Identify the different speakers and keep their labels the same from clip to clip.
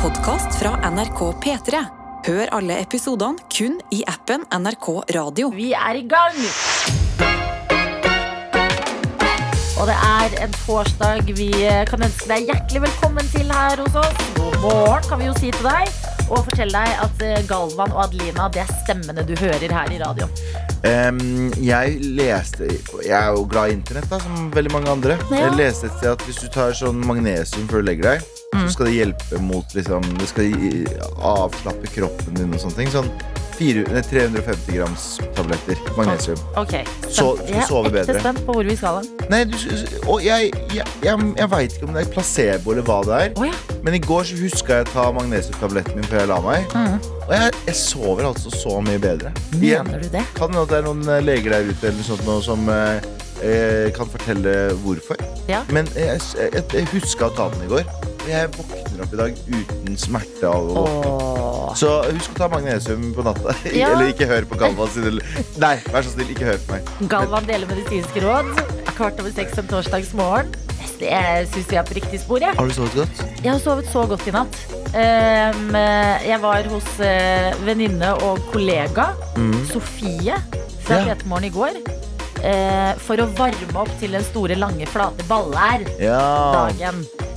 Speaker 1: podkast fra NRK P3. Hør alle episodene kun i appen NRK Radio.
Speaker 2: Vi er i gang! Og det er en torsdag vi eh, kan ønske deg hjertelig velkommen til her hos oss. God morgen, kan vi jo si til deg. Og fortelle deg at eh, Galvan og Adelina, det er stemmene du hører her i radioen.
Speaker 3: Em, jeg leste Jeg er jo glad i internett, da, som veldig mange andre.
Speaker 2: Ja.
Speaker 3: Jeg leste et sted at hvis du tar sånn magnesium før du legger deg,
Speaker 2: Mm.
Speaker 3: så skal det hjelpe mot liksom, Det skal gi- avslappe kroppen din og sånne ting. Sånn fire- nei, 350 grams tabletter magnesium.
Speaker 2: Ok,
Speaker 3: Så-
Speaker 2: spent.
Speaker 3: du
Speaker 2: Jeg
Speaker 3: sover
Speaker 2: er ekte
Speaker 3: bedre.
Speaker 2: spent på hvor vi skal hen.
Speaker 3: Nei, du, og jeg, jeg, jeg, jeg veit ikke om det er placebo eller hva det er,
Speaker 2: Å ja.
Speaker 3: men i går så huska jeg å ta magnesiumtabletten min før jeg la meg. Og jeg, jeg sover altså så mye bedre. Igjen.
Speaker 2: Mm. Mener du det?
Speaker 3: Kan hende at det er noen eh, leger der ute eller noe sånt noe som eh, eh, kan fortelle hvorfor.
Speaker 2: Ja.
Speaker 3: Men jeg, jeg, jeg huska å ta den i går. Og jeg våkner opp i dag uten smerte. av å våkne opp.
Speaker 2: Åh.
Speaker 3: Så husk å ta magnesium på natta.
Speaker 2: Ja.
Speaker 3: eller ikke hør på Galvan sin. eller- Nei, vær så snill, ikke hør på meg.
Speaker 2: Galvan deler medisinske råd. Kvart over seks om torsdagsmorgen. Jeg syns vi er på riktig spor, jeg.
Speaker 3: Har du sovet godt?
Speaker 2: Jeg har sovet så godt i natt. Ehm, jeg var hos eh, venninne og kollega
Speaker 3: Mm.
Speaker 2: Sofie fra
Speaker 3: Ja.
Speaker 2: Petermorgen i går. eh, for å varme opp til den store, lange, flate ballær-dagen
Speaker 3: Ja.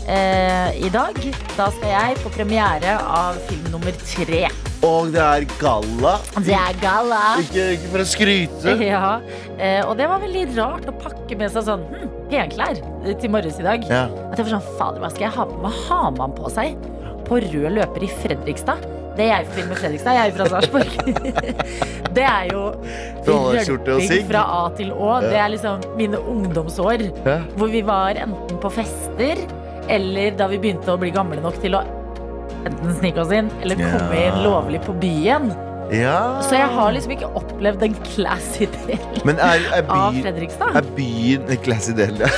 Speaker 2: Eh, i dag. Da skal jeg på premiere av film nummer tre.
Speaker 3: Og det er galla.
Speaker 2: Det er galla!
Speaker 3: Ikke, ikke for å skryte.
Speaker 2: Ja. Eh, og det var veldig rart å pakke med seg sånn hm, penklær eh, til morges i dag.
Speaker 3: Ja.
Speaker 2: At jeg var sånn, fader, hva skal jeg ha på meg? Hva har man på seg på rød løper i Fredrikstad? Det jeg forbinder med Fredrikstad, jeg er jo fra Sarpsborg. det er jo
Speaker 3: Trondheimsskjorte og sigg.
Speaker 2: fra A til Å. Det
Speaker 3: Ja.
Speaker 2: er liksom mine ungdomsår.
Speaker 3: Ja.
Speaker 2: Hvor vi var enten på fester, eller da vi begynte å bli gamle nok til å enten snike oss inn, eller komme
Speaker 3: Ja.
Speaker 2: inn lovlig på byen.
Speaker 3: ja.
Speaker 2: Så jeg har liksom ikke opplevd den classy delen
Speaker 3: Men er, er
Speaker 2: av
Speaker 3: byen
Speaker 2: Fredrikstad.
Speaker 3: Er byen eh, Classy del, ja.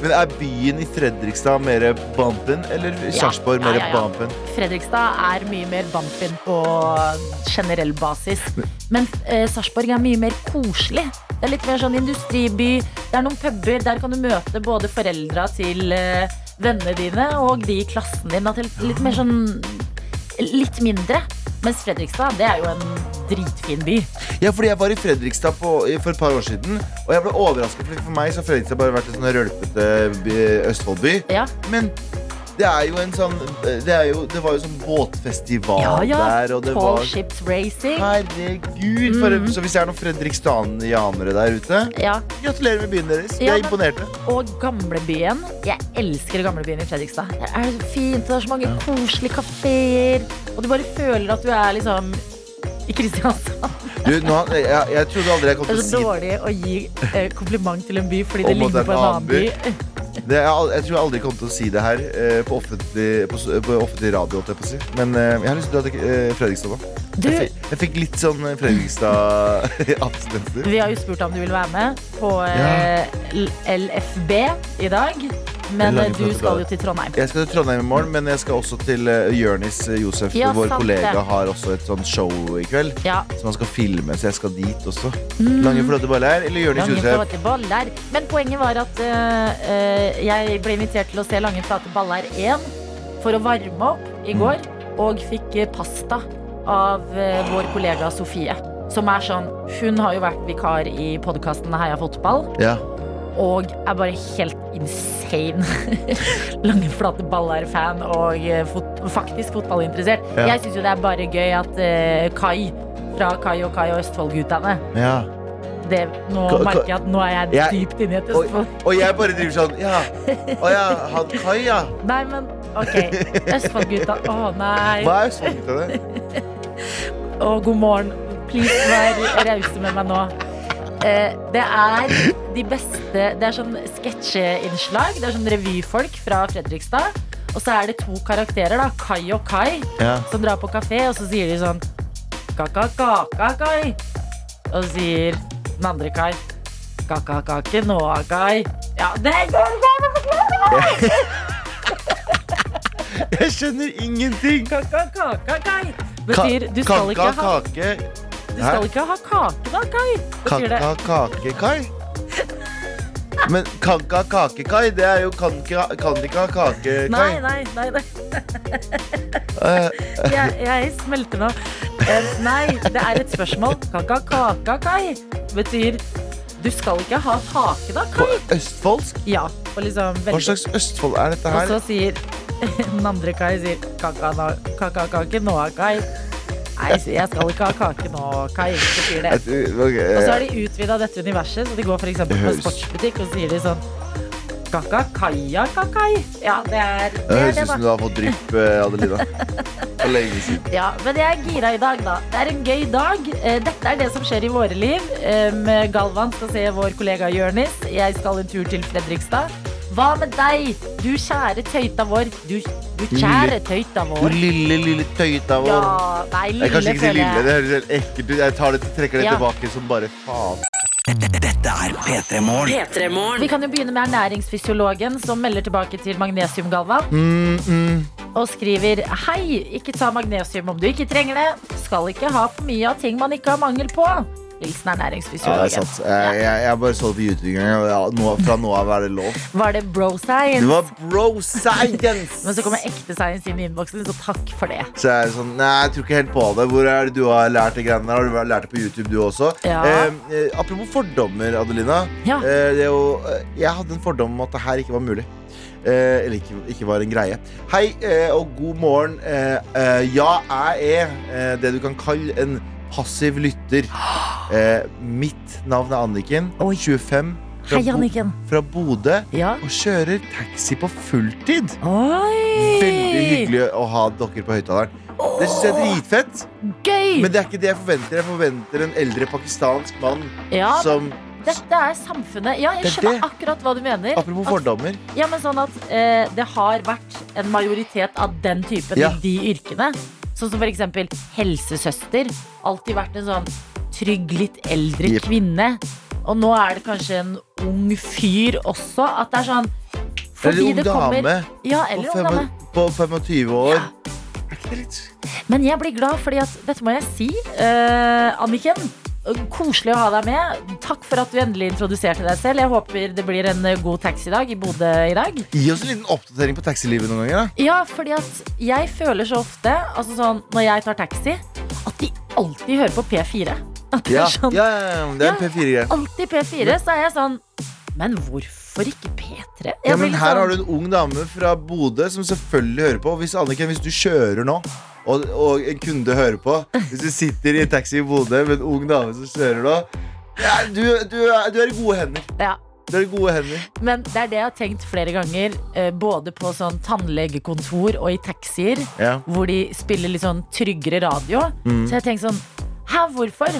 Speaker 3: Men er byen i Fredrikstad mer bumpen, eller Sarpsborg
Speaker 2: Ja,
Speaker 3: mer
Speaker 2: ja, ja.
Speaker 3: bumpen?
Speaker 2: Fredrikstad er mye mer bampen på generell basis. Men eh, Sarpsborg er mye mer koselig. Det er litt mer sånn industriby. Det er noen puber. Der kan du møte både foreldra til eh, vennene dine og de i klassen din. At det er litt mer sånn Litt mindre. Mens Fredrikstad, det er jo en dritfin by.
Speaker 3: Ja, fordi jeg var i Fredrikstad på, i- for et par år siden, og jeg ble overrasket, fordi for meg så har Fredrikstad bare vært en sånn rølpete by- Østfoldby.
Speaker 2: Ja.
Speaker 3: Men det er jo en sånn Det, er jo, det var jo sånn båtfestival
Speaker 2: Ja, ja.
Speaker 3: der, og det
Speaker 2: Tall Mm.
Speaker 3: var
Speaker 2: Ships Racing.
Speaker 3: Herregud! For, Så hvis det er noen fredrikstanianere der ute,
Speaker 2: Ja.
Speaker 3: gratulerer med byen deres. Vi
Speaker 2: Ja,
Speaker 3: er
Speaker 2: men-
Speaker 3: imponerte.
Speaker 2: Og gamlebyen. Jeg elsker gamlebyen i Fredrikstad. Der er det så fint, det er så mange koselige kafeer. Og du bare føler at du er liksom i Kristiansand.
Speaker 3: Du, nå, jeg, jeg trodde aldri jeg kom
Speaker 2: Det
Speaker 3: til
Speaker 2: er
Speaker 3: å
Speaker 2: så
Speaker 3: si
Speaker 2: dårlig å gi eh, kompliment til en by fordi det
Speaker 3: Om at det
Speaker 2: ligner
Speaker 3: er
Speaker 2: på en annen by.
Speaker 3: Det, jeg, al- jeg tror jeg aldri kommer til å si det her eh, på, offentlig, på, s- på offentlig radio. holdt Jeg på å si. Men eh, jeg har lyst til å dra til eh, Fredrikstad, da.
Speaker 2: Du,
Speaker 3: Jeg, fikk, jeg fikk litt sånn eh, Fredrikstad-abstinenser.
Speaker 2: vi har jo spurt om du vil være med på eh, L- LFB i dag. Men
Speaker 3: Lange
Speaker 2: eh, du
Speaker 3: flotte
Speaker 2: skal
Speaker 3: dager.
Speaker 2: jo til Trondheim.
Speaker 3: Jeg skal til Trondheim i morgen, men jeg skal også til uh, Jørnis eh, Josef.
Speaker 2: Ja,
Speaker 3: vår
Speaker 2: sant
Speaker 3: kollega
Speaker 2: det.
Speaker 3: har også et sånn show i kveld
Speaker 2: Ja.
Speaker 3: som han skal filme, så jeg skal dit også. Lange, flotte baller eller Jørnis
Speaker 2: Mm. Lange,
Speaker 3: Josef?
Speaker 2: flate baller. Men poenget var at eh, eh, jeg ble invitert til å se Lange, flate baller 1 for å varme opp
Speaker 3: Mm.
Speaker 2: i går, og fikk eh, pasta av eh, vår kollega Sofie. Som er sånn, Hun har jo vært vikar i podkasten Heia fotball
Speaker 3: Ja.
Speaker 2: og er bare helt insane. Lange, flate baller-fan og eh, fot faktisk fotballinteressert.
Speaker 3: Ja.
Speaker 2: Jeg syns jo det er bare gøy at eh, Kai fra Kai og Kai og Østfoldguttene
Speaker 3: ja.
Speaker 2: det, nå
Speaker 3: Ka- ka-
Speaker 2: merker jeg at nå er jeg
Speaker 3: Jeg-
Speaker 2: dypt inne i et
Speaker 3: Oi.
Speaker 2: Østfold.
Speaker 3: Og jeg bare driver sånn Ja, å ja, han Kai, ja.
Speaker 2: Nei, men ok. Østfold-gutta. Å nei.
Speaker 3: Hva er svaret til det?
Speaker 2: Å, god morgen. Please, vær rause med meg nå. Eh, det er de beste Det er sånn sketsjeinnslag. Det er sånn revyfolk fra Fredrikstad. Og så er det to karakterer, da. Kai og Kai,
Speaker 3: Ja.
Speaker 2: som drar på kafé, og så sier de sånn Ka-ka-ka-ka-kai. Og så sier den andre Kai Ka-ka-kake nå, Kai. Ja, det går bra!
Speaker 3: Jeg skjønner ingenting.
Speaker 2: Ka-ka-ka-ka-kai
Speaker 3: Ka-
Speaker 2: betyr du skal, ikke ha,
Speaker 3: kake
Speaker 2: du skal ikke ha kake da, Kai. Betyr det
Speaker 3: Kaka, kake, Kai? Men kan ikke ha kakekai, det er jo kan ikke ha, kan ikke ha kakekai.
Speaker 2: Nei, nei, nei, nei.
Speaker 3: Eh,
Speaker 2: Jeg, jeg smelter nå. Eh, Nei, det er et spørsmål. Kaka-kaka-kai betyr du skal ikke ha kake, da,
Speaker 3: på
Speaker 2: Kai.
Speaker 3: østfoldsk?
Speaker 2: Ja, og liksom
Speaker 3: Hva
Speaker 2: veldig
Speaker 3: slags Østfold er dette
Speaker 2: Og
Speaker 3: her?
Speaker 2: så sier den andre Kai sier kaka-kake nå, Kai. Nei, sier jeg skal ikke ha kake nå, Kai. Så sier det.
Speaker 3: Jeg tror- ok, eh,
Speaker 2: Og så har de utvida dette universet, så de går for eksempel på
Speaker 3: Det
Speaker 2: en
Speaker 3: høres-
Speaker 2: sportsbutikk og sier de sånn Kaka-kaja-kakai. Ja, det er det,
Speaker 3: Det
Speaker 2: er
Speaker 3: høres
Speaker 2: det
Speaker 3: ut som
Speaker 2: da.
Speaker 3: du har fått drypp, eh, Adelina. For lenge siden.
Speaker 2: Ja, men jeg er gira i dag, da. Det er en gøy dag. Eh, Dette er det som skjer i våre liv. Em, Galvan skal se vår kollega Jørnis. Jeg skal en tur til Fredrikstad. Hva med deg, du kjære tøyta vår? Du, du kjære tøyta
Speaker 3: Du
Speaker 2: vår.
Speaker 3: lille, lille tøyta vår.
Speaker 2: Ja, nei, lille
Speaker 3: Jeg kan ikke si
Speaker 2: føler
Speaker 3: lille,
Speaker 2: jeg.
Speaker 3: det høres helt ekkelt ut. Jeg tar det, trekker det
Speaker 2: Ja.
Speaker 3: tilbake som bare faen.
Speaker 4: Dette er P3 Morgen.
Speaker 2: Vi kan jo begynne med ernæringsfysiologen som melder tilbake til magnesiumgalvan
Speaker 3: Mm, mm.
Speaker 2: og skriver Hei, ikke ta magnesium om du ikke trenger det. Skal ikke ha for mye av ting man ikke har mangel på. Hilsen
Speaker 3: Ja, det er
Speaker 2: ernæringsfysiologen.
Speaker 3: sant. Jeg, jeg, jeg bare så det på YouTube en gang. og Ja, nå, fra nå av er det lov.
Speaker 2: Var det bro
Speaker 3: Det
Speaker 2: science?
Speaker 3: var bro science!
Speaker 2: Men så kommer ekte science inn i innboksen, så takk for det.
Speaker 3: Så jeg er sånn, nei, jeg tror ikke helt på det. Hvor er det du har lært de greiene der? Har du vel lært det på YouTube, du også?
Speaker 2: Ja.
Speaker 3: Eh, eh, apropos fordommer, Adelina.
Speaker 2: Ja.
Speaker 3: Eh, det er jo, eh, jeg hadde en fordom om at det her ikke var mulig. Eh, eller ikke, ikke var en greie. Hei eh, og god morgen. Eh, eh, ja, jeg er eh, det du kan kalle en passiv lytter. Eh, mitt navn er Anniken.
Speaker 2: Oi.
Speaker 3: 25. Fra,
Speaker 2: Hei,
Speaker 3: Bo-
Speaker 2: Anniken.
Speaker 3: fra Bodø.
Speaker 2: Ja.
Speaker 3: Og kjører taxi på fulltid.
Speaker 2: Oi!
Speaker 3: Veldig hyggelig å ha dere på høyttaleren. Det syns jeg er dritfett.
Speaker 2: Gøy!
Speaker 3: Men det er ikke det jeg forventer. Jeg forventer en eldre pakistansk mann
Speaker 2: ja,
Speaker 3: som
Speaker 2: dette er samfunnet. Ja, jeg
Speaker 3: Det er
Speaker 2: skjønner
Speaker 3: det.
Speaker 2: akkurat hva du mener.
Speaker 3: Apropos fordommer.
Speaker 2: At, ja, men sånn at eh, det har vært en majoritet av den typen
Speaker 3: Ja.
Speaker 2: i de yrkene. Sånn som for eksempel helsesøster. Alltid vært en sånn trygg, litt eldre
Speaker 3: Jepp.
Speaker 2: kvinne. Og nå er det kanskje en ung fyr også. At det er sånn
Speaker 3: Eller
Speaker 2: fordi
Speaker 3: ung
Speaker 2: det kommer-
Speaker 3: dame
Speaker 2: Ja,
Speaker 3: på
Speaker 2: eller ung dame.
Speaker 3: fem- på 25 år.
Speaker 2: Ja.
Speaker 3: Er ikke det litt
Speaker 2: Men jeg blir glad, fordi at dette må jeg si. Eh, Anniken, koselig å ha deg med. Takk for at du endelig introduserte deg selv. Jeg håper det blir en eh, god taxi i dag i Bodø i dag.
Speaker 3: Gi oss en liten oppdatering på taxilivet noen ganger. da
Speaker 2: Ja, fordi at jeg føler så ofte, altså sånn når jeg tar taxi, at de alltid hører på P4. At det
Speaker 3: Ja,
Speaker 2: er sånn,
Speaker 3: ja, ja, ja, det er en
Speaker 2: Ja.
Speaker 3: P4-greie.
Speaker 2: alltid P4, så er jeg sånn Men hvorfor ikke P3? Jeg
Speaker 3: Ja,
Speaker 2: blir
Speaker 3: men
Speaker 2: litt
Speaker 3: her
Speaker 2: sånn-
Speaker 3: har du en ung dame fra Bodø som selvfølgelig hører på. Og Hvis Anniken, hvis du kjører nå, og, og en kunde hører på Hvis du sitter i en taxi i Bodø med en ung dame som kjører nå ja, du, du, er- du er i gode hender.
Speaker 2: ja.
Speaker 3: Du er i gode hender.
Speaker 2: Men det er det jeg har tenkt flere ganger, eh, både på sånn tannlegekontor og i taxier.
Speaker 3: Ja. Mm.
Speaker 2: hvor de spiller litt sånn tryggere radio. Så jeg tenkte sånn Hæ, hvorfor?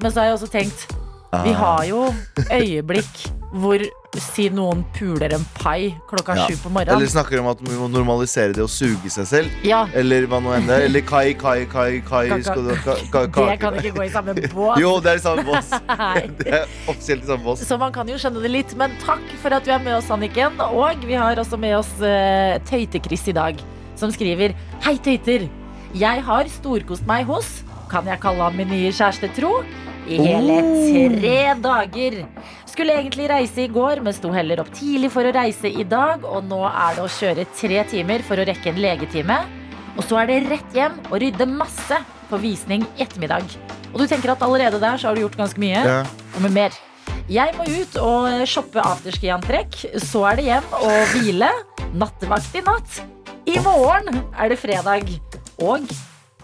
Speaker 2: Men så har jeg også tenkt Vi
Speaker 3: Ah.
Speaker 2: har jo øyeblikk hvor si noen puler en pai klokka
Speaker 3: Ja.
Speaker 2: sju på
Speaker 3: Eller
Speaker 2: morgenen.
Speaker 3: snakker om at vi må normalisere det å suge seg selv.
Speaker 2: Ja,
Speaker 3: Eller hva nå enn det er. Eller kai, kai, kai, kai
Speaker 2: Kaka.
Speaker 3: skal du, ka, ka,
Speaker 2: det kan
Speaker 3: kake.
Speaker 2: ikke gå i samme båt.
Speaker 3: Jo, det er i samme bås.
Speaker 2: Nei.
Speaker 3: Det er offisielt i samme bås.
Speaker 2: Så man kan jo skjønne det litt, men takk for at du er med oss, Anniken. Og vi har også med oss eh, Tøyte-Chris i dag, som skriver Hei, tøyter. Jeg har storkost meg hos, kan jeg kalle han min nye kjæreste Tro, i hele tre dager. Skulle egentlig reise i går, men sto heller opp tidlig for å reise i dag, og nå er det å kjøre tre timer for å rekke en legetime. Og så er det rett hjem og rydde masse for visning i ettermiddag. Og du tenker at allerede der så har du gjort ganske mye
Speaker 3: Ja.
Speaker 2: og med mer. Jeg må ut og shoppe afterski-antrekk. Så er det hjem og hvile. Nattevakt i natt. I morgen er det fredag. Og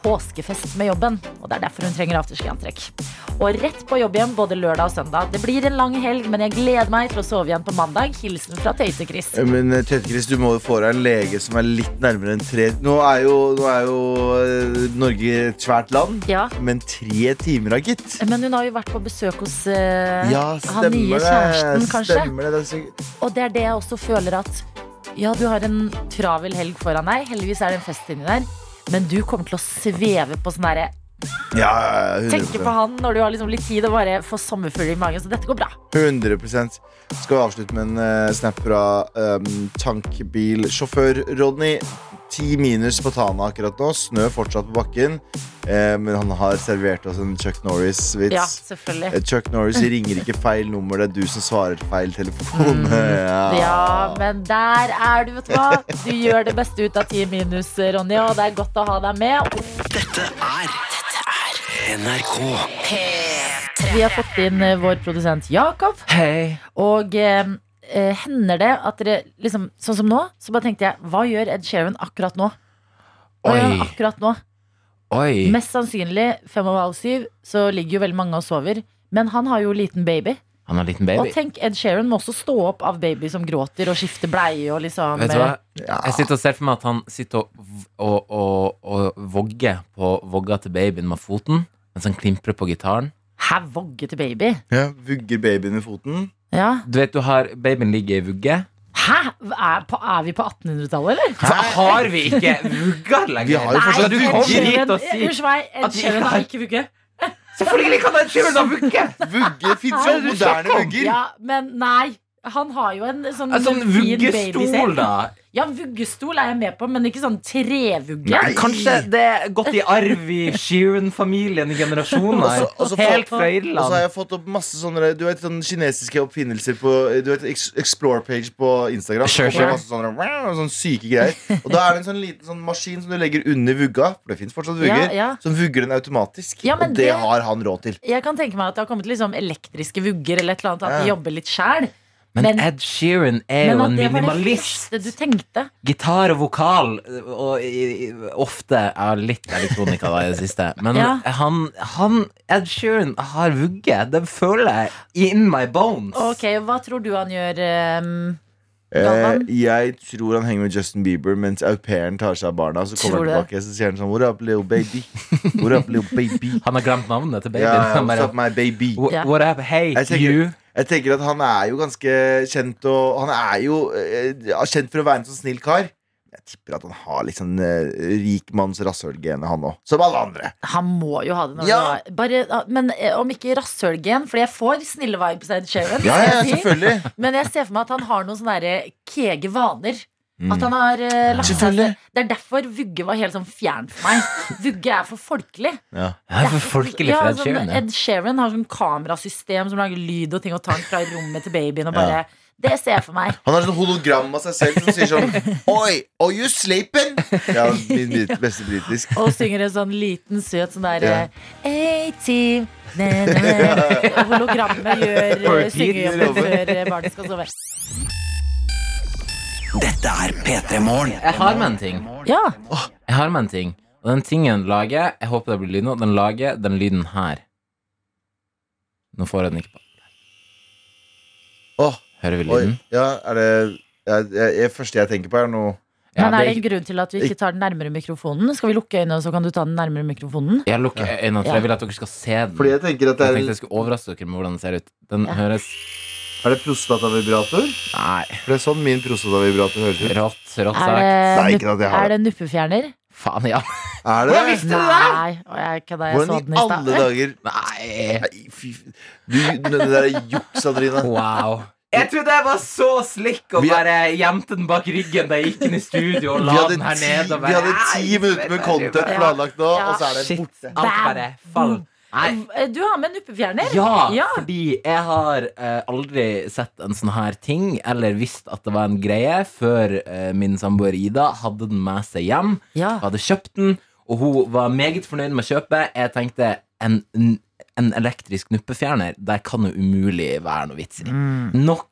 Speaker 2: påskefest med jobben. Og det er derfor hun trenger afterski-antrekk. Og rett på jobb igjen både lørdag og søndag. Det blir en lang helg, men jeg gleder meg til å sove igjen på mandag. Hilsen fra Tøyte-Chris.
Speaker 3: Men eh, Tete Chris, du må jo få deg en lege som er litt nærmere enn tre Nå er jo, nå er jo eh, Norge et svært land,
Speaker 2: Ja.
Speaker 3: men tre timer da, gitt.
Speaker 2: Men hun har jo vært på besøk hos eh,
Speaker 3: Ja,
Speaker 2: han nye
Speaker 3: stemmer det.
Speaker 2: kjæresten, kanskje.
Speaker 3: Stemmer det. det er sikkert-
Speaker 2: Og det er det jeg også føler at Ja, du har en travel helg foran deg. Heldigvis er det en fest inni der. Men du kommer til å sveve på sånn derre
Speaker 3: Ja, ja, ja,
Speaker 2: Tenke på han når du har liksom litt tid og bare få sommerfugler i magen. Så dette går bra.
Speaker 3: 100 Skal vi avslutte med en eh, snap fra um, tankbilsjåfør Rodney. Ti minus på Tana akkurat nå. Snø fortsatt på bakken. Eh, men han har servert oss en Chuck Norris-vits.
Speaker 2: Ja, selvfølgelig.
Speaker 3: Eh, Chuck Norris ringer ikke feil nummer, det er du som svarer feil telefon.
Speaker 2: Mm. Ja, men der er du, vet du hva. Du gjør det beste ut av ti minus, Ronny, og det er godt å ha deg med.
Speaker 4: Dette er NRK.
Speaker 2: Vi har fått inn eh, vår produsent Jakob,
Speaker 4: Hei.
Speaker 2: og eh, eh, hender det at dere liksom Sånn som nå, så bare tenkte jeg, hva gjør Ed Sheeran akkurat nå? Hva gjør han
Speaker 4: Oi.
Speaker 2: akkurat nå?
Speaker 4: Oi.
Speaker 2: Mest sannsynlig fem over halv syv, så ligger jo veldig mange og sover. Men han har jo liten baby.
Speaker 4: Han har en liten
Speaker 2: Og
Speaker 4: baby.
Speaker 2: tenk, Ed Sheeran må også stå opp av baby som gråter, og skifte bleie og liksom
Speaker 5: Vet du hva?
Speaker 2: eh,
Speaker 3: Ja.
Speaker 5: Jeg sitter og ser for meg at han sitter og, og, og, og vogger på vogga til babyen med foten, mens han klimprer på gitaren.
Speaker 2: Hæ, vogge til baby?
Speaker 3: Ja, Vugger babyen i foten.
Speaker 2: Ja.
Speaker 5: Du vet, du har Babyen ligger i vugge.
Speaker 2: Hæ? Er, på, er vi på 1800-tallet, eller?
Speaker 5: Hæ? Har vi ikke vugger lenger?
Speaker 3: Vi har jo fortsatt
Speaker 5: du
Speaker 3: vugger.
Speaker 5: driter og sier
Speaker 2: Unnskyld meg,
Speaker 5: at
Speaker 2: Ed
Speaker 5: vi
Speaker 2: Sheeran
Speaker 5: ikke
Speaker 2: har
Speaker 5: har-
Speaker 2: ikke vugge.
Speaker 5: Selvfølgelig kan han ikke ha vugge!
Speaker 3: Vugger fins jo
Speaker 5: Er det du snakker
Speaker 3: moderne
Speaker 5: om?
Speaker 3: vugger.
Speaker 2: Ja, men nei. Han har jo en sånn,
Speaker 5: En sånn
Speaker 2: fin baby
Speaker 5: vuggestol,
Speaker 2: selv.
Speaker 5: da.
Speaker 2: Ja, vuggestol er jeg med på, men ikke sånn trevugge.
Speaker 5: Nei, Kanskje det er gått i arv i Sheeran-familien i generasjoner.
Speaker 3: Og så- og så-
Speaker 5: Helt fra
Speaker 3: Og så har
Speaker 5: Irland.
Speaker 3: jeg fått opp masse sånne Du vet sånne kinesiske oppfinnelser på Du vet Ex- Explore-page på Instagram. Så kommer
Speaker 5: Sure, sure.
Speaker 3: det Masse sånne, wow, sånne syke greier. Og da er det en sånn liten sånn maskin som du legger under vugga, for det fins fortsatt vugger,
Speaker 2: Ja, ja.
Speaker 3: som vugger den automatisk.
Speaker 2: Ja, men
Speaker 3: og det,
Speaker 2: det-
Speaker 3: har han råd til.
Speaker 2: Jeg kan tenke meg at det har kommet liksom elektriske vugger eller et eller annet, at de
Speaker 3: Ja.
Speaker 2: jobber litt sjæl.
Speaker 5: Men Ed Sheeran er
Speaker 2: Men
Speaker 5: jo
Speaker 2: at
Speaker 5: en
Speaker 2: det var det
Speaker 5: minimalist.
Speaker 2: første du tenkte.
Speaker 5: Gitar og vokal og i- i- ofte er litt elektronika da i det siste. Men
Speaker 2: Ja.
Speaker 5: han, han Ed Sheeran har vugge. Det føler jeg in my bones.
Speaker 2: Ok, Hva tror du han gjør? ehm,
Speaker 3: Eh,
Speaker 2: Galvan?
Speaker 3: jeg tror han henger med Justin Bieber mens au pairen tar seg av barna. Så kommer
Speaker 2: Tror
Speaker 3: han tilbake så sier han sånn What up, little baby? What up, little baby?
Speaker 5: Han har glemt navnet til babyen.
Speaker 3: Ja,
Speaker 5: Han
Speaker 3: what's
Speaker 5: bare,
Speaker 3: up, my baby?
Speaker 5: "Wha-
Speaker 2: Ja.
Speaker 5: What up? Hey,
Speaker 3: Jeg tenker-
Speaker 5: you.
Speaker 3: Jeg tenker at han er jo ganske kjent Og han er jo eh, ja, kjent for å være en sånn snill kar Jeg tipper at han har litt sånn eh, rik manns rasshølgene han også Som alle andre
Speaker 2: Han må jo ha det. Når
Speaker 3: Ja.
Speaker 2: han har- Bare, men eh, om ikke rasshølgen, for jeg får snille vibes av Ed Sheeran.
Speaker 3: Ja,
Speaker 2: skal
Speaker 3: ja,
Speaker 2: jeg si.
Speaker 3: selvfølgelig
Speaker 2: Men jeg ser for meg at han har noen sånne der kege vaner.
Speaker 3: Mm.
Speaker 2: At han har eh, lagt seg
Speaker 3: Selvfølgelig.
Speaker 2: Det er derfor Vugge var helt sånn fjern for meg. Vugge er for folkelig.
Speaker 3: ja.
Speaker 5: Det er for folkelig
Speaker 2: Ja,
Speaker 5: for Ed
Speaker 2: sånn
Speaker 5: Sheeran. ja.
Speaker 2: Ed Sheeran har sånn kamerasystem som lager lyd og ting og tar den fra rommet til babyen og bare Det ser jeg for meg.
Speaker 3: Han har sånn hologram av seg selv Som sier sånn Oi, are you sleeping? Ja, min bit- beste britisk
Speaker 2: Og synger en sånn liten, søt sånn der
Speaker 3: Ja.
Speaker 2: eh, A-team na, na, na. Og Hologrammet gjør eh,
Speaker 5: Repeat.
Speaker 2: syngejobben før eh, barnet skal sove.
Speaker 4: Dette er P3 Morgen.
Speaker 5: Jeg har med en ting.
Speaker 2: Ja,
Speaker 5: Jeg har med en ting. Og den tingen lager Jeg håper det blir lyd nå. Den lager den lyden her. Nå får jeg den ikke på.
Speaker 3: Åh,
Speaker 5: Hører vi
Speaker 3: oi,
Speaker 5: lyden?
Speaker 3: ja, er det ja, jeg, jeg, Første jeg tenker på er noe
Speaker 5: Ja,
Speaker 2: Men er det
Speaker 5: det-
Speaker 2: en grunn til at du ikke tar den nærmere mikrofonen? Skal vi lukke øynene, så kan du ta den nærmere mikrofonen?
Speaker 5: Jeg lukker øynene, for
Speaker 2: Ja.
Speaker 5: jeg vil at dere skal se den.
Speaker 3: Fordi jeg tenker at det
Speaker 5: Jeg
Speaker 3: er
Speaker 5: tenkte jeg skulle overraske dere med hvordan den ser ut. Den
Speaker 2: Ja.
Speaker 5: høres
Speaker 3: Er det prostatavibrator?
Speaker 5: Nei,
Speaker 3: For det er sånn min prostatavibrator høres ut
Speaker 5: rått, rått
Speaker 2: Er
Speaker 5: sagt.
Speaker 3: Nei,
Speaker 2: det,
Speaker 3: ikke at jeg har
Speaker 2: er det nuppefjerner?
Speaker 5: Faen, ja.
Speaker 3: Er det det?
Speaker 2: Nei, og jeg kødda. Jeg så
Speaker 3: Hvordan
Speaker 2: den
Speaker 3: i
Speaker 2: i
Speaker 3: alle
Speaker 2: stad.
Speaker 3: dager
Speaker 5: Nei.
Speaker 3: Nei, fy f- Du, det der er juks, Adrina.
Speaker 5: Wow. Jeg trodde jeg var så slick og
Speaker 3: Vi-
Speaker 5: bare gjemte den bak ryggen da jeg gikk inn i studio og
Speaker 3: Vi
Speaker 5: la
Speaker 3: hadde
Speaker 5: den her
Speaker 3: ti,
Speaker 5: ned. Og
Speaker 3: vi
Speaker 5: bare,
Speaker 3: hadde ti
Speaker 5: Nei,
Speaker 3: minutter med content
Speaker 2: Ja.
Speaker 3: planlagt nå,
Speaker 2: Ja.
Speaker 3: og så er det
Speaker 5: Shit.
Speaker 3: borte.
Speaker 5: Alt bare fall. Nei.
Speaker 2: Eh, Du har med nuppefjerner?
Speaker 5: Ja,
Speaker 2: Ja.
Speaker 5: fordi jeg har eh, aldri sett en sånn her ting eller visst at det var en greie før eh, min samboer Ida hadde den med seg hjem.
Speaker 2: Ja.
Speaker 5: Jeg hadde kjøpt den, og hun var meget fornøyd med kjøpet. Jeg tenkte en, en elektrisk nuppefjerner, der kan det umulig være noe vits i. Nok,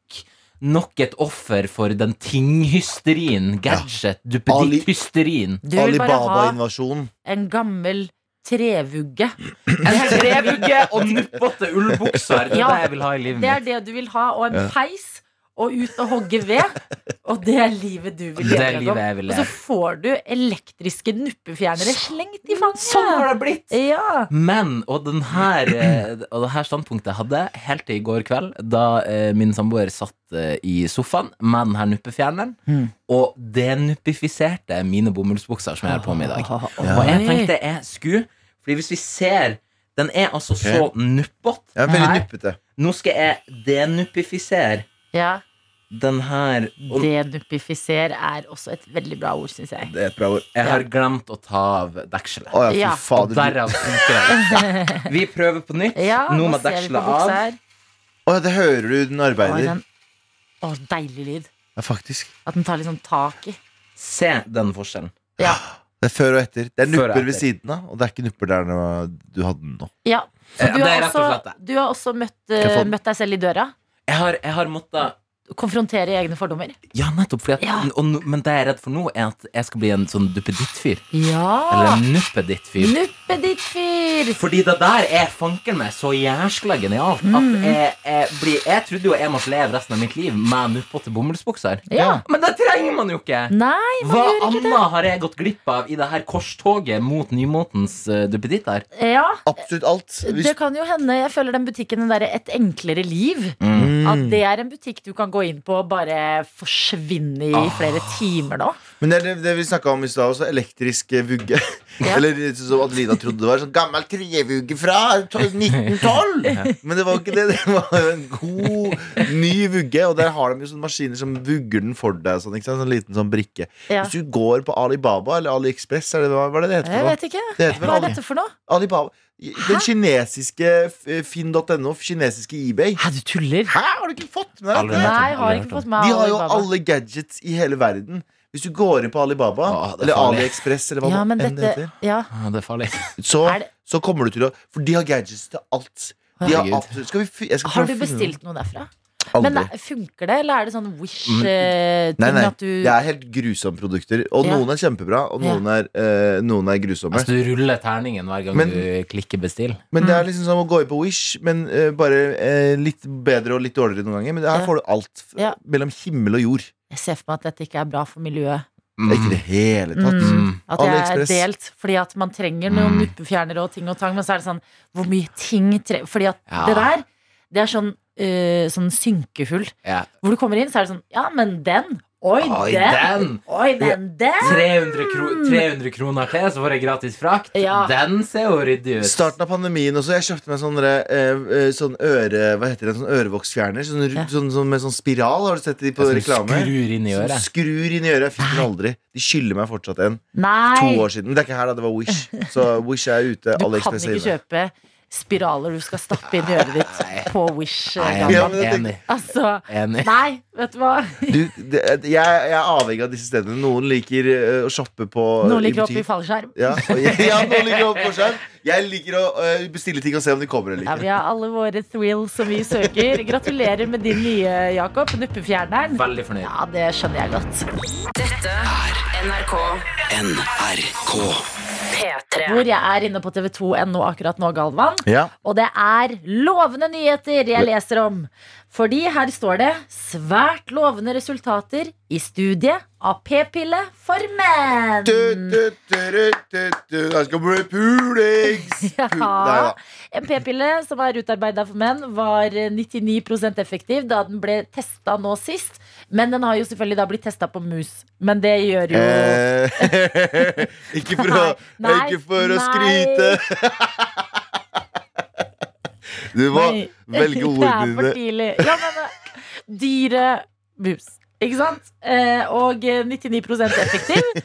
Speaker 5: nok et offer for den tinghysterien. Gadget, duppeditt-hysterien.
Speaker 2: Du vil bare ha
Speaker 3: invasjon
Speaker 2: en gammel trevugge.
Speaker 5: En trevugge og nuppete ullbukser. Det er
Speaker 2: Ja.
Speaker 5: det jeg vil ha i livet
Speaker 2: Det er
Speaker 5: mitt.
Speaker 2: det du vil ha, og en peis. Og ut og hogge ved. Og det er livet du vil
Speaker 5: Det er
Speaker 2: leve,
Speaker 5: livet
Speaker 2: Jakob.
Speaker 5: jeg vil
Speaker 2: Og så
Speaker 5: leve.
Speaker 2: får du elektriske nuppefjernere slengt i fanget.
Speaker 5: Sånn har det blitt!
Speaker 2: Ja.
Speaker 5: Men, og, den her, eh, og det her standpunktet jeg hadde helt til i går kveld, da eh, min samboer satt eh, i sofaen med den her nuppefjerneren,
Speaker 2: Hmm.
Speaker 5: og denuppifiserte mine bomullsbukser som jeg har på meg i dag. Og jeg tenkte jeg skulle, fordi hvis vi ser Den er altså så nuppete.
Speaker 3: Jeg er veldig
Speaker 5: her.
Speaker 3: nuppete.
Speaker 5: Nå skal jeg denuppifisere
Speaker 2: Ja.
Speaker 5: Den her og
Speaker 2: Denuppifiser er også et veldig bra ord, syns jeg.
Speaker 3: Det er et bra ord.
Speaker 5: Jeg har glemt å ta av dekselet.
Speaker 3: Å ja,
Speaker 2: Ja.
Speaker 3: fy
Speaker 5: Og
Speaker 3: fader. du-
Speaker 5: derav funker det. Vi prøver på nytt.
Speaker 2: Ja,
Speaker 5: Nå
Speaker 2: nå
Speaker 5: med
Speaker 2: ser vi på
Speaker 5: dekselet
Speaker 2: buksa
Speaker 5: av.
Speaker 2: her.
Speaker 3: Å ja, det hører du den
Speaker 2: Å,
Speaker 3: arbeider.
Speaker 2: den, å, deilig lyd.
Speaker 3: Ja, faktisk.
Speaker 2: At den tar liksom tak i.
Speaker 5: Se den forskjellen.
Speaker 2: Ja.
Speaker 3: Det er før og etter. Det er
Speaker 5: Før og
Speaker 3: nupper ved
Speaker 5: etter.
Speaker 3: siden av, og det er ikke nupper der nå- du hadde den nå.
Speaker 2: ja. Så
Speaker 5: Ja,
Speaker 2: du
Speaker 5: det
Speaker 2: har
Speaker 5: er rett og
Speaker 2: også,
Speaker 5: slett det.
Speaker 2: du har også møtt,
Speaker 3: jeg
Speaker 2: eh,
Speaker 3: få den?
Speaker 2: møtt deg selv i døra?
Speaker 5: Jeg har, jeg har måttet
Speaker 2: Konfrontere egne fordommer?
Speaker 5: Ja, nettopp. Fordi at,
Speaker 2: Ja.
Speaker 5: og, nå- men det jeg er redd for nå, er at jeg skal bli en sånn duppeditt-fyr. Eller
Speaker 2: Ja!
Speaker 5: en nuppeditt-fyr.
Speaker 2: Nuppeditt-fyr!
Speaker 5: Fordi det der er fanken meg så jæskla genialt at
Speaker 2: Mm.
Speaker 5: jeg, jeg, blir, jeg trodde jo jeg måtte leve resten av mitt liv med nuppete bomullsbukser.
Speaker 2: Ja.
Speaker 5: Men det trenger man jo ikke!
Speaker 2: Nei, man
Speaker 5: Hva
Speaker 2: gjør ikke
Speaker 5: annet har jeg gått glipp av i det her korstoget mot nymotens uh, duppeditter?
Speaker 2: det. Ja,
Speaker 3: Absolutt alt. Hvis,
Speaker 2: det kan jo hende. Jeg føler den butikken den derre Et enklere liv.
Speaker 3: Mm.
Speaker 2: At det er en butikk du kan gå inn på og bare forsvinne
Speaker 3: Ah.
Speaker 2: i flere timer nå.
Speaker 3: men det, er det, det vi snakka om i stad også, elektrisk eh, vugge.
Speaker 2: Ja.
Speaker 3: Eller sånn som Adelina trodde det var. Sånn gammel trevugge fra to- 1912! Men det var ikke det. Det var en god, ny vugge. Og der har de jo sånne maskiner som vugger den for deg. og Sånn, ikke sant? sånn liten sånn brikke.
Speaker 2: Ja.
Speaker 3: Hvis du går på Alibaba eller AliExpress, er det, hva hva er det det heter?
Speaker 2: Jeg
Speaker 3: for noe?
Speaker 2: vet ikke.
Speaker 3: Det heter vel
Speaker 2: Hva er
Speaker 3: Ali-
Speaker 2: dette for noe?
Speaker 3: Alibaba. Den kinesiske eh, finn.no, kinesiske eBay.
Speaker 2: Hæ, du tuller?
Speaker 3: Hæ, har du ikke fått med deg
Speaker 5: Aldri.
Speaker 3: det?
Speaker 2: Nei, jeg har
Speaker 5: Aldri hørt
Speaker 2: ikke
Speaker 5: om.
Speaker 2: fått med
Speaker 3: De har jo
Speaker 2: Alibaba.
Speaker 3: alle gadgets i hele verden. Hvis du går inn på Alibaba
Speaker 5: Åh, Ah, det er
Speaker 3: eller
Speaker 5: farlig.
Speaker 3: AliExpress, eller hva
Speaker 2: Ja, men
Speaker 3: enn det
Speaker 2: dette
Speaker 3: heter,
Speaker 2: Ja.
Speaker 5: Ah, det er farlig.
Speaker 3: så,
Speaker 2: Er det-
Speaker 3: så kommer du til å For de har gadgets til alt. De har
Speaker 5: Herregud.
Speaker 3: absolutt, skal vi, fi- jeg skal
Speaker 2: Har
Speaker 3: prøve
Speaker 2: du
Speaker 3: å finne
Speaker 2: bestilt noe derfra?
Speaker 3: noe.
Speaker 2: Men
Speaker 3: Aldri.
Speaker 2: nei, funker det, eller er det sånn wish-ting
Speaker 5: Men-
Speaker 3: Nei, nei,
Speaker 2: at du
Speaker 3: det er helt grusomme produkter. Og
Speaker 2: Ja.
Speaker 3: noen er kjempebra, og noen er, eh, noen er grusomme.
Speaker 5: Altså, du ruller terningen hver gang
Speaker 3: Men-
Speaker 5: du klikker bestill.
Speaker 3: Men
Speaker 2: mm.
Speaker 3: det er liksom som å gå inn på Wish, men eh, bare eh, litt bedre og litt dårligere noen ganger. Men her
Speaker 2: Ja.
Speaker 3: får du alt f-
Speaker 2: Ja.
Speaker 3: mellom himmel og jord.
Speaker 2: Jeg ser for meg at dette ikke er bra for miljøet.
Speaker 3: Det er ikke i det hele tatt.
Speaker 5: Mm.
Speaker 2: At det er
Speaker 3: AliExpress.
Speaker 2: delt, fordi at man trenger noen
Speaker 5: Mm.
Speaker 2: nuppefjernere og ting og tang, men så er det sånn Hvor mye ting tre... Fordi at
Speaker 5: Ja.
Speaker 2: det der, det er sånn, øh, sånn synkehull.
Speaker 5: Ja.
Speaker 2: Hvor du kommer inn, så er det sånn Ja, men den! Oi,
Speaker 5: Oi,
Speaker 2: den!
Speaker 5: den!
Speaker 2: Oi, men den!
Speaker 5: 300, kro 300 kroner til, så får jeg gratis frakt.
Speaker 2: Ja.
Speaker 5: Den ser jo ryddig ut.
Speaker 3: Starten av pandemien også. Jeg kjøpte meg sånn derre, eh, eh, sånn øre... Hva heter det? Sånn ørevoksfjerner. Sånn, ru-
Speaker 2: Ja.
Speaker 3: sånn, sånn, med sånn spiral. Har du sett de på
Speaker 5: Som
Speaker 3: reklame?
Speaker 5: Skrur inn i
Speaker 3: Som
Speaker 5: øret.
Speaker 3: skrur inn i øret. Jeg fikk den aldri. De skylder meg fortsatt en. To
Speaker 2: Nei!
Speaker 3: år siden. Men det er ikke her, da. Det var Wish. Så Wish er ute.
Speaker 2: Du kan
Speaker 3: AliExpress er
Speaker 2: ikke
Speaker 3: inne.
Speaker 2: kjøpe spiraler du skal stappe inn i øret ditt på Wish.
Speaker 5: Nei,
Speaker 2: eh,
Speaker 3: Ja,
Speaker 5: jeg
Speaker 3: men jeg
Speaker 5: er
Speaker 3: tenker-
Speaker 5: enig.
Speaker 2: Altså,
Speaker 5: enig.
Speaker 2: nei, vet du hva?
Speaker 3: Du, det, jeg, jeg er avhengig av disse stedene. Noen liker eh, å shoppe på
Speaker 2: Noen liker
Speaker 3: i
Speaker 2: opp i
Speaker 3: butikk.
Speaker 2: fallskjerm.
Speaker 3: Ja, og jeg, ja, noen liker å hoppe på skjerm. Jeg liker å øh, bestille ting og se om de kommer eller
Speaker 2: Ja,
Speaker 3: ikke.
Speaker 2: vi har alle våre thrills som vi søker. Gratulerer med din nye, Jakob. Nuppefjerneren.
Speaker 5: Veldig fornøyd.
Speaker 2: Ja, det skjønner jeg godt.
Speaker 1: NRK
Speaker 4: NRK.
Speaker 1: P3.
Speaker 2: Hvor jeg er inne på tv2.no akkurat nå, Galvan.
Speaker 3: Ja.
Speaker 2: Og det er lovende nyheter jeg leser om. Fordi her står det svært lovende resultater i studie av p-pille for menn.
Speaker 3: Du, du, du, du, du, du. Jeg skal bli pulings!
Speaker 2: Ja.
Speaker 3: Pul- Nei da.
Speaker 2: En p-pille som er utarbeida for menn, var 99 effektiv da den ble testa nå sist. Men den har jo selvfølgelig da blitt testa på mus. Men det gjør jo
Speaker 3: Eh, ikke for, å,
Speaker 2: Nei, nei,
Speaker 3: ikke for å
Speaker 2: nei.
Speaker 3: skryte. Du må
Speaker 2: Nei.
Speaker 3: velge ordene
Speaker 2: Det er
Speaker 3: dine.
Speaker 2: for tidlig. Ja, men eh, dyre mus. Ikke sant? Eh, og eh, 99 effektiv.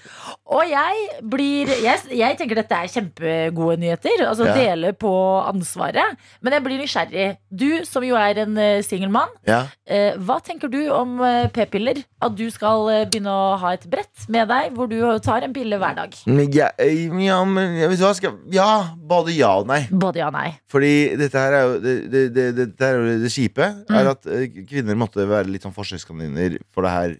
Speaker 2: Og jeg blir jeg, jeg tenker dette er kjempegode nyheter. Altså
Speaker 3: Ja.
Speaker 2: dele på ansvaret. Men jeg blir nysgjerrig. Du som jo er en eh, singel mann,
Speaker 3: Ja.
Speaker 2: eh, hva tenker du om eh, p-piller? At du skal eh, begynne å ha et brett med deg hvor du tar en pille hver dag?
Speaker 3: Men jeg, ja, men jeg vet hva skal Ja, både ja og nei.
Speaker 2: Både ja og nei.
Speaker 3: Fordi dette her er jo det, det, det, det, dette her er jo det kjipe.
Speaker 2: Mm.
Speaker 3: Er at eh, kvinner måtte være litt sånn forsøkskaniner for det her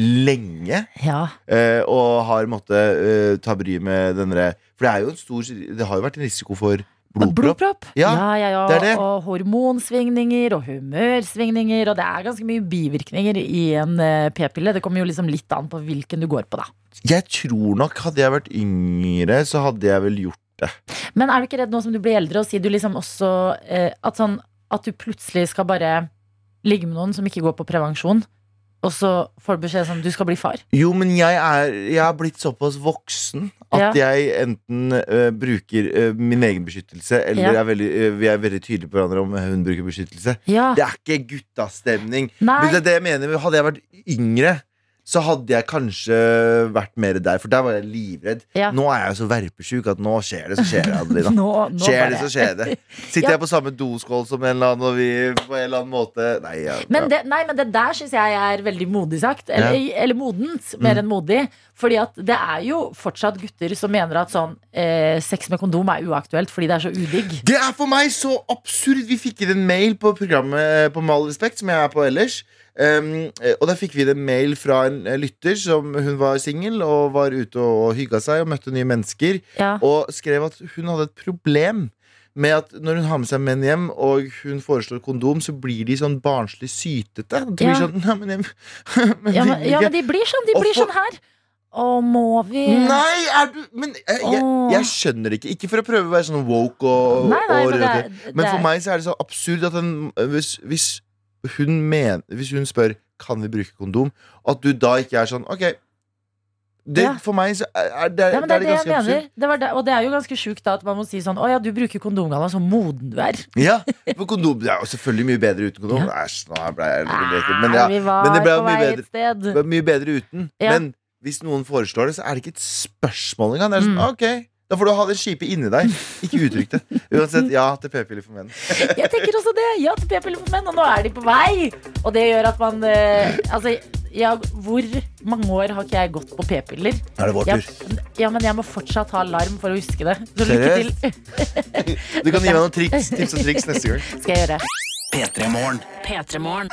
Speaker 3: lenge.
Speaker 2: Ja.
Speaker 3: eh, og har måttet eh, ta bry med denne For det er jo en stor Det har jo vært en risiko for blodpropp.
Speaker 2: Blodpropp.
Speaker 3: Ja,
Speaker 2: ja, ja, ja.
Speaker 3: det er det.
Speaker 2: Og hormonsvingninger og humørsvingninger. Og det er ganske mye bivirkninger i en eh, p-pille. Det kommer jo liksom litt an på hvilken du går på, da.
Speaker 3: Jeg tror nok hadde jeg vært yngre, så hadde jeg vel gjort
Speaker 2: Men er du ikke redd nå som du blir eldre, og sier du liksom også eh, at, sånn, at du plutselig skal bare ligge med noen som ikke går på prevensjon? og så får du beskjed sånn Du skal bli far.
Speaker 3: Jo, men jeg er, jeg er blitt såpass voksen at jeg enten ø, bruker ø, min egen beskyttelse, eller
Speaker 2: Ja.
Speaker 3: er veldig, ø, vi er veldig tydelige på hverandre om ø, hun bruker beskyttelse.
Speaker 2: Ja.
Speaker 3: Det er ikke guttastemning. Men det
Speaker 2: Nei.
Speaker 3: er det jeg mener. Hadde jeg vært yngre, så hadde jeg kanskje vært mer der, for der var jeg livredd.
Speaker 2: Ja.
Speaker 3: Nå er jeg jo så verpesjuk at nå skjer det, så skjer det, Adelina.
Speaker 2: Nå, nå
Speaker 3: Skjer det,
Speaker 2: bare-
Speaker 3: så skjer det. Sitter
Speaker 2: Ja.
Speaker 3: jeg på samme doskål som en eller annen, og vi på en eller annen måte Nei, ja,
Speaker 2: Men
Speaker 3: ja.
Speaker 2: det, nei, men det der syns jeg er veldig modig sagt. Eller, eller modent,
Speaker 3: Mm.
Speaker 2: mer enn modig. Fordi at det er jo fortsatt gutter som mener at sånn eh, sex med kondom er uaktuelt fordi det er så udigg.
Speaker 3: Det er for meg så absurd! Vi fikk inn en mail på programmet eh, På Med all respekt, som jeg er på ellers. Em, eh, og der fikk vi inn en mail fra en eh, lytter som hun var singel og var ute og, og hygga seg og møtte nye mennesker.
Speaker 2: Ja.
Speaker 3: og skrev at hun hadde et problem med at når hun har med seg menn hjem og hun foreslår kondom, så blir de sånn barnslig sytete. De blir
Speaker 2: Ja.
Speaker 3: sånn Nei, men jeg men
Speaker 2: Ja,
Speaker 3: vil
Speaker 2: men, ja,
Speaker 3: ikke."
Speaker 2: men de blir sånn. De
Speaker 3: Og
Speaker 2: blir
Speaker 3: for-
Speaker 2: sånn her. Å, må vi
Speaker 3: Nei, er du Men jeg, jeg,
Speaker 2: Åh.
Speaker 3: jeg skjønner det ikke. Ikke for å prøve å være sånn woke og,
Speaker 2: Nei, nei, men,
Speaker 3: og rød.
Speaker 2: det, er-
Speaker 3: Men
Speaker 2: det
Speaker 3: for
Speaker 2: er-
Speaker 3: meg så er det så absurd at den, hvis, hvis, hun men, hvis hun spør Kan vi bruke kondom, at du da ikke er sånn OK. Det,
Speaker 2: Ja.
Speaker 3: For meg så er, er det,
Speaker 2: ja, men det er det jeg
Speaker 3: ganske absurd.
Speaker 2: mener. Det var det, og det er jo ganske sjukt da at man må si sånn Å ja, du bruker kondom, Galvan, så moden du er.
Speaker 3: Ja, for kondom det er jo selvfølgelig mye bedre uten kondom. Æsj, nå ble jeg litt leker. Men ja,
Speaker 2: vi var
Speaker 3: men det ble jo
Speaker 2: på
Speaker 3: mye
Speaker 2: vei
Speaker 3: bedre.
Speaker 2: et sted.
Speaker 3: det er mye bedre uten.
Speaker 2: Ja.
Speaker 3: Men hvis noen foreslår det, så er det ikke et spørsmål engang. Det er sånn,
Speaker 2: Mm.
Speaker 3: ok da får du ha det skipet inni deg. Ikke uttrykk det. Uansett, ja til p-piller for menn.
Speaker 2: Jeg tenker også det. Ja til p-piller for menn, og nå er de på vei. Og det gjør at man eh, Altså, ja, hvor mange år har ikke jeg gått på p-piller?
Speaker 3: Nå er det vår
Speaker 2: Ja,
Speaker 3: tur.
Speaker 2: ja, men jeg må fortsatt ha alarm for å huske det. Så lykke til.
Speaker 3: Seriøst? Du kan gi meg noen triks, tips og triks neste gang.
Speaker 2: Skal jeg gjøre.
Speaker 4: P3 Morgen.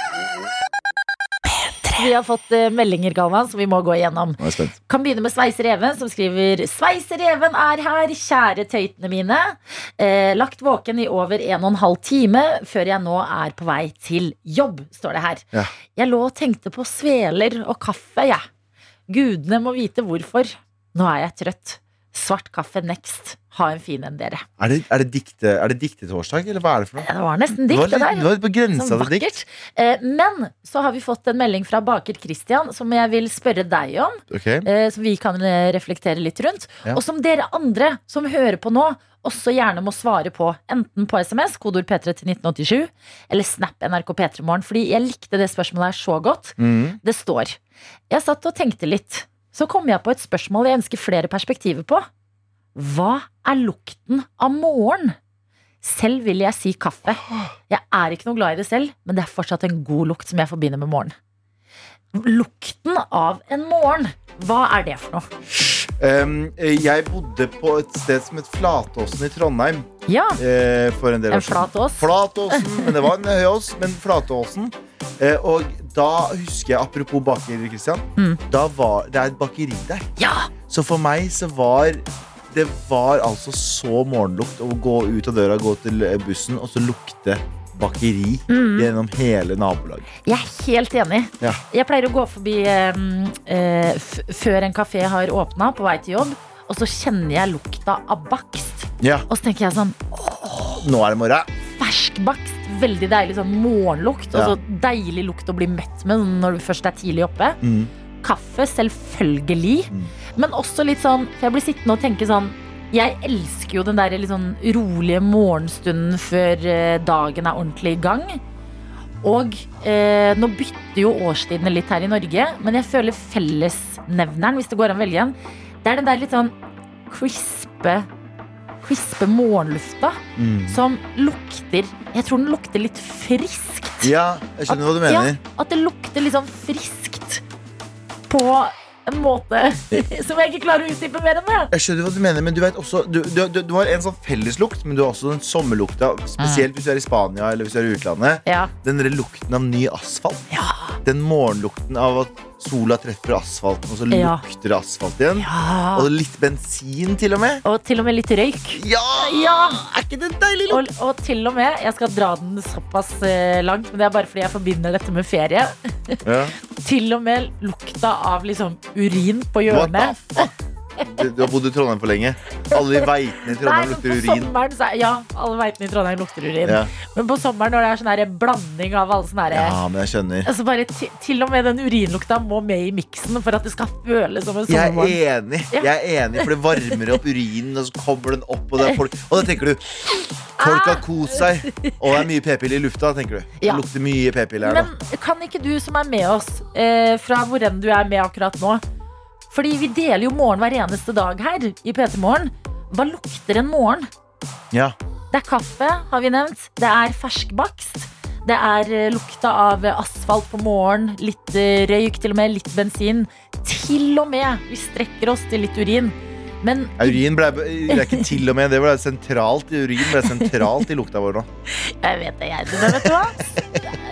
Speaker 2: Vi har fått eh, meldinger, Galvan, som vi må gå igjennom.
Speaker 3: Nå er jeg spent.
Speaker 2: Kan begynne med Sveiser Even, som skriver Sveiser Even er her, kjære tøytene mine. Eh, lagt våken i over en og en halv time før jeg nå er på vei til jobb, står det her.
Speaker 3: Ja.
Speaker 2: Jeg lå og tenkte på sveler og kaffe, jeg. Gudene må vite hvorfor. Nå er jeg trøtt. Svart kaffe next. Ha en fin en, dere.
Speaker 3: Er det, er det dikte, er det diktetorsdag, eller hva er det for noe?
Speaker 2: Ja, Det var nesten
Speaker 3: Det
Speaker 2: dikt,
Speaker 3: var
Speaker 2: det
Speaker 3: litt-
Speaker 2: der.
Speaker 3: det var litt på grensa
Speaker 2: Sånn
Speaker 3: til
Speaker 2: vakkert.
Speaker 3: dikt.
Speaker 2: Eh, Men så har vi fått en melding fra baker Christian som jeg vil spørre deg om.
Speaker 3: Ok.
Speaker 2: eh, Som vi kan eh, reflektere litt rundt.
Speaker 3: Ja.
Speaker 2: Og som dere andre som hører på nå, også gjerne må svare på. Enten på SMS, kodord P3 til 1987, eller Snap NRK P3morgen. Fordi jeg likte det spørsmålet her så godt.
Speaker 3: Mm.
Speaker 2: Det står Jeg satt og tenkte litt. Så kom jeg på et spørsmål jeg ønsker flere perspektiver på. Hva er lukten av morgen? Selv vil jeg si kaffe. Jeg er ikke noe glad i det selv, men det er fortsatt en god lukt som jeg forbinder med morgen. Lukten av en morgen, hva er det for noe?
Speaker 3: Um, jeg bodde på et sted som het Flatåsen i Trondheim
Speaker 2: Ja,
Speaker 3: eh, for en del år
Speaker 2: en
Speaker 3: siden.
Speaker 2: flat ås.
Speaker 3: Flatåsen, men det var en høy ås, men Flatåsen. Eh, og da husker jeg, apropos baker, Kristian,
Speaker 2: Mm.
Speaker 3: da var, det er et bakeri der.
Speaker 2: Ja!
Speaker 3: Så for meg så var det var altså så morgenlukt å gå ut av døra, gå til eh, bussen, og så lukte bakeri
Speaker 2: Mm.
Speaker 3: gjennom hele nabolaget.
Speaker 2: Jeg er helt enig.
Speaker 3: Ja.
Speaker 2: Jeg pleier å gå forbi eh, eh, f før en kafé har åpna, på vei til jobb, og så kjenner jeg lukta av bakst.
Speaker 3: Ja,
Speaker 2: Og så tenker jeg sånn
Speaker 3: nå er det morgen.
Speaker 2: fersk bakst. Veldig deilig sånn morgenlukt. Og så deilig lukt å bli møtt med når du først er tidlig oppe.
Speaker 3: Mm.
Speaker 2: Kaffe, selvfølgelig.
Speaker 3: Mm.
Speaker 2: Men også litt sånn For jeg blir sittende og tenke sånn Jeg elsker jo den der litt sånn rolige morgenstunden før eh, dagen er ordentlig i gang. Og eh, nå bytter jo årstidene litt her i Norge, men jeg føler fellesnevneren, hvis det går an å velge en, det er den der litt sånn crispe, crispe morgenlufta
Speaker 3: Mm.
Speaker 2: som lukter Jeg tror den lukter litt friskt.
Speaker 3: Ja, jeg skjønner hva du
Speaker 2: Ja,
Speaker 3: mener.
Speaker 2: at det lukter litt sånn friskt på en måte som jeg ikke klarer å utdype mer enn det.
Speaker 3: Jeg skjønner hva du mener, men du vet også Du, du, du, du har en sånn felleslukt, men du har også den sommerlukta,
Speaker 2: Mm.
Speaker 3: spesielt hvis du er i Spania eller hvis du er i utlandet.
Speaker 2: Ja.
Speaker 3: Den der lukten av ny asfalt. Den morgenlukten av at sola treffer asfalten, og så
Speaker 2: Ja.
Speaker 3: lukter det asfalt igjen. Og litt bensin, til og med.
Speaker 2: Og til og med litt røyk.
Speaker 3: Ja!
Speaker 2: Ja!
Speaker 3: Er ikke det deilig? lukt?
Speaker 2: Og, og til og med, jeg skal dra den såpass eh, langt, men det er bare fordi jeg forbinder dette med ferie. Til og med lukta av liksom urin på
Speaker 3: What the
Speaker 2: hjørnet.
Speaker 3: fuck? Du, du har bodd i Trondheim for lenge. Alle de veitene i
Speaker 2: Nei,
Speaker 3: Trondheim
Speaker 2: men
Speaker 3: lukter
Speaker 2: på
Speaker 3: urin.
Speaker 2: sommeren så er, Ja, alle veitene i Trondheim lukter urin.
Speaker 3: Ja.
Speaker 2: Men på sommeren når det er sånn her blanding av alle sånne her
Speaker 3: ja, men jeg skjønner.
Speaker 2: altså bare ti- Til og med den urinlukta må med i miksen for at det skal føles som en
Speaker 3: Jeg
Speaker 2: sommermorgen.
Speaker 3: er enig,
Speaker 2: Ja.
Speaker 3: jeg er enig for det varmer opp urinen, og så kommer den opp, og, det er folk, og da tenker du Folk har kost seg, og det er mye p-piller i lufta, tenker du. Det
Speaker 2: Ja.
Speaker 3: lukter mye p-piller her
Speaker 2: Men
Speaker 3: nå.
Speaker 2: kan ikke du som er med oss, eh, fra hvor enn du er med akkurat nå Fordi vi deler jo morgen hver eneste dag her i PT Morgen. Hva lukter en morgen?
Speaker 3: Ja.
Speaker 2: Det er kaffe, har vi nevnt. Det er ferskbakst. Det er eh, lukta av asfalt på morgen, litt eh, røyk, til og med litt bensin. Til og med vi strekker oss til litt urin. Men
Speaker 3: Ja, Urin ble, det er ikke til og med det ble sentralt i urin ble sentralt i lukta vår nå.
Speaker 2: jeg vet det, jeg. Men vet du hva?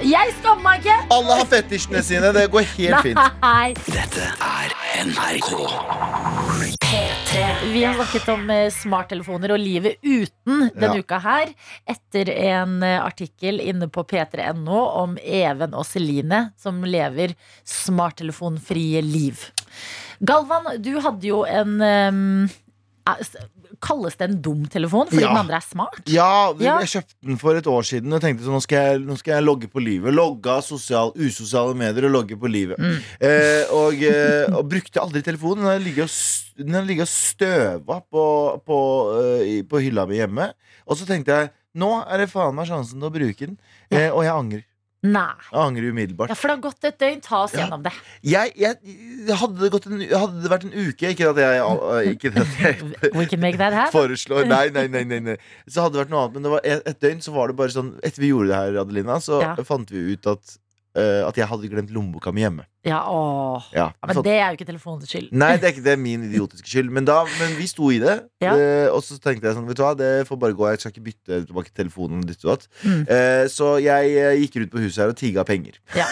Speaker 2: Jeg skammer meg ikke!
Speaker 3: Alle har fetisjene sine, det går helt fint.
Speaker 2: Nei.
Speaker 4: Dette er NRK.
Speaker 2: Vi har snakket om eh, smarttelefoner og livet uten denne
Speaker 3: Ja.
Speaker 2: uka her. Etter en eh, artikkel inne på p3.no om Even og Celine som lever smarttelefonfrie liv. Galvan, du hadde jo en ehm, er- s- Kalles det en dum telefon fordi
Speaker 3: Ja.
Speaker 2: den andre er smart?
Speaker 3: Ja, det-
Speaker 2: Ja.
Speaker 3: jeg kjøpte den for et år siden og tenkte sånn, nå skal jeg, nå skal jeg logge på livet. Logge av sosial, usosiale medier og logge på livet.
Speaker 2: Mm.
Speaker 3: Eh, og, eh, og brukte aldri telefonen. Den har ligget og s- Den har ligget og støva på, på, eh, i- på hylla mi hjemme. Og så tenkte jeg nå er det faen meg sjansen til å bruke den. Eh, og jeg angrer.
Speaker 2: Nei.
Speaker 3: Jeg angrer umiddelbart.
Speaker 2: Ja, For det har gått et døgn. Ta oss
Speaker 3: Ja.
Speaker 2: gjennom det.
Speaker 3: Jeg, jeg, hadde, det gått en, hadde det vært en uke Ikke at jeg, eh, ikke at jeg
Speaker 2: We can make that happen.
Speaker 3: foreslår Nei, nei, nei, nei, nei. Så hadde det vært noe annet Men det var et, et døgn så var det bare sånn Etter vi gjorde det her, Adelina Så
Speaker 2: Ja.
Speaker 3: fant vi ut at eh, At jeg hadde glemt lommeboka mi hjemme
Speaker 2: Ja, åh.
Speaker 3: ja.
Speaker 2: Ja,
Speaker 3: sånn-
Speaker 2: men
Speaker 3: fant-
Speaker 2: det er jo ikke telefonens skyld.
Speaker 3: Nei, det er ikke det er min idiotiske skyld Men, da, men vi sto i det
Speaker 2: Ja.
Speaker 3: eh, Og så tenkte jeg sånn, vet du hva Det får bare gå, jeg skal ikke bytte tilbake telefonen ditt og datt.
Speaker 2: Mm.
Speaker 3: Eh, Så jeg eh, gikk rundt på huset her og tigga penger
Speaker 2: Ja.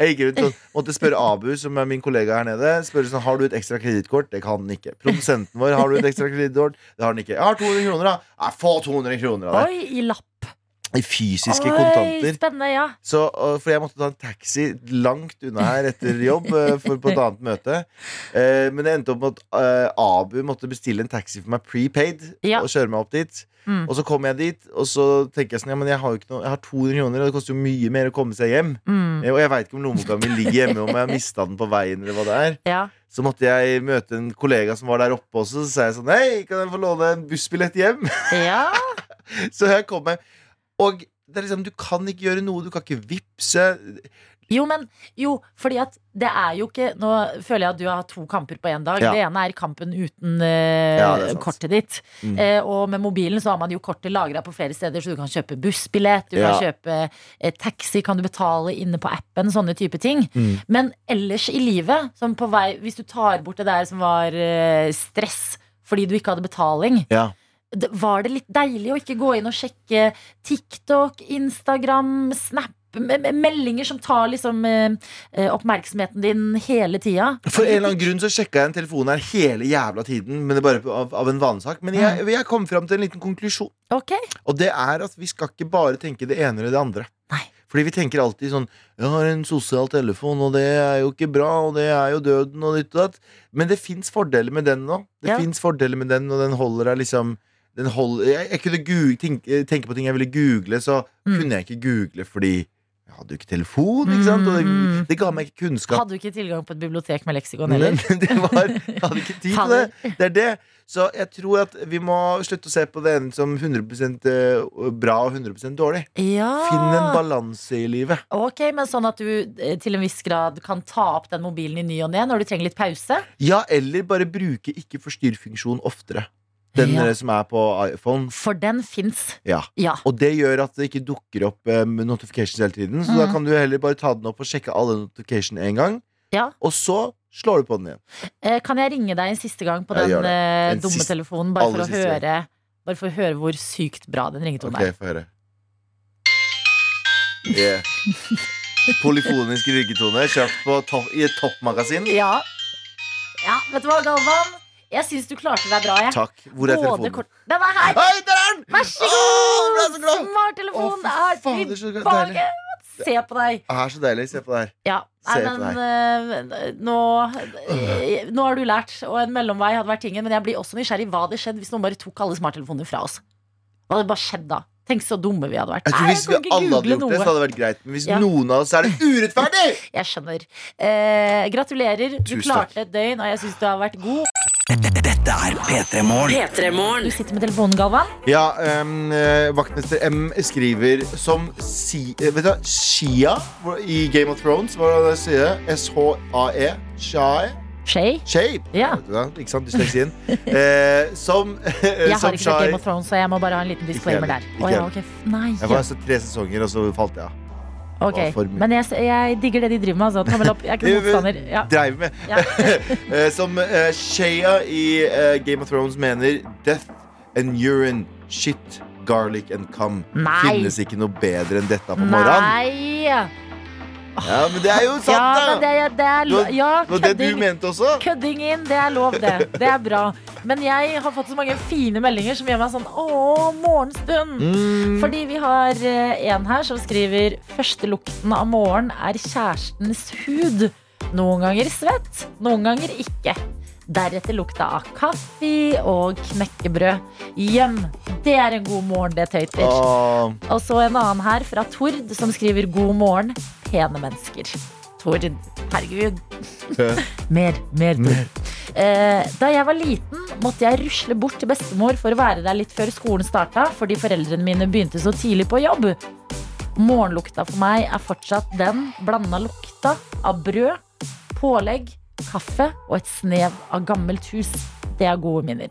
Speaker 3: Jeg gikk rundt og måtte spørre Abu Som er min kollega her nede Spørre sånn, har du et ekstra kreditkort? Det kan han ikke Produsenten vår, har du et ekstra kreditkort? Det har han ikke Jeg har 200 kroner da Nei, få 200 kroner av deg
Speaker 2: Oi, i lapp.
Speaker 3: i fysiske
Speaker 2: Oi,
Speaker 3: kontanter.
Speaker 2: spennende, ja.
Speaker 3: Så, og- for jeg måtte ta en taxi langt unna her etter jobb eh, for, på et annet møte. Eh, men det endte opp med at eh, Abu måtte bestille en taxi for meg prepaid
Speaker 2: Ja.
Speaker 3: og kjøre meg opp dit.
Speaker 2: Mm.
Speaker 3: Og så kom jeg dit, og så tenker jeg sånn Ja, men jeg har jo ikke noe Jeg har 200 kroner, og det koster jo mye mer å komme seg hjem.
Speaker 2: Mm.
Speaker 3: Eh, Og jeg veit ikke om lommeboka mi ligger hjemme, om jeg har mista den på veien, eller hva det er.
Speaker 2: Ja.
Speaker 3: Så måtte jeg møte en kollega som var der oppe også, så sa jeg sånn Hei, kan jeg få låne en bussbillett hjem?
Speaker 2: ja.
Speaker 3: Så jeg kom med Og det er liksom, du kan ikke gjøre noe, du kan ikke vippse
Speaker 2: Jo, men jo, fordi at det er jo ikke Nå føler jeg at du har to kamper på én dag.
Speaker 3: Ja.
Speaker 2: Det ene er kampen uten eh,
Speaker 3: Ja, det er sant.
Speaker 2: kortet ditt.
Speaker 3: Mm.
Speaker 2: Eh, og med mobilen så har man jo kortet lagra på flere steder, så du kan kjøpe bussbillett, du
Speaker 3: Ja.
Speaker 2: kan kjøpe eh, taxi, kan du betale inne på appen, sånne type ting.
Speaker 3: Mm.
Speaker 2: Men ellers i livet, som på vei Hvis du tar bort det der som var eh, stress fordi du ikke hadde betaling,
Speaker 3: Ja,
Speaker 2: det- var det litt deilig å ikke gå inn og sjekke TikTok, Instagram, Snap? me- me- Meldinger som tar liksom eh, eh, oppmerksomheten din hele tida.
Speaker 3: For en eller annen grunn så sjekka jeg en telefon her hele jævla tiden, men det er bare på- av, av en vanesak. Men jeg, jeg kom fram til en liten konklusjon,
Speaker 2: Ok?
Speaker 3: og det er at vi skal ikke bare tenke det ene eller det andre.
Speaker 2: Nei.
Speaker 3: Fordi vi tenker alltid sånn Jeg har en sosial telefon, og det er jo ikke bra, og det er jo døden, og ditt og datt. Men det fins fordeler med den nå. Det
Speaker 2: Ja.
Speaker 3: finnes fordeler med den, og den holder deg liksom den holder, jeg, jeg kunne gu- tenke, tenke på ting jeg ville google, så
Speaker 2: Mm.
Speaker 3: kunne jeg ikke google fordi jeg hadde jo ikke telefon, ikke sant? Og det,
Speaker 2: Mm.
Speaker 3: det ga meg ikke kunnskap.
Speaker 2: Hadde du ikke tilgang på et bibliotek med leksikon
Speaker 3: Men
Speaker 2: heller?
Speaker 3: det var, jeg hadde ikke tid til det. Det er det. Så jeg tror at vi må slutte å se på det ene som 100 bra og 100 dårlig.
Speaker 2: Ja.
Speaker 3: Finn en balanse i livet.
Speaker 2: Ok, men sånn at du eh, til en viss grad kan ta opp den mobilen i ny og ne når du trenger litt pause?
Speaker 3: Ja, eller bare bruke ikke forstyrr-funksjon oftere. Den
Speaker 2: Ja.
Speaker 3: eh, som er på iPhone.
Speaker 2: For den fins.
Speaker 3: Ja.
Speaker 2: Ja.
Speaker 3: Og det gjør at det ikke dukker opp eh, med notifications hele tiden. Så da
Speaker 2: Mhm.
Speaker 3: kan du heller bare ta den opp og sjekke alle notification en gang.
Speaker 2: Ja.
Speaker 3: Og så slår du på den igjen.
Speaker 2: Eh, Kan jeg ringe deg en siste gang på
Speaker 3: Ja,
Speaker 2: den
Speaker 3: gjør det.
Speaker 2: eh,
Speaker 3: En
Speaker 2: dumme
Speaker 3: siste-
Speaker 2: telefonen, bare
Speaker 3: aller
Speaker 2: for, å
Speaker 3: siste gang.
Speaker 2: høre, bare for å høre hvor sykt bra den ringetonen
Speaker 3: Ok, få høre. Yeah. Polyfonisk ryggetone kjøpt på topp, i et toppmagasin.
Speaker 2: er? Ja. ja, vet du hva, Galvan? Jeg syns du klarte deg bra. Jeg.
Speaker 3: Takk. Hvor
Speaker 2: Både
Speaker 3: er telefonen?
Speaker 2: kort- Den er her!
Speaker 3: Hei, der er den!
Speaker 2: Vær så
Speaker 3: Åh, jeg ble så
Speaker 2: god!
Speaker 3: glad! Å,
Speaker 2: Smarttelefonen
Speaker 3: fy
Speaker 2: er
Speaker 3: faen, det er så deilig.
Speaker 2: tilbake! Se på deg!
Speaker 3: Det er så deilig. Se på det her.
Speaker 2: Ja. Nei,
Speaker 3: Se på
Speaker 2: men eh, nå, eh, nå har du lært, og en mellomvei hadde vært tingen. Men jeg blir også nysgjerrig hva hadde skjedd hvis noen bare tok alle smarttelefonene fra oss. Hva hadde bare skjedd da? Tenk så dumme vi hadde vært.
Speaker 3: Jeg tror
Speaker 2: Nei,
Speaker 3: Hvis vi
Speaker 2: kan ikke
Speaker 3: alle hadde
Speaker 2: google
Speaker 3: gjort det, så
Speaker 2: noe.
Speaker 3: hadde det vært greit. Men hvis
Speaker 2: Ja.
Speaker 3: noen av oss, så er det urettferdig!
Speaker 2: Jeg skjønner. Eh, gratulerer. Du
Speaker 3: Tusen
Speaker 2: klarte et døgn, og jeg syns du har vært god.
Speaker 4: Dette er P3 Morgen.
Speaker 2: Du sitter med telefonen, Galvan.
Speaker 3: Ja, ehm, eh, Vaktmester M skriver som si, eh, vet du, hva, Shia i Game of Thrones. Hva er det jeg sier? S-H-A-E. Shai.
Speaker 2: Shay.
Speaker 3: Shai.
Speaker 2: Ja.
Speaker 3: E. Vet du hva? Ikke sant? Dysleksien. eh, som
Speaker 2: Jeg
Speaker 3: som
Speaker 2: har ikke sett Game of Thrones, så jeg må bare ha en liten disclaimer
Speaker 3: heller.
Speaker 2: der.
Speaker 3: Ikke
Speaker 2: Å, ja,
Speaker 3: heller.
Speaker 2: ok. F- Nei.
Speaker 3: Jeg var altså tre sesonger, og så falt jeg av.
Speaker 2: Ok,
Speaker 3: var for mye.
Speaker 2: Men jeg, jeg digger det de driver med. Altså. Tommel opp. Jeg er ikke noen motstander. Ja.
Speaker 3: Dreiv med.
Speaker 2: Ja.
Speaker 3: Eh, som eh, Shia i eh, Game of Thrones mener Death and urine, shit, garlic and cum.
Speaker 2: Nei.
Speaker 3: Finnes ikke noe bedre enn dette på morgenen.
Speaker 2: Nei!
Speaker 3: Ja, men det er jo sant,
Speaker 2: Ja,
Speaker 3: da!
Speaker 2: men det, er- det er lov.
Speaker 3: Det var-
Speaker 2: Ja,
Speaker 3: Det var det du
Speaker 2: kødding.
Speaker 3: mente også?
Speaker 2: Kødding inn, det er lov, det. Det er bra. Men jeg har fått så mange fine meldinger som gjør meg sånn Å, morgenstund!
Speaker 3: Mm.
Speaker 2: Fordi vi har eh, en her som skriver Første lukten av morgen er kjærestens hud Noen ganger svett, noen ganger ikke Deretter lukta av kaffe og knekkebrød Hjem, det er en god morgen det tøyter
Speaker 3: Åh,
Speaker 2: Og så en annen her fra Tord som skriver God morgen, pene mennesker Tord, herregud Mer, mer Tord Eh, da jeg var liten, måtte jeg rusle bort til bestemor for å være der litt før skolen starta, fordi foreldrene mine begynte så tidlig på jobb. Morgenlukta for meg er fortsatt den blanda lukta av brød, pålegg, kaffe og et snev av gammelt hus. Det er gode minner.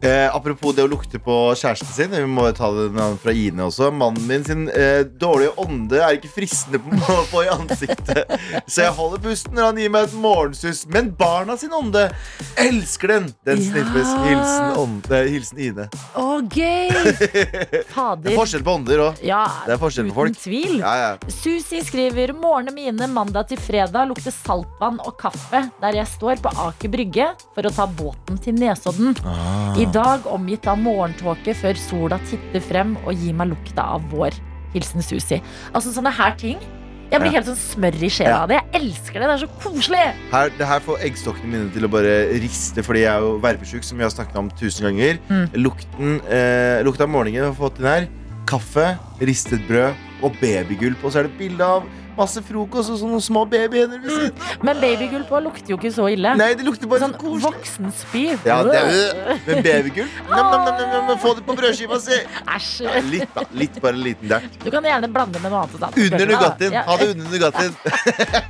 Speaker 3: eh, apropos det å lukte på kjæresten sin. Vi må ta den an- fra Ine også. Mannen min sin eh, dårlige ånde er ikke fristende på, å få i ansiktet. Så jeg holder pusten når han gir meg et morgensuss. Men barna sin ånde elsker den! Den
Speaker 2: Ja.
Speaker 3: sniffes. Hilsen, ånde, eh, hilsen Ine.
Speaker 2: Å, gøy!
Speaker 3: Det er
Speaker 2: Fader.
Speaker 3: forskjell på ånder òg.
Speaker 2: Ja,
Speaker 3: Det er forskjell på folk.
Speaker 2: Uten tvil.
Speaker 3: Ja, ja.
Speaker 2: Susi skriver Morgenene mine mandag til fredag lukter saltvann og kaffe der jeg står på Aker Brygge for å ta båten til Nesodden. I
Speaker 3: Ah.
Speaker 2: dag omgitt av morgentåke før sola titter frem og gir meg lukta av vår. Hilsen Susi. Altså sånne her ting. Jeg blir
Speaker 3: Ja.
Speaker 2: helt sånn smør i sjela
Speaker 3: Ja.
Speaker 2: av det. Jeg elsker det. Det er så koselig.
Speaker 3: Her, det her får eggstokkene mine til å bare riste, fordi jeg er jo verpesjuk, som vi har snakket om tusen ganger.
Speaker 2: Mm.
Speaker 3: Lukten, eh, lukten av morgenen vi har fått inn her. Kaffe, ristet brød og babygulp. Og så er det bilde av masse frokost og sånne små babyhender. ved siden.
Speaker 2: Men babygull på lukter jo ikke så ille.
Speaker 3: Nei, det lukter bare
Speaker 2: Mm. sånn
Speaker 3: så koselig.
Speaker 2: voksenspy.
Speaker 3: Ja, det er det. Men babygulp? Nam, nam, nam, nam, nam, få det på brødskiva si!
Speaker 2: Æsj.
Speaker 3: Ja, Litt, da. Litt, bare en liten dert.
Speaker 2: Du kan gjerne blande med noe annet. da.
Speaker 3: Under Nugattien.
Speaker 2: Ja.
Speaker 3: Ha det under Nugattien.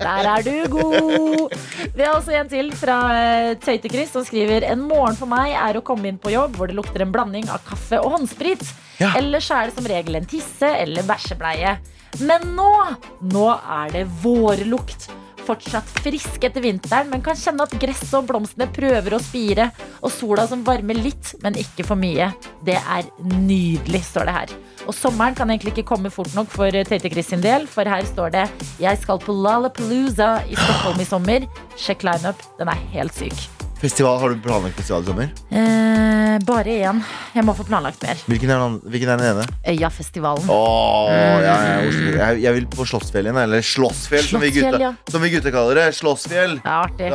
Speaker 2: Der er du god! Vi har også en til fra eh, Tøyte-Chris som skriver En morgen for meg er å komme inn på jobb hvor det lukter en blanding av kaffe og håndsprit.
Speaker 3: Ja.
Speaker 2: Ellers er det som regel en tisse eller bæsjebleie. Men nå, nå er det vårlukt. Fortsatt frisk etter vinteren, men kan kjenne at gresset og blomstene prøver å spire. Og sola som varmer litt, men ikke for mye. Det er nydelig, står det her. Og sommeren kan egentlig ikke komme fort nok for Tøyte Chris sin del, for her står det Jeg skal på Lollapalooza i Stockholm i sommer. Sjekk lineup, den er helt syk.
Speaker 3: Festival, Har du planlagt festival i sommer?
Speaker 2: Eh, bare én. Jeg må få planlagt mer.
Speaker 3: Hvilken er den, andre- hvilken er den ene?
Speaker 2: Øyafestivalen.
Speaker 3: Åh, ja, ja, Oslo. jeg, jeg vil på Slottsfjell igjen. Eller Slottsfjell, som vi
Speaker 2: Slottsfjell,
Speaker 3: gutta,
Speaker 2: ja.
Speaker 3: som vi gutta kaller det. Slottsfjell.
Speaker 2: Det er artig.
Speaker 3: Det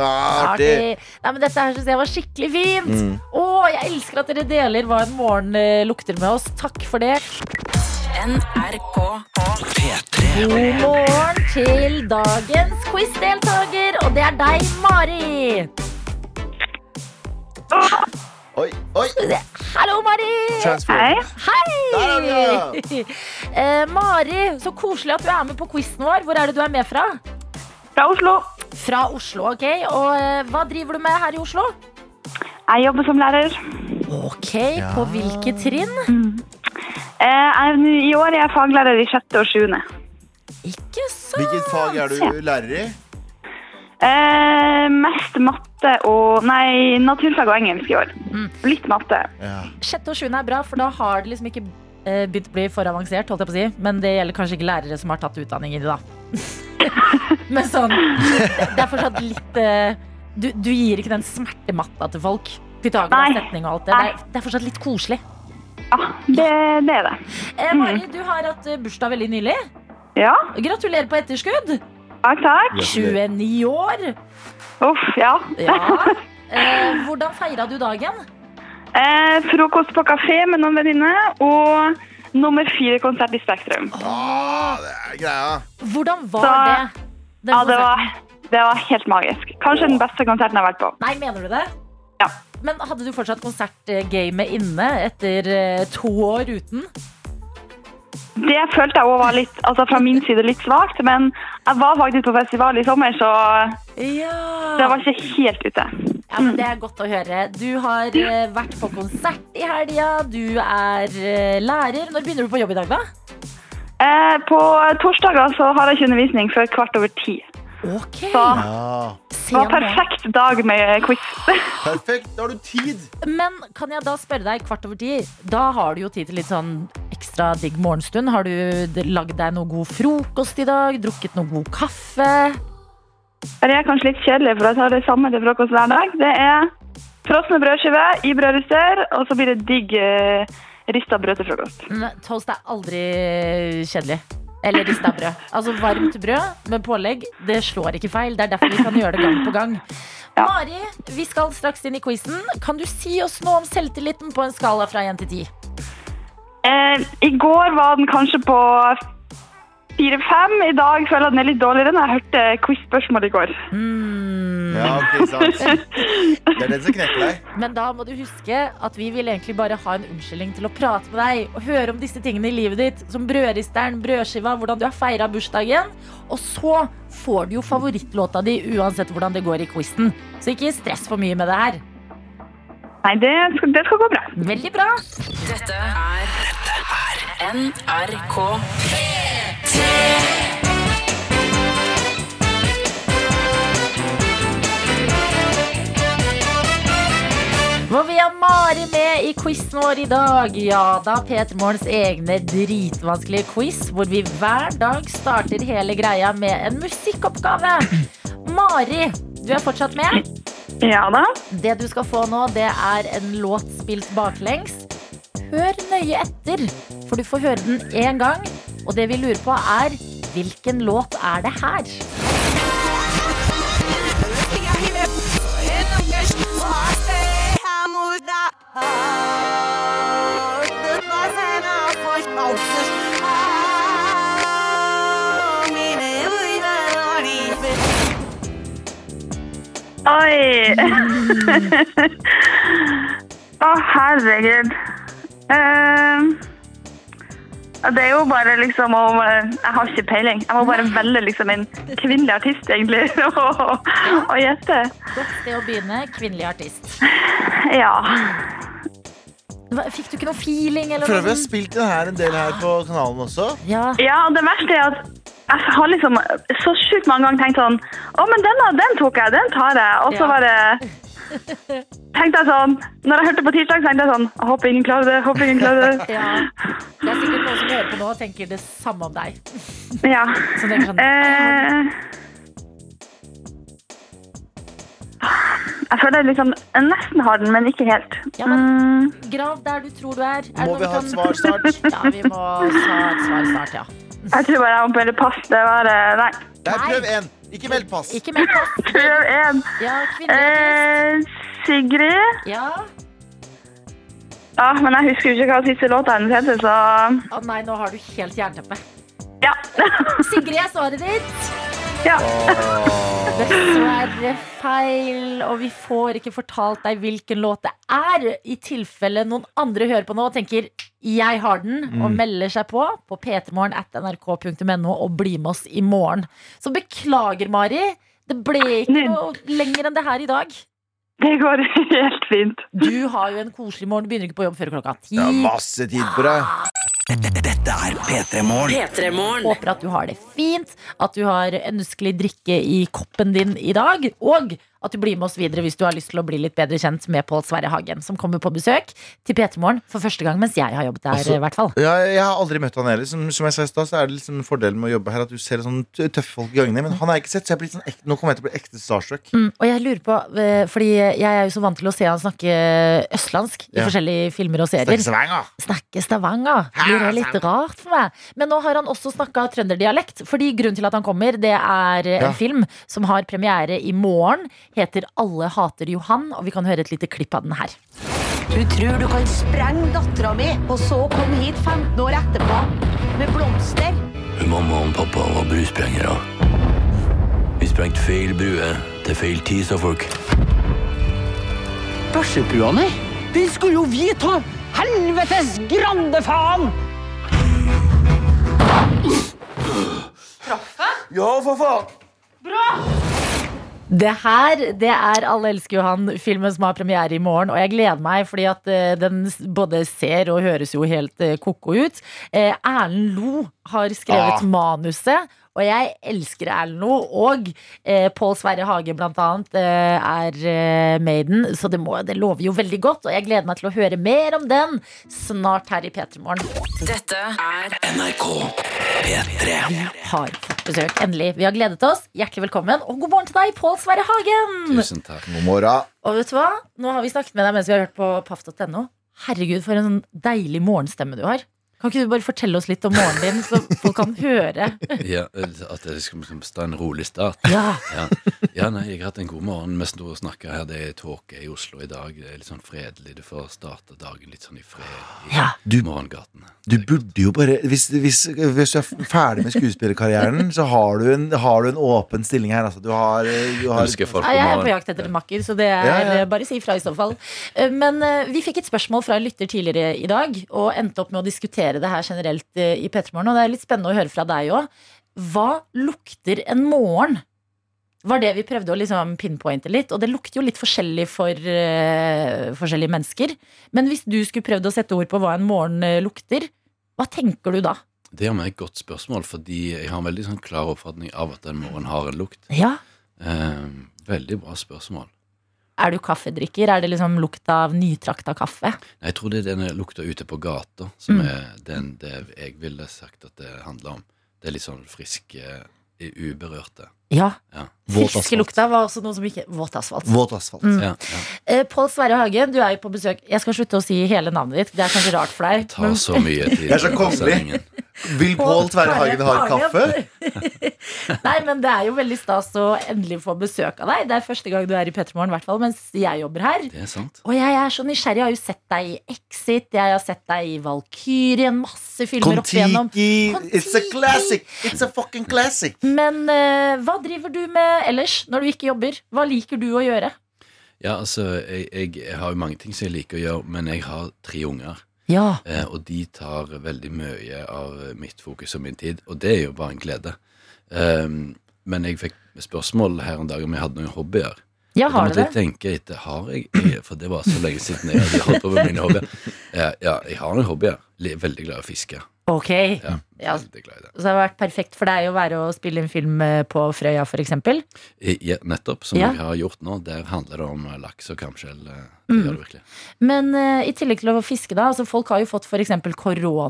Speaker 2: Det
Speaker 3: er artig. Mm.
Speaker 2: er artig. Nei, men dette her synes jeg var skikkelig fint. Å, jeg elsker at dere deler hva en morgen eh, lukter med oss. Takk for det.
Speaker 1: NRK.
Speaker 4: P3.
Speaker 2: God morgen til dagens quizdeltaker, og det er deg, Mari.
Speaker 3: Oi, oi!
Speaker 2: Hallo, Mari.
Speaker 3: Transform. Der er vi,
Speaker 2: Eh, Mari, så koselig at du er med på quizen vår. Hvor er det du er med fra?
Speaker 6: Fra Oslo.
Speaker 2: Fra Oslo, ok. Og eh, hva driver du med her i Oslo?
Speaker 6: Jeg jobber som lærer.
Speaker 2: Ok, på hvilke trinn?
Speaker 6: Eh, Jeg, I år er jeg faglærer i sjette og sjuende.
Speaker 2: Ikke sant?
Speaker 3: Hvilket fag er du lærer i?
Speaker 6: Eh, Mest matte og Nei, naturfag og engelsk i år. Litt matte.
Speaker 3: Ja.
Speaker 2: Sjette og sjuende er bra, for da har det liksom ikke eh, begynt å bli for avansert, holdt jeg på å si. Men det gjelder kanskje ikke lærere som har tatt utdanning i det, da. Men sånn, det er fortsatt litt eh, du, du gir ikke den smertematta til folk. Pythagoras
Speaker 6: Nei.
Speaker 2: setning og alt det. Det er, det er fortsatt litt koselig.
Speaker 6: Ja, det, det er det. Mm.
Speaker 2: Eh, Mari, du har hatt eh, bursdag veldig nylig.
Speaker 6: Ja,
Speaker 2: Gratulerer på etterskudd!
Speaker 6: takk, takk.
Speaker 2: 29 år!
Speaker 6: Uff, ja.
Speaker 2: Ja. Eh, hvordan feira du dagen?
Speaker 6: Eh, frokost på kafé med noen venninner, og nummer fire-konsert i Spektrum.
Speaker 3: Ah, det er greia.
Speaker 2: Hvordan var
Speaker 6: Så-
Speaker 2: det? Den
Speaker 6: Ja, det
Speaker 2: konserten?
Speaker 6: var, det var helt magisk. Kanskje den beste konserten jeg har vært på.
Speaker 2: Nei, mener du det?
Speaker 6: Ja.
Speaker 2: Men hadde du fortsatt konsertgamet inne etter eh, to år uten?
Speaker 6: Det følte jeg også var litt, altså fra min side litt svagt, men jeg var faktisk på festival i sommer, så
Speaker 2: Ja.
Speaker 6: det var ikke helt ute.
Speaker 2: men Det er godt å høre. Du har eh, vært på konsert i helga, du er eh, lærer. Når begynner du på jobb i dag, da?
Speaker 6: Eh, på torsdager så har jeg ikke undervisning før kvart over ti.
Speaker 2: Ok,
Speaker 6: Så
Speaker 3: Ah,
Speaker 6: det
Speaker 2: sen
Speaker 6: var
Speaker 2: det.
Speaker 6: perfekt dag med quiz.
Speaker 3: perfekt, da har du tid.
Speaker 2: Men kan jeg da spørre deg kvart over ti? Da har du jo tid til litt sånn ekstra digg morgenstund. Har du d- lagd deg noe god frokost i dag? Drukket noe god kaffe?
Speaker 6: Det er kanskje litt kjedelig, for jeg tar det samme til frokost hver dag. Det er frosne brødskiver i brødrister, og så blir det digg eh, rista brød til frokost.
Speaker 2: Nei, Toast er aldri kjedelig. Eller rista brød. Altså varmt brød med pålegg, det slår ikke feil. Det er derfor vi kan gjøre det gang på gang.
Speaker 6: Ja.
Speaker 2: Mari, vi skal straks inn i quizen. Kan du si oss noe om selvtilliten på en skala fra 1 til 10?
Speaker 6: Eh, I går var den kanskje på 4-5. I dag føler jeg den er litt dårligere enn jeg hørte quiz-spørsmålet i går.
Speaker 3: Ja, ok, sant. Det er den som knekker deg.
Speaker 2: Men da må du huske at vi vil egentlig bare ha en unnskyldning til å prate med deg og høre om disse tingene i livet ditt, som brødristeren, brødskiva, hvordan du har feira bursdagen. Og så får du jo favorittlåta di uansett hvordan det går i quizen. Så ikke stress for mye med det her.
Speaker 6: Nei, det skal, det skal gå bra.
Speaker 2: Veldig bra.
Speaker 1: NRK.
Speaker 2: Hvor vi har Mari med i quizen vår i dag. Ja da, Peter Morgens egne dritvanskelige quiz, hvor vi hver dag starter hele greia med en musikkoppgave. Mari, du er fortsatt med.
Speaker 6: Ja da.
Speaker 2: Det du skal få nå, det er en låt spilt baklengs. Hør nøye etter, for du får høre den én gang. Og det vi lurer på, er hvilken låt er det her?
Speaker 6: Oi! Å, herregud. Ehm, ja, det er jo bare liksom å eh, Jeg har ikke peiling. Jeg må bare velge liksom en kvinnelig artist, egentlig, og og gjette.
Speaker 2: Godt sted å begynne. Kvinnelig artist.
Speaker 6: Ja.
Speaker 2: Hva- Fikk du ikke noe feeling? Eller
Speaker 3: Føler vi
Speaker 2: noe
Speaker 3: har
Speaker 2: sånn?
Speaker 3: spilt den her en del her på kanalen også.
Speaker 2: Ja.
Speaker 6: ja, det verste er at jeg har liksom så sjukt mange ganger tenkt sånn Å, men denne, den tok jeg, den tar jeg. Og så
Speaker 2: Ja.
Speaker 6: bare tenkte jeg sånn Når jeg hørte på tirsdag, så tenkte jeg sånn Jeg håper ingen klarer det, jeg håper ingen klarer det.
Speaker 2: ja. Det er sikkert noen som hører på nå og tenker det samme om deg.
Speaker 6: Ja.
Speaker 2: Så det kan...
Speaker 6: Eh, Eh, jeg føler jeg liksom jeg nesten har den, men ikke helt.
Speaker 2: Ja, men-
Speaker 6: Mm,
Speaker 2: Grav der du tror du er. er det
Speaker 3: Må
Speaker 2: noen
Speaker 3: vi ha
Speaker 2: kan-
Speaker 3: et svar snart?
Speaker 2: Ja, vi må ha et svar snart, ja.
Speaker 6: jeg tror bare jeg må bare passe. Det var eh, Nei.
Speaker 3: Nei, prøv én. Ikke meld pass.
Speaker 2: Ikke mer post.
Speaker 6: Prøv én.
Speaker 2: Ja, kvinnelig artist.
Speaker 6: Eh, Sigrid
Speaker 2: Ja.
Speaker 6: Ja, men jeg husker jo ikke hva siste låta hennes heter, så
Speaker 2: Å nei, nå har du helt jernteppe.
Speaker 6: Ja.
Speaker 2: Sigrid er svaret ditt.
Speaker 6: ja.
Speaker 2: Dessverre feil, og vi får ikke fortalt deg hvilken låt det er. I tilfelle noen andre hører på nå og tenker 'jeg har den', og melder seg på på p3morgen at nrk.no og bli med oss i morgen. Så beklager, Mari. Det ble ikke
Speaker 6: Nei.
Speaker 2: noe lenger enn det her i dag.
Speaker 6: Det går helt fint.
Speaker 2: Du har jo en koselig morgen. Du begynner ikke på jobb før klokka ti.
Speaker 3: Det er masse tid på deg.
Speaker 4: Dette er P3 Morgen.
Speaker 2: Håper at du har det fint, at du har ønskelig drikke i koppen din i dag, og at du blir med oss videre hvis du har lyst til å bli litt bedre kjent med Pål Sverre Hagen, som kommer på besøk til P3 Morgen for første gang mens jeg har jobbet der,
Speaker 3: Altså-
Speaker 2: i hvert fall.
Speaker 3: Ja, jeg har aldri møtt han heller. Som, som jeg sa i stad, så er det liksom fordelen med å jobbe her at du ser sånn t- tøffe folk i gangene. Men han har jeg ikke sett, så jeg blir sånn ekte, nå kommer jeg til å bli ekte starstruck.
Speaker 2: Mm, og jeg lurer på, eh, fordi jeg er jo så vant til å se han snakke østlandsk i
Speaker 3: Ja.
Speaker 2: forskjellige filmer og serier.
Speaker 3: Snakke slang, da.
Speaker 2: snakke stavanger. Blir det litt rart for meg? Men nå har han også snakka trønderdialekt. Fordi grunnen til at han kommer, det er en
Speaker 3: Ja.
Speaker 2: film som har premiere i morgen. Heter Alle hater Johan, og vi kan høre et lite klipp av den her.
Speaker 7: Du tror du kan sprenge dattera mi, og så komme hit 15 år etterpå med blomster?
Speaker 8: Mamma og pappa var brusprengere. Vi sprengte feil brue til feil tid, sa folk.
Speaker 4: Børsebrua, nei. Den skulle jo vi ta! Helvetes grande faen!
Speaker 3: Ja, for faen!
Speaker 2: Det her det er Alle elsker Johan-filmen som har premiere i morgen. Og jeg gleder meg, fordi at eh, den s- både ser og høres jo helt eh, ko-ko ut. Eh, Erlend Lo har skrevet
Speaker 3: Ah.
Speaker 2: manuset. Og jeg elsker Erlend Lo. Og eh, Pål Sverre Hage, blant annet, eh, er eh, Maiden. Så det, må, det lover jo veldig godt. Og jeg gleder meg til å høre mer om den snart her i P3 Morgen.
Speaker 1: Dette er
Speaker 4: NRK P3.
Speaker 2: Har fått besøk, endelig. Vi har gledet oss. Hjertelig velkommen. Og god morgen til deg, Pål Sverre Hagen.
Speaker 8: Tusen takk.
Speaker 3: God morgen.
Speaker 2: Og vet du hva? Nå har vi snakket med deg mens vi har hørt på paff.no. Herregud, for en sånn deilig morgenstemme du har. Kan ikke du bare fortelle oss litt om morgenen din, så folk kan høre?
Speaker 8: Ja, at det skal liksom stå en rolig start.
Speaker 2: Ja,
Speaker 8: Ja. ja, nei, jeg har hatt en god morgen. Vi sto og snakka her. Det er tåke i Oslo i dag. Det er litt sånn fredelig. Du får starte dagen litt sånn i fred i
Speaker 2: Ja.
Speaker 8: du, morgengatene.
Speaker 3: Du burde jo bare Hvis, hvis, hvis du er ferdig med skuespillerkarrieren, så har du en, har du en åpen stilling her. Altså. Du har, du har
Speaker 8: Ønsker folk
Speaker 2: Ja,
Speaker 8: god
Speaker 2: jeg er på
Speaker 8: morgen.
Speaker 2: jakt etter en makker, så det er
Speaker 3: Ja, ja.
Speaker 2: bare si ifra i så fall. Eh, Men eh, vi fikk et spørsmål fra en lytter tidligere i dag, og endte opp med å diskutere det her generelt eh, i P3 Morgen, og det er litt spennende å høre fra deg òg. Hva lukter en morgen? Var det vi prøvde å liksom pinpointe litt, og det lukter jo litt forskjellig for eh, forskjellige mennesker. Men hvis du skulle prøvd å sette ord på hva en morgen eh, lukter, hva tenker du da?
Speaker 8: Det er meg et godt spørsmål, fordi jeg har en veldig sånn klar oppfatning av at den morgenen har en lukt.
Speaker 2: Ja,
Speaker 8: Eh, veldig bra spørsmål.
Speaker 2: Er du kaffedrikker? Er det liksom lukta av nytrakta kaffe?
Speaker 8: Nei, Jeg tror det er den lukta ute på gata som
Speaker 2: Mm.
Speaker 8: er den det jeg ville sagt at det handler om. Det er litt sånn friske, eh, uberørte.
Speaker 2: Ja.
Speaker 8: Ja.
Speaker 3: Våt
Speaker 2: Fiskelukta var også noe som ikke Våt asfalt.
Speaker 3: våt asfalt.
Speaker 2: Mm.
Speaker 8: Ja, ja.
Speaker 2: Eh, Pål Sverre Hagen, du er jo på besøk. Jeg skal slutte å si hele navnet ditt. Det er kanskje rart for deg.
Speaker 8: Tar så mye tid.
Speaker 3: Jeg er så
Speaker 8: på
Speaker 3: kongelig.
Speaker 8: sendingen.
Speaker 3: Vil Pål Tverre Hagen ha kaffe?
Speaker 2: Nei, men det er jo veldig stas å endelig få besøk av deg. Det er første gang du er i Petremorgen, i hvert fall mens jeg jobber her.
Speaker 8: Det er sant.
Speaker 2: Og jeg er så nysgjerrig. Jeg har jo sett deg i Exit, jeg har sett deg i Valkyrien, masse filmer opp igjennom.
Speaker 3: Kon-Tiki.
Speaker 2: Kon-Tiki.
Speaker 3: It's a classic. It's a fucking classic.
Speaker 2: Men eh, hva driver du med ellers, når du ikke jobber? Hva liker du å gjøre?
Speaker 8: Ja, altså, jeg, jeg, jeg har jo mange ting som jeg liker å gjøre, men jeg har tre unger.
Speaker 2: Ja.
Speaker 8: Eh, og de tar veldig mye av mitt fokus og min tid, og det er jo bare en glede. Ehm, men jeg fikk spørsmål her en dag om jeg hadde noen hobbyer.
Speaker 2: Ja,
Speaker 8: Og da
Speaker 2: har du
Speaker 8: måtte
Speaker 2: det?
Speaker 8: jeg tenke etter, har jeg, jeg- for det var så lenge siden jeg hadde holdt på med mine hobbyer. Ja, ja, jeg har noen hobbyer. Jeg er veldig glad i å fiske.
Speaker 2: Ok.
Speaker 8: Ja,
Speaker 2: Mm. Ja.
Speaker 8: veldig glad i det.
Speaker 2: Så det har vært perfekt for deg å være og spille en film eh, på Frøya, for eksempel.
Speaker 8: I- Ja, nettopp, som
Speaker 2: Ja.
Speaker 8: jeg har gjort nå, der handler det om eh, laks og kamskjell. eh, Det
Speaker 2: Mm.
Speaker 8: gjør det virkelig.
Speaker 2: Men eh, i tillegg til å fiske, da. Altså folk har jo fått f.eks.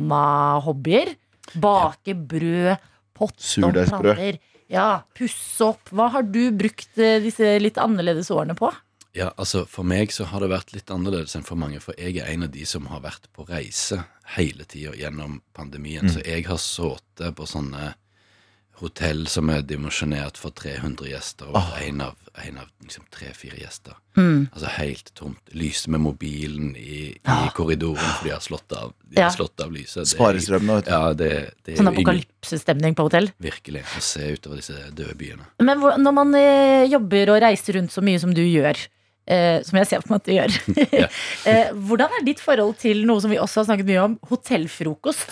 Speaker 2: koronahobbyer. Bake brød, potte og
Speaker 3: Surdeigsbrød.
Speaker 2: planter. Ja, pusse opp. Hva har du brukt eh, disse litt annerledes årene på?
Speaker 8: Ja, altså For meg så har det vært litt annerledes enn for mange. For jeg er en av de som har vært på reise hele tida gjennom pandemien.
Speaker 2: Mm.
Speaker 8: Så jeg har sittet på sånne hotell som er dimensjonert for 300 gjester, og vært en av, en av liksom tre-fire gjester. Altså helt tomt. Lyset med mobilen i, i korridoren, for de har slått av, de
Speaker 2: Ja.
Speaker 8: har slått av lyset. Det er-
Speaker 3: Sparestrøm nå, vet du.
Speaker 8: Ja, det, det er
Speaker 2: Sånn
Speaker 8: jo Eh, ingen,
Speaker 2: apokalypsestemning på hotell.
Speaker 8: virkelig å se utover disse døde byene.
Speaker 2: Men hvor, når man eh, jobber og reiser rundt så mye som du gjør, eh, som jeg ser på meg at du gjør,
Speaker 8: Ja.
Speaker 2: eh, hvordan er ditt forhold til noe som vi også har snakket mye om, hotellfrokost?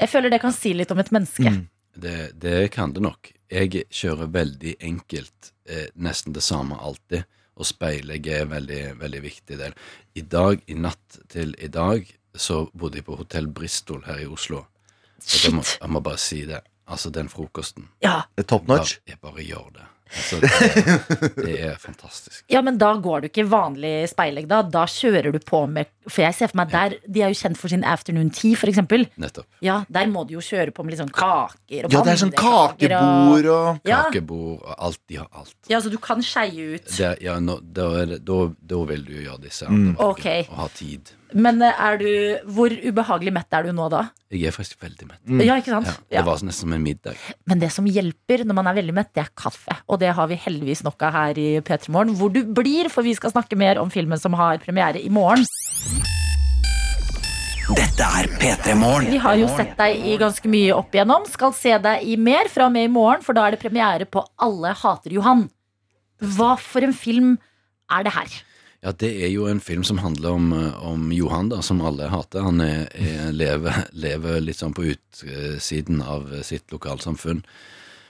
Speaker 2: Jeg føler det kan si litt om et menneske.
Speaker 3: Mm,
Speaker 8: Det, det kan det nok. Jeg kjører veldig enkelt, eh, nesten det samme alltid, og speilegg er en veldig, veldig viktig del. I dag, i natt til i dag, så bodde jeg på Hotell Bristol her i Oslo. Og jeg må,
Speaker 2: Shit!
Speaker 8: jeg må bare si det. Altså, den frokosten
Speaker 2: Ja,
Speaker 3: Det er Top
Speaker 8: bare,
Speaker 3: notch.
Speaker 8: Jeg bare gjør det. Altså, det, det er fantastisk.
Speaker 2: Ja, men da går du ikke vanlig speilegg, da. Da kjører du på med For jeg ser for meg der De er jo kjent for sin afternoon tea, for eksempel.
Speaker 8: Nettopp.
Speaker 2: Ja, der må du jo kjøre på med litt sånn kaker og
Speaker 3: Ja, det er sånn
Speaker 2: pannekaker og-
Speaker 3: kakebord og
Speaker 2: Ja.
Speaker 8: Kakebord og alt. De har alt.
Speaker 2: ja, så du kan skeie ut.
Speaker 8: Det, ja, nå, da, er det, da, da vil du jo gjøre disse andre valgene
Speaker 2: Ok.
Speaker 8: og ha tid.
Speaker 2: Men eh, er du Hvor ubehagelig mett er du nå, da?
Speaker 8: Jeg er faktisk veldig mett.
Speaker 2: Ja, ikke sant?
Speaker 8: Mm. Ja,
Speaker 2: Mm. Ja.
Speaker 8: det var nesten som en middag.
Speaker 2: Men det som hjelper når man er veldig mett, det er kaffe. Og det har vi heldigvis nok av her i P3 Morgen, hvor du blir, for vi skal snakke mer om filmen som har premiere i morgen. Vi har jo sett deg i ganske mye opp igjennom. Skal se deg i mer fra og med i morgen, for da er det premiere på Alle hater Johan. Hva for en film er det her?
Speaker 8: Ja, Det er jo en film som handler om, eh, om Johan, da, som alle hater. Han er, er, lever, lever litt sånn på utsiden av sitt lokalsamfunn.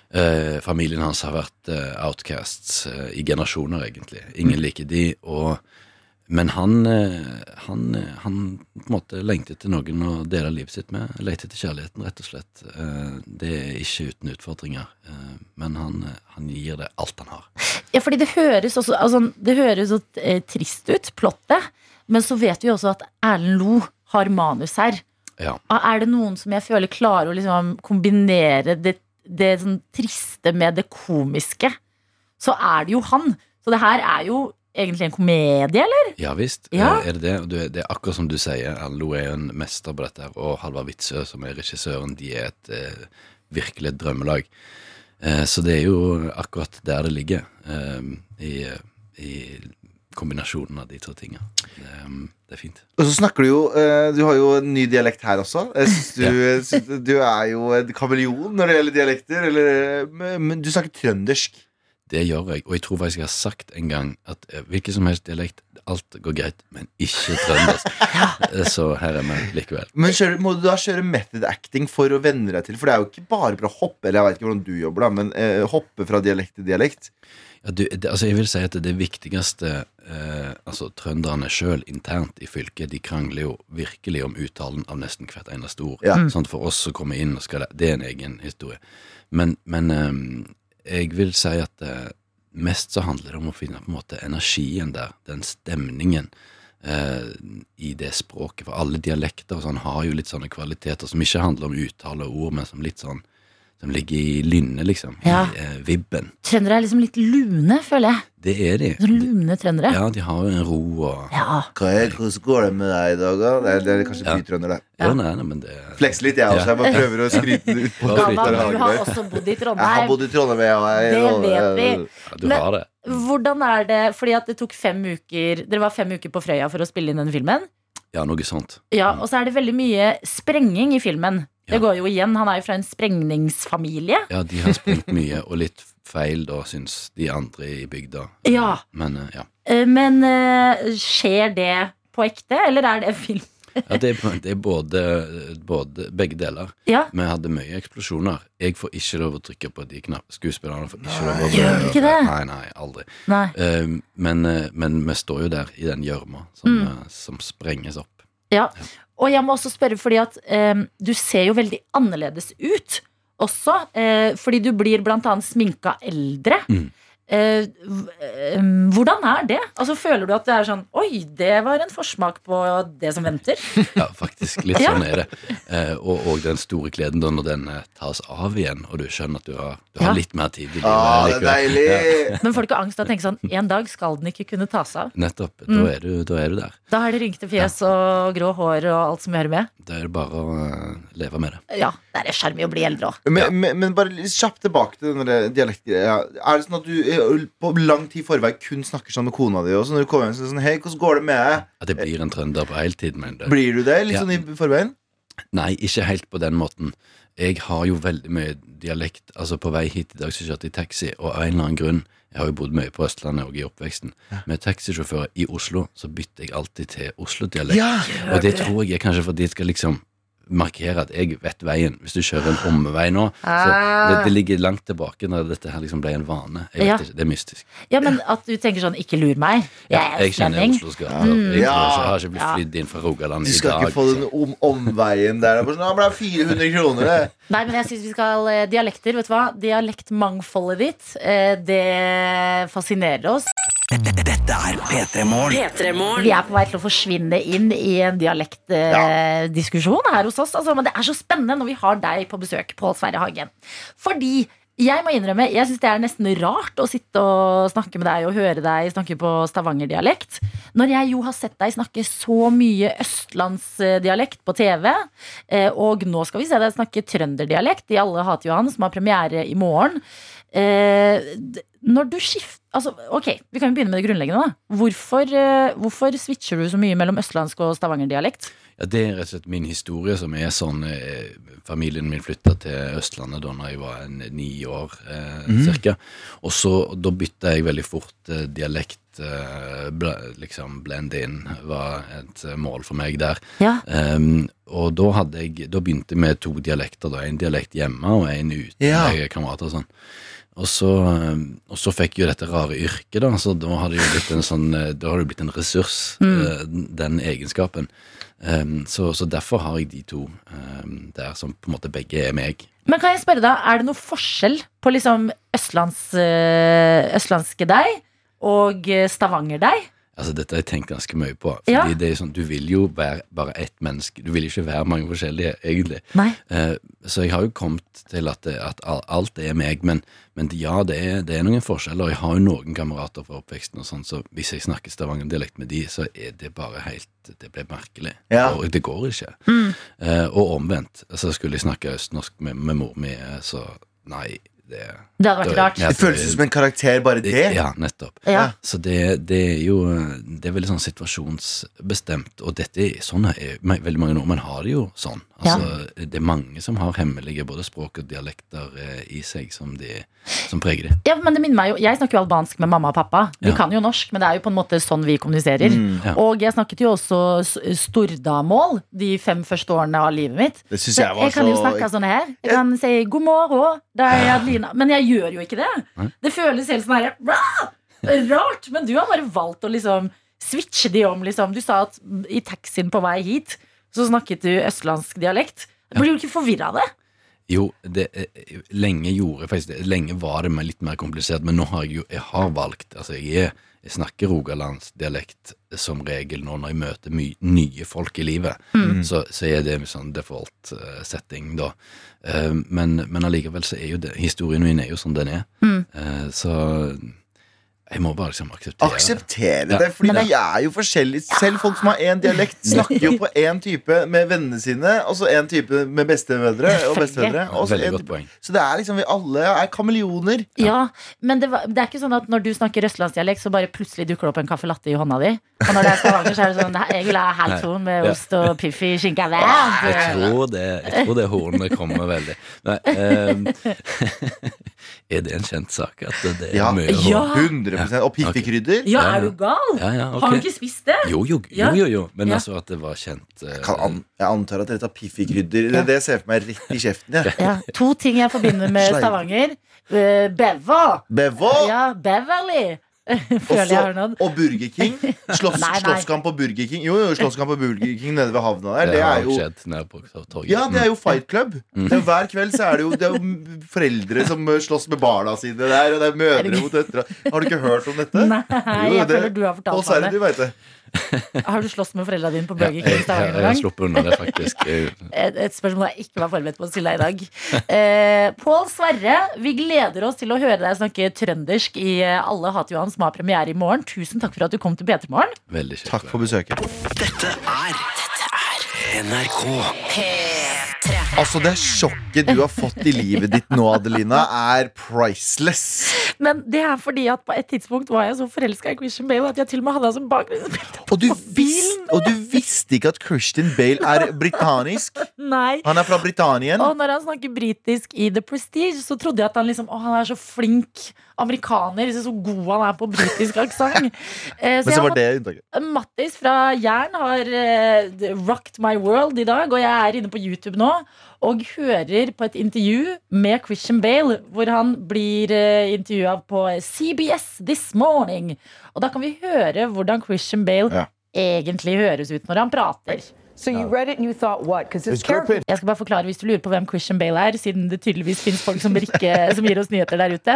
Speaker 8: Eh, familien hans har vært eh, outcasts eh, i generasjoner, egentlig. Ingen liker de. Og, men han, eh, han, eh, han på en måte lengter til noen å dele livet sitt med. Lengter til kjærligheten, rett og slett. Eh, det er ikke uten utfordringer. Eh, men han, eh, han gir det alt han har.
Speaker 2: Ja, fordi det høres, også, altså, det høres så eh, trist ut, plottet. Men så vet vi også at Erlend Lo har manus her.
Speaker 8: Ja.
Speaker 2: Er det noen som jeg føler klarer å liksom kombinere det, det sånn triste med det komiske, så er det jo han. Så det her er jo egentlig en komedie, eller?
Speaker 8: Ja visst.
Speaker 2: Ja.
Speaker 8: Eh, Er det, det? Og Du, det er akkurat som du sier. Erlend Loe er jo en mester på dette. her, Og Halvard Witzøe, som er regissøren, de er et eh, virkelig et drømmelag. Eh, så det er jo akkurat der det ligger, eh, i, i kombinasjonen av de to tinga. Det, eh, det er fint.
Speaker 3: Og så snakker du jo eh, Du har jo en ny dialekt her også. Jeg synes Du, synes du er jo en kameleon når det gjelder dialekter. Eller, men men du snakker trøndersk.
Speaker 8: Det gjør jeg, og jeg tror faktisk jeg har sagt en gang at eh, hvilken som helst dialekt, alt går greit, men ikke trøndersk. Eh, så her er vi likevel.
Speaker 3: Men kjører, må du da kjøre method acting for å venne deg til? For det er jo ikke bare for å hoppe Eller jeg vet ikke hvordan du jobber, da men eh, hoppe fra dialekt til dialekt.
Speaker 8: Ja, du, det, altså jeg vil si at det viktigste eh, Altså Trønderne sjøl internt i fylket De krangler jo virkelig om uttalen av nesten hvert eneste ord.
Speaker 3: Ja.
Speaker 8: Sånn, for oss som kommer inn, og skal det, det er en egen historie. Men, men eh, jeg vil si at eh, mest så handler det om å finne på en måte energien der. Den stemningen eh, i det språket. For alle dialekter og sånn har jo litt sånne kvaliteter som ikke handler om uttale og ord, men som litt sånn som ligger i lynnet, liksom.
Speaker 2: Ja.
Speaker 8: I eh, vibben.
Speaker 2: Trøndere er liksom litt lune, føler jeg.
Speaker 8: Det er de.
Speaker 2: Sånn lune trøndere.
Speaker 8: Ja, de har jo en ro og
Speaker 2: Ja.
Speaker 3: Hva er, hvordan går det med deg i dag, da? Det er, det er kanskje
Speaker 8: Ja.
Speaker 3: bytrønder, det.
Speaker 8: Ja, nei, nei, men det
Speaker 3: Flex litt, jeg også. Jeg bare prøver å skryte ut på
Speaker 8: Ja,
Speaker 2: Gamma,
Speaker 8: flytter
Speaker 3: Twitter.
Speaker 8: det
Speaker 2: du har
Speaker 3: Hageberg.
Speaker 2: også bodd i
Speaker 3: Jeg har
Speaker 2: Trondheim.
Speaker 3: bodd i Trondheim, jeg. og jeg-
Speaker 2: Det vet vi.
Speaker 8: ja, Du
Speaker 2: Men-
Speaker 8: har det.
Speaker 2: Hvordan er det, fordi at det tok fem uker Dere var fem uker på Frøya for å spille inn den filmen.
Speaker 8: Ja, noe sånt.
Speaker 2: Ja, Og så er det veldig mye sprenging i filmen. Det
Speaker 8: Ja.
Speaker 2: går jo igjen, Han er jo fra en sprengningsfamilie.
Speaker 8: Ja, de har sprengt mye, og litt feil, da, syns de andre i bygda.
Speaker 2: Ja.
Speaker 8: Men eh, ja.
Speaker 2: Eh, Men eh, skjer det på ekte, eller er det en film?
Speaker 8: ja det, er- det er både, både begge deler.
Speaker 2: Ja,
Speaker 8: Vi hadde mye eksplosjoner. Jeg får ikke lov å trykke på de knappene. Skuespillerne får ikke lov å
Speaker 2: Gjør de ikke det?
Speaker 8: Nei, nei, aldri.
Speaker 2: nei
Speaker 8: Eh, men, eh, men vi står jo der i den gjørma som,
Speaker 2: Mm.
Speaker 8: eh, som sprenges opp.
Speaker 2: Ja. Og jeg må også spørre, fordi at eh, du ser jo veldig annerledes ut også. eh, fordi du blir blant annet sminka eldre.
Speaker 8: Mm.
Speaker 2: Eh, v- eh, hvordan er det? Altså Føler du at det er sånn Oi, det var en forsmak på det som venter.
Speaker 8: Ja, faktisk. Litt
Speaker 2: Ja.
Speaker 8: sånn er det. Eh, og, og den store gleden da når den eh, tas av igjen, og du skjønner at du har, du
Speaker 2: Ja.
Speaker 8: har litt mer tid i livet.
Speaker 3: Ah, det er
Speaker 8: likevel.
Speaker 3: deilig!
Speaker 2: Men får du ikke angst av å tenke sånn En dag skal den ikke kunne tas av.
Speaker 8: Nettopp. Da,
Speaker 2: Mm.
Speaker 8: er du, da er du der.
Speaker 2: Da er det rynkete fjes og grå hår og alt som hører med.
Speaker 8: Da er det bare å eh, leve med det.
Speaker 2: Ja, det er en sjarm i å bli eldre òg.
Speaker 3: Men, men, men bare litt kjapt tilbake til den der dialektgreia. Er det sånn at du eh, på lang tid i forveien kun snakker sånn med kona di? Og så når du kommer hjem, så er det sånn Hei, hvordan går det med deg?
Speaker 8: At jeg blir en trønder på heltid, mener du?
Speaker 3: Blir du det? Litt
Speaker 8: Ja.
Speaker 3: sånn i forveien?
Speaker 8: Nei, ikke helt på den måten. Jeg har jo veldig mye dialekt. Altså På vei hit i dag så kjørte jeg taxi, og av en eller annen grunn Jeg har jo bodd mye på Østlandet og i oppveksten. Med taxisjåfører i Oslo så bytter jeg alltid til Oslo-dialekt. Og det tror jeg er kanskje fordi jeg skal liksom markere at jeg vet veien. Hvis du kjører en omvei nå. Så det, det ligger langt tilbake når dette her liksom ble en vane. Jeg
Speaker 2: Ah.
Speaker 8: vet
Speaker 2: Ja.
Speaker 8: ikke, Det er mystisk.
Speaker 2: Ja, men at du tenker sånn 'ikke lur meg'. Jeg er
Speaker 8: jeg kjenner
Speaker 2: østlending.
Speaker 8: Oslos gater.
Speaker 3: Ja.
Speaker 8: Jeg, tror ikke- jeg har ikke blitt
Speaker 2: Mm. Ja.
Speaker 8: flydd inn fra Rogaland
Speaker 3: Du
Speaker 8: i
Speaker 3: skal
Speaker 8: dag.
Speaker 3: ikke få den
Speaker 8: liksom.
Speaker 3: om omveien der. Det er bare sånn, Ja, men det er 400 kroner, det.
Speaker 8: Altså,
Speaker 2: Nei, men jeg syns vi skal eh, Dialekter, vet du hva? Dialektmangfoldet ditt, eh, det fascinerer oss. Vi er på vei til å forsvinne inn i en dialektdiskusjon her hos oss. Altså, men det er så spennende når vi har deg på besøk, Pål Sverre Hagen. Fordi jeg må innrømme, jeg syns det er nesten rart å sitte og snakke med deg og høre deg snakke på stavangerdialekt. Når jeg jo har sett deg snakke så mye østlandsdialekt på TV, eh, og nå skal vi se deg snakke trønderdialekt i Alle hater Johan, som har premiere i morgen. Eh, d- når du skifter altså, Ok, vi kan jo begynne med det grunnleggende. da Hvorfor, eh, hvorfor switcher du så mye mellom østlandsk og stavangerdialekt?
Speaker 8: Ja, det er rett og slett min historie som er sånn eh, Familien min flytta til Østlandet da når jeg var en, ni år eh,
Speaker 3: Mm.
Speaker 8: cirka. Og så da bytta jeg veldig fort eh, dialekt. Eh, ble, liksom blend in var et eh, mål for meg der.
Speaker 2: Ja.
Speaker 8: Ehm, og da, hadde jeg, da begynte jeg med to dialekter. Da. En dialekt hjemme og en ute
Speaker 3: Ja.
Speaker 8: med kamerater. og sånn. Og så, ehm, og så fikk jeg jo dette rare yrket, da, så da har det jo blitt en, sånn, eh, da har det jo blitt en ressurs, eh, den egenskapen. Ehm, så, så derfor har jeg de to ehm, der som på en måte begge er meg.
Speaker 2: Men kan jeg spørre deg, er det noe forskjell på liksom østlands, eh, østlandske deg og eh, stavanger-deg?
Speaker 8: Altså Dette har jeg tenkt ganske mye på. Fordi
Speaker 2: Ja.
Speaker 8: det er sånn, Du vil jo være bare ett menneske. Du vil jo ikke være mange forskjellige, egentlig.
Speaker 2: Nei.
Speaker 8: Eh, Så jeg har jo kommet til at, det, at al- alt er meg, men, men ja, det er, det er noen forskjeller. Jeg har jo noen kamerater fra oppveksten, og sånn, så hvis jeg snakker stavangerdialekt med de, så er det bare helt Det blir merkelig.
Speaker 3: Ja.
Speaker 8: Og det går ikke. Eh, og omvendt. Så skulle jeg snakke østnorsk med, med mor mi, eh, så nei, det
Speaker 2: Det hadde vært
Speaker 8: da-
Speaker 2: rart.
Speaker 8: ja,
Speaker 3: Det føles ut som en karakter, bare det.
Speaker 8: Ja, nettopp.
Speaker 2: Ja.
Speaker 8: Så det, det er jo Det er veldig sånn situasjonsbestemt, og dette er sånn er men Veldig mange nordmenn har det jo sånn. Altså, Det er mange som har hemmelige både språk og dialekter eh, i seg som, de, som preger det.
Speaker 2: Ja, men det minner meg jo, Jeg snakker jo albansk med mamma og pappa. De
Speaker 8: Ja.
Speaker 2: kan jo norsk, men det er jo på en måte sånn vi kommuniserer.
Speaker 3: Mm,
Speaker 8: ja.
Speaker 2: Og jeg snakket jo også s- stordamål de fem første årene av livet mitt.
Speaker 3: Det syns
Speaker 2: Så
Speaker 3: jeg
Speaker 2: jeg,
Speaker 3: var så
Speaker 2: kan jo snakke sånn her. Jeg kan si 'god morgen', det er Adelina. Men jeg gjør jo ikke det.
Speaker 8: Nei.
Speaker 2: Det føles helt sånn her "Bra!" rart. Men du har bare valgt å liksom switche de om, liksom. Du sa at i taxien på vei hit, så snakket du østlandsk dialekt. Blir du ikke forvirra av det?
Speaker 8: Jo, det, eh, lenge gjorde jeg faktisk det. Lenge var det mer- litt mer komplisert, men nå har jeg jo jeg har valgt Altså, jeg, er, jeg snakker rogalandsdialekt som regel nå når jeg møter my, nye folk i livet. Så, så er det en sånn default eh, setting, da. Eh, men, men allikevel så er jo det Historien min er jo sånn den er. Eh, så jeg må bare liksom akseptere det.
Speaker 3: Akseptere det, fordi vi er jo forskjellige. Selv folk som har én dialekt, snakker jo på én type med vennene sine, og så én type med bestemødre og bestefedre. og så
Speaker 8: Veldig
Speaker 3: en
Speaker 8: godt
Speaker 3: type-
Speaker 8: poeng.
Speaker 3: Så det er liksom vi alle er kameleoner.
Speaker 2: Ja, men det, var, det er ikke sånn at når du snakker østlandsdialekt, så bare plutselig dukker det opp en caffè latte i hånda di. Og når det er Stavanger, så er det sånn Jeg vil ha halvton med
Speaker 8: Ja.
Speaker 2: ost og piffi skinke. Det
Speaker 8: Jeg tror det, jeg tror det hornet kommer veldig. Nei, eh, er det en kjent sak at det er
Speaker 3: Ja.
Speaker 8: mye horn?
Speaker 2: Ja.
Speaker 3: 100 Og pikkekrydder.
Speaker 2: Ja, er du gal?
Speaker 8: Ja, ja, ok.
Speaker 2: Har du ikke spist det?
Speaker 8: Jo, jo, jo,
Speaker 2: Ja.
Speaker 8: jo, jo. men
Speaker 2: Ja.
Speaker 8: altså at det var kjent eh,
Speaker 3: Kan an jeg antar at dere tar piffikrydder. Det, det ser jeg for meg rett i kjeften. jeg.
Speaker 2: Ja, to ting jeg forbinder med
Speaker 3: Sleiv.
Speaker 2: Stavanger. Eh, Beva.
Speaker 3: Bevo
Speaker 2: Ja, Beverly.
Speaker 3: og,
Speaker 2: Føler jeg har
Speaker 3: så,
Speaker 2: noen.
Speaker 3: og Burger King. Slåss,
Speaker 2: Nei, nei.
Speaker 3: slåsskamp på Burger King. Jo, jo, slåsskamp på Burger King nede ved havna der.
Speaker 8: Det
Speaker 3: Det
Speaker 8: har
Speaker 3: er
Speaker 8: jo
Speaker 3: jo
Speaker 8: skjedd nede på torget.
Speaker 3: ja, det er jo Fight Club. Det er jo hver kveld så er det jo, det er jo foreldre som eh, slåss med barna sine der, og det er mødre mot døtre. Har du ikke hørt om dette?
Speaker 2: Nei, jeg
Speaker 3: det-
Speaker 2: føler du har
Speaker 3: Pål
Speaker 2: fortalt
Speaker 3: Sverre,
Speaker 2: meg
Speaker 3: du
Speaker 2: det.
Speaker 3: vet det.
Speaker 2: Har du slåss med foreldra dine på
Speaker 8: Ja,
Speaker 2: Burger
Speaker 8: jeg,
Speaker 2: King i
Speaker 8: jeg,
Speaker 2: Stavanger
Speaker 8: jeg
Speaker 2: noen
Speaker 8: har
Speaker 2: gang?
Speaker 8: sluppet unna det, faktisk. eh, Jeg-
Speaker 2: et, et spørsmål jeg ikke var forberedt på å stille deg i dag. Eh, Pål Sverre, vi gleder oss til å høre deg snakke trøndersk i eh, Alle hater Johan, som har premiere i morgen. Tusen takk for at du kom til P3 Morgen.
Speaker 8: Veldig kjent.
Speaker 3: Takk for besøket. Altså, det sjokket du har fått i livet ditt nå, Adelina, er priceless.
Speaker 2: Men det er fordi sånn at på et tidspunkt var jeg så forelska i Christian Bale at jeg til og med hadde han som bakgrunnsbilde.
Speaker 3: Og du, visste, og du visste ikke at Christian Bale er britannisk.
Speaker 2: Nei.
Speaker 3: Han er fra Britannien.
Speaker 2: Og når han snakker britisk i The Prestige, så trodde jeg at han liksom Å, han er så flink amerikaner. Så, så god han er på britisk aksent. Eh,
Speaker 3: Men
Speaker 2: jeg
Speaker 3: så
Speaker 2: har
Speaker 3: var det unntaket.
Speaker 2: Mattis fra Jæren har eh, d- rocked my world i dag, og jeg er inne på YouTube nå og hører på et intervju med Christian Bale, hvor han blir uh, intervjua på CBS This Morning. Og da kan vi høre hvordan Christian Bale
Speaker 3: Ja.
Speaker 2: egentlig høres ut når han prater.
Speaker 9: So you read it and you thought what? Because this character
Speaker 2: Jeg skal bare forklare hvis du lurer på hvem Christian Bale er, siden det tydeligvis finnes folk som, ikke, som gir oss nyheter der ute.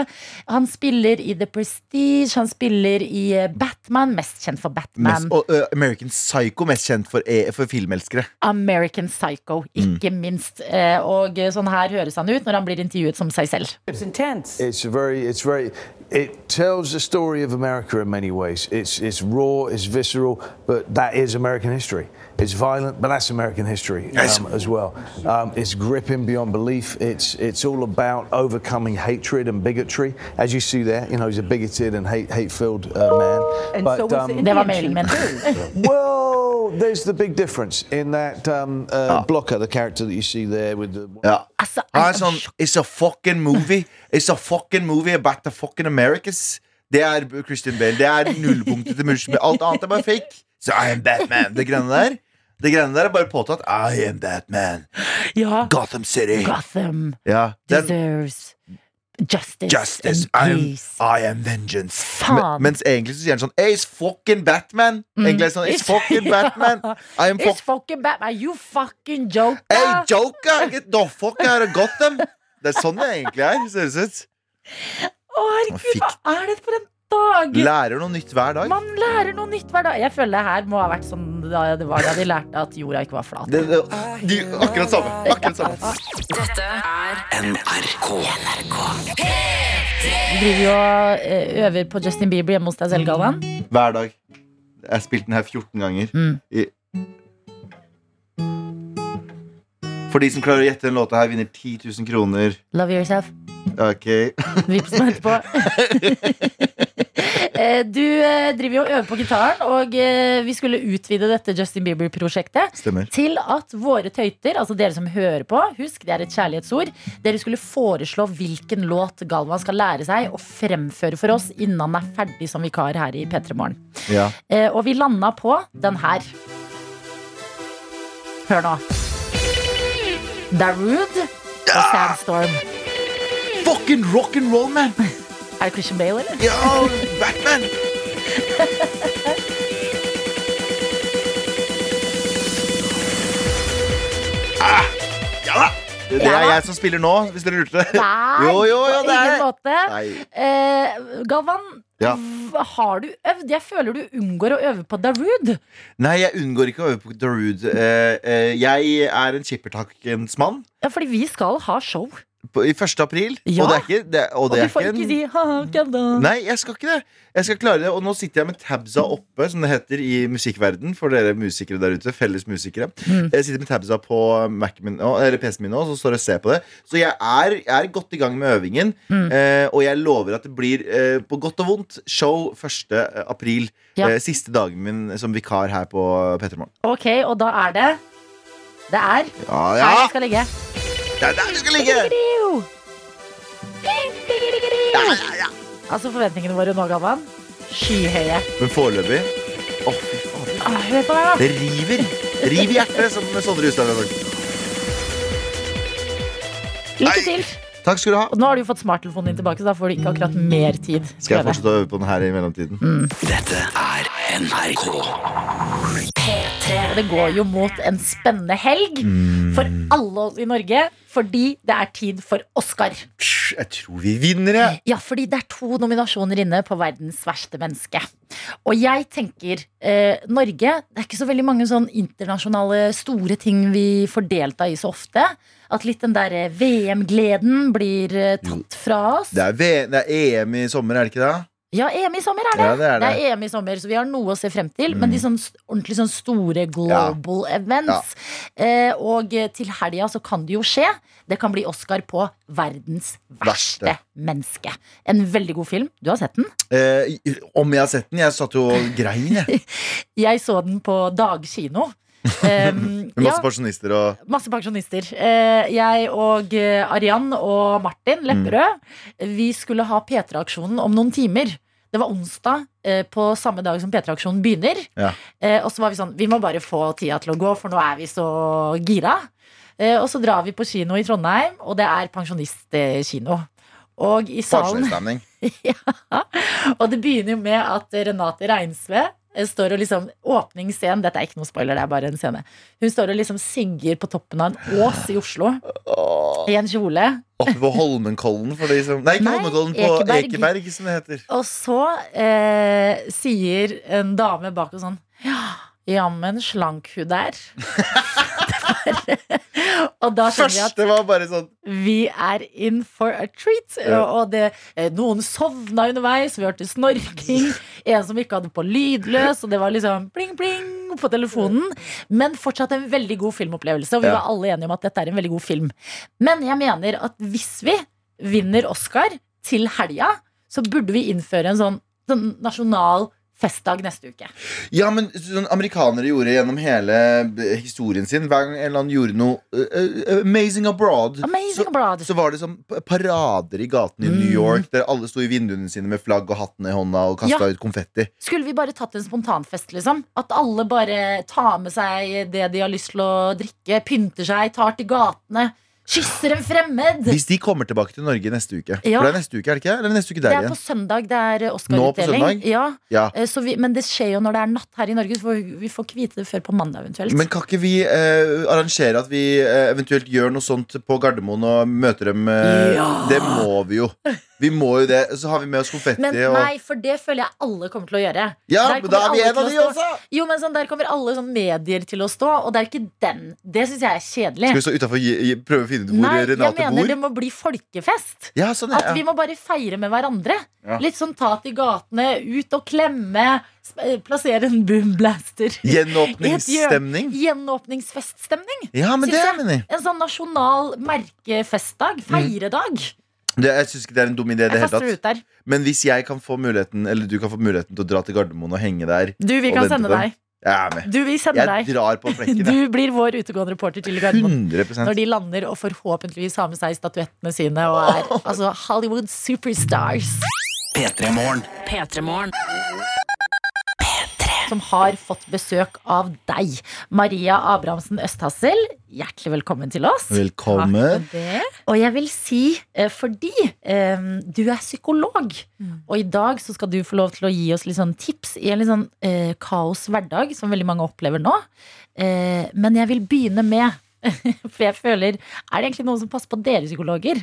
Speaker 2: Han spiller i The Prestige, han spiller i eh, Batman, mest kjent for Batman.
Speaker 3: Mest, og ø, American Psycho mest kjent for, e, for filmelskere.
Speaker 2: American Psycho, ikke
Speaker 3: Mm.
Speaker 2: minst. Eh, Og sånn her høres han ut når han blir intervjuet som seg selv.
Speaker 9: is intense.
Speaker 10: It's a very, it's very, it tells the story of America in many ways. It's it's raw, it's visceral, but that is American history. It's violent, but that's American history um, as well. Um, it's gripping beyond belief. It's it's all about overcoming hatred and bigotry, as you see there. You know, he's a bigoted and hate hate-filled uh, man.
Speaker 9: And
Speaker 10: but,
Speaker 9: so was the
Speaker 10: um,
Speaker 2: Det var
Speaker 9: Indian
Speaker 2: mailen min.
Speaker 10: well, there's the big difference in that um, uh, blocker, the character that you see there with the.
Speaker 3: Ja.
Speaker 2: Altså,
Speaker 3: Han er
Speaker 2: altså,
Speaker 3: sånn It's a fucking movie. It's a fucking movie about the fucking Americas. Det er Christian Bale. Det er nullpunktet til Christian Bale. Alt annet er bare fake. Så I am Batman. Det greiene der Det greiene der er bare påtatt. I am Batman.
Speaker 2: sånn, Ja,
Speaker 3: Gotham City.
Speaker 2: Gotham
Speaker 3: Ja, den,
Speaker 2: deserves justice,
Speaker 3: justice. I
Speaker 2: and
Speaker 3: am,
Speaker 2: peace.
Speaker 3: I am vengeance.
Speaker 2: Faen.
Speaker 3: Men, mens egentlig så sier han sånn It's fucking Batman. Egentlig er det sånn It's fucking Batman. I am
Speaker 2: Mm. It's
Speaker 3: fuck
Speaker 2: fucking Batman. Are you fucking joking?
Speaker 3: Hey, Joker! Get the fuck out of Gotham! Det er sånn det egentlig er. Ser det ut.
Speaker 2: Å, herregud, hva er det for en dag?
Speaker 3: Lærer noe nytt hver dag.
Speaker 2: Man lærer noe nytt hver dag. Jeg føler det her må ha vært sånn da det var da de lærte at jorda ikke var flat.
Speaker 3: Det, det, de, akkurat samme. Akkurat samme.
Speaker 2: Du driver jo og eh, øver på Justin Bieber hjemme hos deg selv, Galvan.
Speaker 3: Hver dag. Jeg har spilt den her 14 ganger.
Speaker 2: Mm.
Speaker 3: I for de som klarer å gjette den låta her, vinner 10 000 kroner.
Speaker 2: Love yourself.
Speaker 3: Ok
Speaker 2: Vips meg etterpå. Eh, du eh, driver jo og øver på gitaren, og eh, vi skulle utvide dette Justin Bieber-prosjektet
Speaker 3: Stemmer.
Speaker 2: til at våre tøyter, altså dere som hører på, husk det er et kjærlighetsord, dere skulle foreslå hvilken låt Galvan skal lære seg å fremføre for oss innen han er ferdig som vikar her i P3 Morgen.
Speaker 3: Ja.
Speaker 2: Eh, og vi landa på den her. Hør nå. Darude og Sandstorm.
Speaker 3: Ah! Fucking rock and roll, man!
Speaker 2: Er det Christian Bale, eller?
Speaker 3: Ja, Batman! Ah, ja da! Det, det er jeg som spiller nå, hvis dere lurte.
Speaker 2: Nei,
Speaker 3: Jo, jo, jo,
Speaker 2: på
Speaker 3: det er
Speaker 2: ingen måte.
Speaker 3: Nei.
Speaker 2: Eh, Galvan,
Speaker 3: Ja.
Speaker 2: hva har du øvd? Jeg føler du unngår å øve på Darude.
Speaker 3: Nei, jeg unngår ikke å øve på Darude. Eh, eh, jeg er en skippertakens mann
Speaker 2: Ja, fordi vi skal ha show.
Speaker 3: på, i 1. april.
Speaker 2: Ja.
Speaker 3: Og det er ikke det, og
Speaker 2: Og
Speaker 3: det
Speaker 2: du
Speaker 3: er
Speaker 2: får
Speaker 3: en-
Speaker 2: ikke si ha-ha, kødda.
Speaker 3: Nei, jeg skal ikke det. Jeg skal klare det, Og nå sitter jeg med tabsa oppe, som det heter i musikkverden for dere musikere der ute. Felles musikere.
Speaker 2: Mm.
Speaker 3: Jeg sitter med tabsa på Mac-en min, nå, eller PC-en min nå, og så står jeg og ser på det. Så jeg er, jeg er godt i gang med øvingen,
Speaker 2: Mm.
Speaker 3: eh, og jeg lover at det blir, eh, på godt og vondt, show 1. april.
Speaker 2: Ja.
Speaker 3: Eh, siste dagen min som vikar her på P3 Morgen.
Speaker 2: Ok, og da er det Det er
Speaker 3: Ja, ja!
Speaker 2: her vi skal ligge.
Speaker 3: Det er der du skal ligge!
Speaker 2: Altså forventningene våre nå, Galvan. Skyhøye.
Speaker 3: Men foreløpig Å, fy faen.
Speaker 2: Ah, hør på deg, da.
Speaker 3: Det river. Riv i hjertet, som Sondre Hustad har sagt.
Speaker 2: Lykke til.
Speaker 3: Takk skal du ha.
Speaker 2: Og nå har du jo fått smarttelefonen din tilbake, så da får du ikke akkurat mer tid.
Speaker 3: Skal jeg
Speaker 2: prøve.
Speaker 3: fortsette å øve på den her i mellomtiden?
Speaker 2: Mm. Og det går jo mot en spennende helg
Speaker 3: Mm.
Speaker 2: for alle oss i Norge, fordi det er tid for Oscar.
Speaker 3: Psh, Jeg tror vi vinner, jeg.
Speaker 2: Ja, fordi det er to nominasjoner inne på verdens verste menneske. Og jeg tenker eh, Norge Det er ikke så veldig mange sånn internasjonale store ting vi får delta i så ofte. At litt den der eh, VM-gleden blir eh, tatt fra oss.
Speaker 3: Det er, v det er EM i sommer, er det ikke det?
Speaker 2: Ja, EM i sommer er det.
Speaker 3: Ja, det er det. Mm.
Speaker 2: EM i sommer, så vi har noe å se frem til. Men de sånn s- ordentlig sånn store global events. Eh, og eh, til helga så kan det jo skje. Det kan bli Oscar på verdens E- verste,
Speaker 3: Verste.
Speaker 2: menneske. En veldig god film. Du har sett den?
Speaker 3: Eh, om jeg har sett den? Jeg satt jo og grein, jeg.
Speaker 2: Jeg så den på dagkino. Um,
Speaker 3: Med masse
Speaker 2: ja.
Speaker 3: pensjonister og
Speaker 2: Masse pensjonister. Eh, jeg og eh, Arian og Martin Lepperød
Speaker 3: Mm.
Speaker 2: Vi skulle ha P3-aksjonen om noen timer. Det var onsdag eh, på samme dag som P3-aksjonen begynner.
Speaker 3: Ja.
Speaker 2: Eh, og så var vi sånn Vi må bare få tida til å gå, for nå er vi så gira. Eh, og så drar vi på kino i Trondheim, og det er pensjonistkino. Og i salen
Speaker 3: pensjoniststemning.
Speaker 2: og det begynner jo med at Renate Reinsve eh, står og liksom Åpningsscenen, dette er ikke noe spoiler, det er bare en scene. Hun står og liksom synger på toppen av en ås i Oslo. I en kjole.
Speaker 3: Oppe på Holmenkollen, for de som Nei, ikke
Speaker 2: Nei,
Speaker 3: Holmenkollen, på
Speaker 2: Ekeberg.
Speaker 3: Ekeberg. som det heter.
Speaker 2: Og så eh, sier en dame bak og sånn Ja, jammen slank hun der. Det var- og da skjønner vi at
Speaker 3: Første var bare sånn
Speaker 2: vi er in for a treat.
Speaker 3: Ja.
Speaker 2: Og det, eh, noen sovna underveis, vi hørte snorking. En som ikke hadde på lydløs, og det var liksom pling, pling på telefonen. Men fortsatt en veldig god filmopplevelse, og vi
Speaker 3: Ja.
Speaker 2: var alle enige om at dette er en veldig god film. Men jeg mener at hvis vi vinner Oscar til helga, så burde vi innføre en sånn, sånn nasjonal festdag neste uke.
Speaker 3: Ja, men sånn amerikanere gjorde gjennom hele eh, historien sin Hver gang en eller annen gjorde noe eh, eh, Amazing abroad
Speaker 2: Amazing Mm.
Speaker 3: så,
Speaker 2: Abroad.
Speaker 3: så var det som p- parader i gatene i New York Der alle sto i vinduene sine med flagg og hattene i hånda Og kastet
Speaker 2: Ja.
Speaker 3: ut konfetti
Speaker 2: Skulle vi bare tatt en spontanfest, liksom? At alle bare tar med seg det de har lyst til å drikke, pynter seg, tar til gatene, kysser en fremmed.
Speaker 3: Hvis de kommer tilbake til Norge neste uke
Speaker 2: Ja.
Speaker 3: For det er neste uke, er det ikke? Eller neste
Speaker 2: Det
Speaker 3: uke der
Speaker 2: er på
Speaker 3: igjen?
Speaker 2: søndag, det er
Speaker 3: Nå på
Speaker 2: Oscar-utdeling.
Speaker 3: søndag?
Speaker 2: Ja,
Speaker 3: Ja.
Speaker 2: eh, så vi, men det skjer jo når det er natt her i Norge, så får vi- vi får ikke vite det før på mandag eventuelt.
Speaker 3: Men kan ikke vi eh, arrangere at vi eh, eventuelt gjør noe sånt på Gardermoen Og møter dem? eh, Det må vi jo Vi må jo det Så har vi med oss konfetti
Speaker 2: Men
Speaker 3: og...
Speaker 2: nei, for det føler jeg alle kommer til å gjøre.
Speaker 3: Ja,
Speaker 2: Der
Speaker 3: men
Speaker 2: kommer
Speaker 3: da er vi
Speaker 2: alle
Speaker 3: en av
Speaker 2: til å
Speaker 3: de
Speaker 2: stå- Jo, men sånn, Der kommer alle sånn medier til å stå, og det er jo ikke den. Det syns jeg er kjedelig.
Speaker 3: Skal vi stå utenfor gi- gi- prøve å finne ut hvor
Speaker 2: Nei,
Speaker 3: Renate
Speaker 2: jeg mener
Speaker 3: bor?
Speaker 2: det må bli folkefest.
Speaker 3: Ja, sånn
Speaker 2: At
Speaker 3: er,
Speaker 2: vi
Speaker 3: ja.
Speaker 2: må bare feire med hverandre.
Speaker 3: Ja.
Speaker 2: Litt sånn ta til gatene, ut og klemme. sp- eh, Plassere en boomblaster. i et hjørne.
Speaker 3: Gjenåpningsstemning.
Speaker 2: Gjenåpningsfeststemning.
Speaker 3: Ja, men
Speaker 2: Synes
Speaker 3: det
Speaker 2: jeg.
Speaker 3: mener jeg.
Speaker 2: En sånn nasjonal merkefestdag. Feiredag.
Speaker 3: Mm. Det, jeg syns ikke det er en dum idé. i Det
Speaker 2: Jeg
Speaker 3: hele
Speaker 2: kaster det ut
Speaker 3: tatt
Speaker 2: der.
Speaker 3: Men hvis jeg kan få muligheten Eller du kan få muligheten til å dra til Gardermoen og henge der
Speaker 2: Du, vi
Speaker 3: og
Speaker 2: kan
Speaker 3: vente
Speaker 2: sende
Speaker 3: på dem,
Speaker 2: deg.
Speaker 3: Jeg er med.
Speaker 2: Du, vi sender
Speaker 3: Jeg
Speaker 2: deg.
Speaker 3: drar på flekken. jeg.
Speaker 2: Du blir vår utegående reporter til Gardermoen.
Speaker 3: 100
Speaker 2: Når de lander og forhåpentligvis har med seg statuettene sine og er altså, Hollywood superstars. som har fått besøk av deg. Maria Abrahamsen Østhassel, hjertelig velkommen til oss.
Speaker 3: Velkommen.
Speaker 2: Og jeg vil si, eh, fordi eh, du er psykolog, og i dag så skal du få lov til å gi oss litt sånn tips i en litt sånn eh, kaos hverdag, som veldig mange opplever nå. Eh, men jeg vil begynne med For jeg føler Er det egentlig noen som passer på dere psykologer?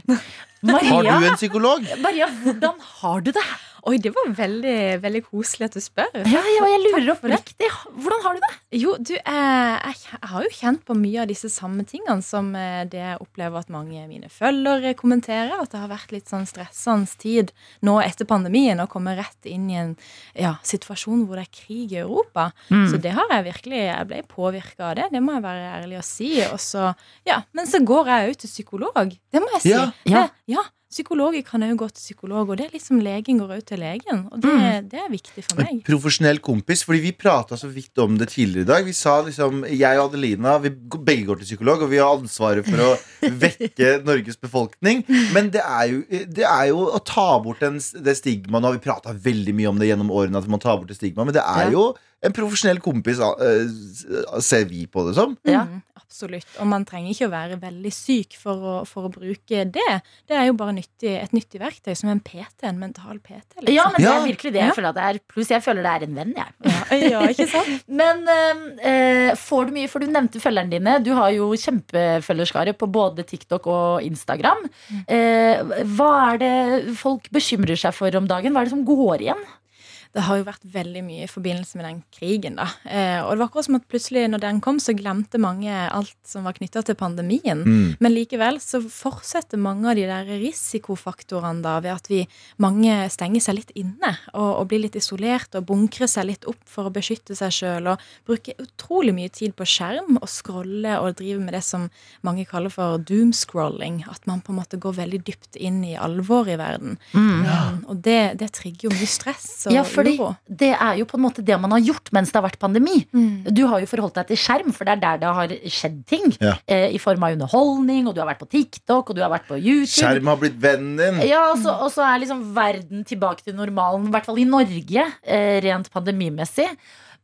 Speaker 3: Har
Speaker 2: Maria,
Speaker 3: du en psykolog?
Speaker 2: Maria hvordan har du det?
Speaker 11: Oi, det var veldig, veldig koselig at du spør.
Speaker 2: Ja, ja, jeg lurer
Speaker 11: for det.
Speaker 2: oppriktig. Hvordan har du det?
Speaker 11: Jo, du, eh, jeg, jeg har jo kjent på mye av disse samme tingene som eh, det jeg opplever at mange av mine følgere kommenterer. At det har vært litt sånn stressende tid nå etter pandemien å komme rett inn i en ja, situasjon hvor det er krig i Europa.
Speaker 2: Mm.
Speaker 11: Så det har jeg virkelig Jeg ble påvirka av det, det må jeg være ærlig og si. Og så, ja, men så går jeg òg til psykolog. Det må jeg si.
Speaker 3: Ja.
Speaker 2: Ja.
Speaker 11: Det, ja. Psykologer kan òg gå til psykolog, og det er litt som legen går òg til legen. Og det,
Speaker 2: Mm.
Speaker 11: det er viktig for meg.
Speaker 3: En profesjonell kompis. Fordi vi prata så vidt om det tidligere i dag. Vi sa liksom, Jeg og Adelina vi g- begge går til psykolog, og vi har ansvaret for å vekke Norges befolkning. Men det er jo, det er jo å ta bort den, s- det stigmaet. Nå har vi prata veldig mye om det gjennom årene, at man tar bort det stigmaet, men det
Speaker 2: Ja.
Speaker 3: er jo en profesjonell kompis, ah, eh, s- ser vi på det som.
Speaker 2: Ja.
Speaker 11: Mm, absolutt. Og man trenger ikke å være veldig syk for å, for å bruke det. Det er jo bare nyttig, et nyttig verktøy, som en PT, en mental PT. Liksom.
Speaker 2: Ja, men det
Speaker 3: Ja.
Speaker 2: er virkelig det jeg
Speaker 11: Ja.
Speaker 2: føler at det er. Pluss jeg føler det er en venn, jeg.
Speaker 11: ja, ikke sant?
Speaker 2: Men eh, eh, får du mye, for du nevnte følgerne dine. Du har jo kjempefølgerskare på både TikTok og Instagram. Eh, hva er det folk bekymrer seg for om dagen? Hva er det som går igjen?
Speaker 11: det har jo vært veldig mye i forbindelse med den krigen. da. Eh, og det var akkurat som at plutselig når den kom, så glemte mange alt som var knytta til pandemien.
Speaker 12: Mm.
Speaker 11: Men likevel så fortsetter mange av de der risikofaktorene da, ved at vi mange stenger seg litt inne og, og blir litt isolert og bunkrer seg litt opp for å beskytte seg sjøl og bruker utrolig mye tid på skjerm og scroller og driver med det som mange kaller for doomscrolling. At man på en måte går veldig dypt inn i alvoret i verden.
Speaker 2: Mm.
Speaker 11: Um, Og det, det trigger jo mye stress og
Speaker 2: ja, fordi
Speaker 11: uro.
Speaker 2: det er jo på en måte det man har gjort mens det har vært pandemi. Du har jo forholdt deg til skjerm, for det er der det har skjedd ting.
Speaker 3: Ja.
Speaker 2: Eh, I form av underholdning, og du har vært på TikTok, og du har vært på YouTube.
Speaker 3: Skjerm har blitt vennen din.
Speaker 2: Ja, og så, og så er liksom verden tilbake til normalen, i hvert fall i Norge, eh, rent pandemimessig.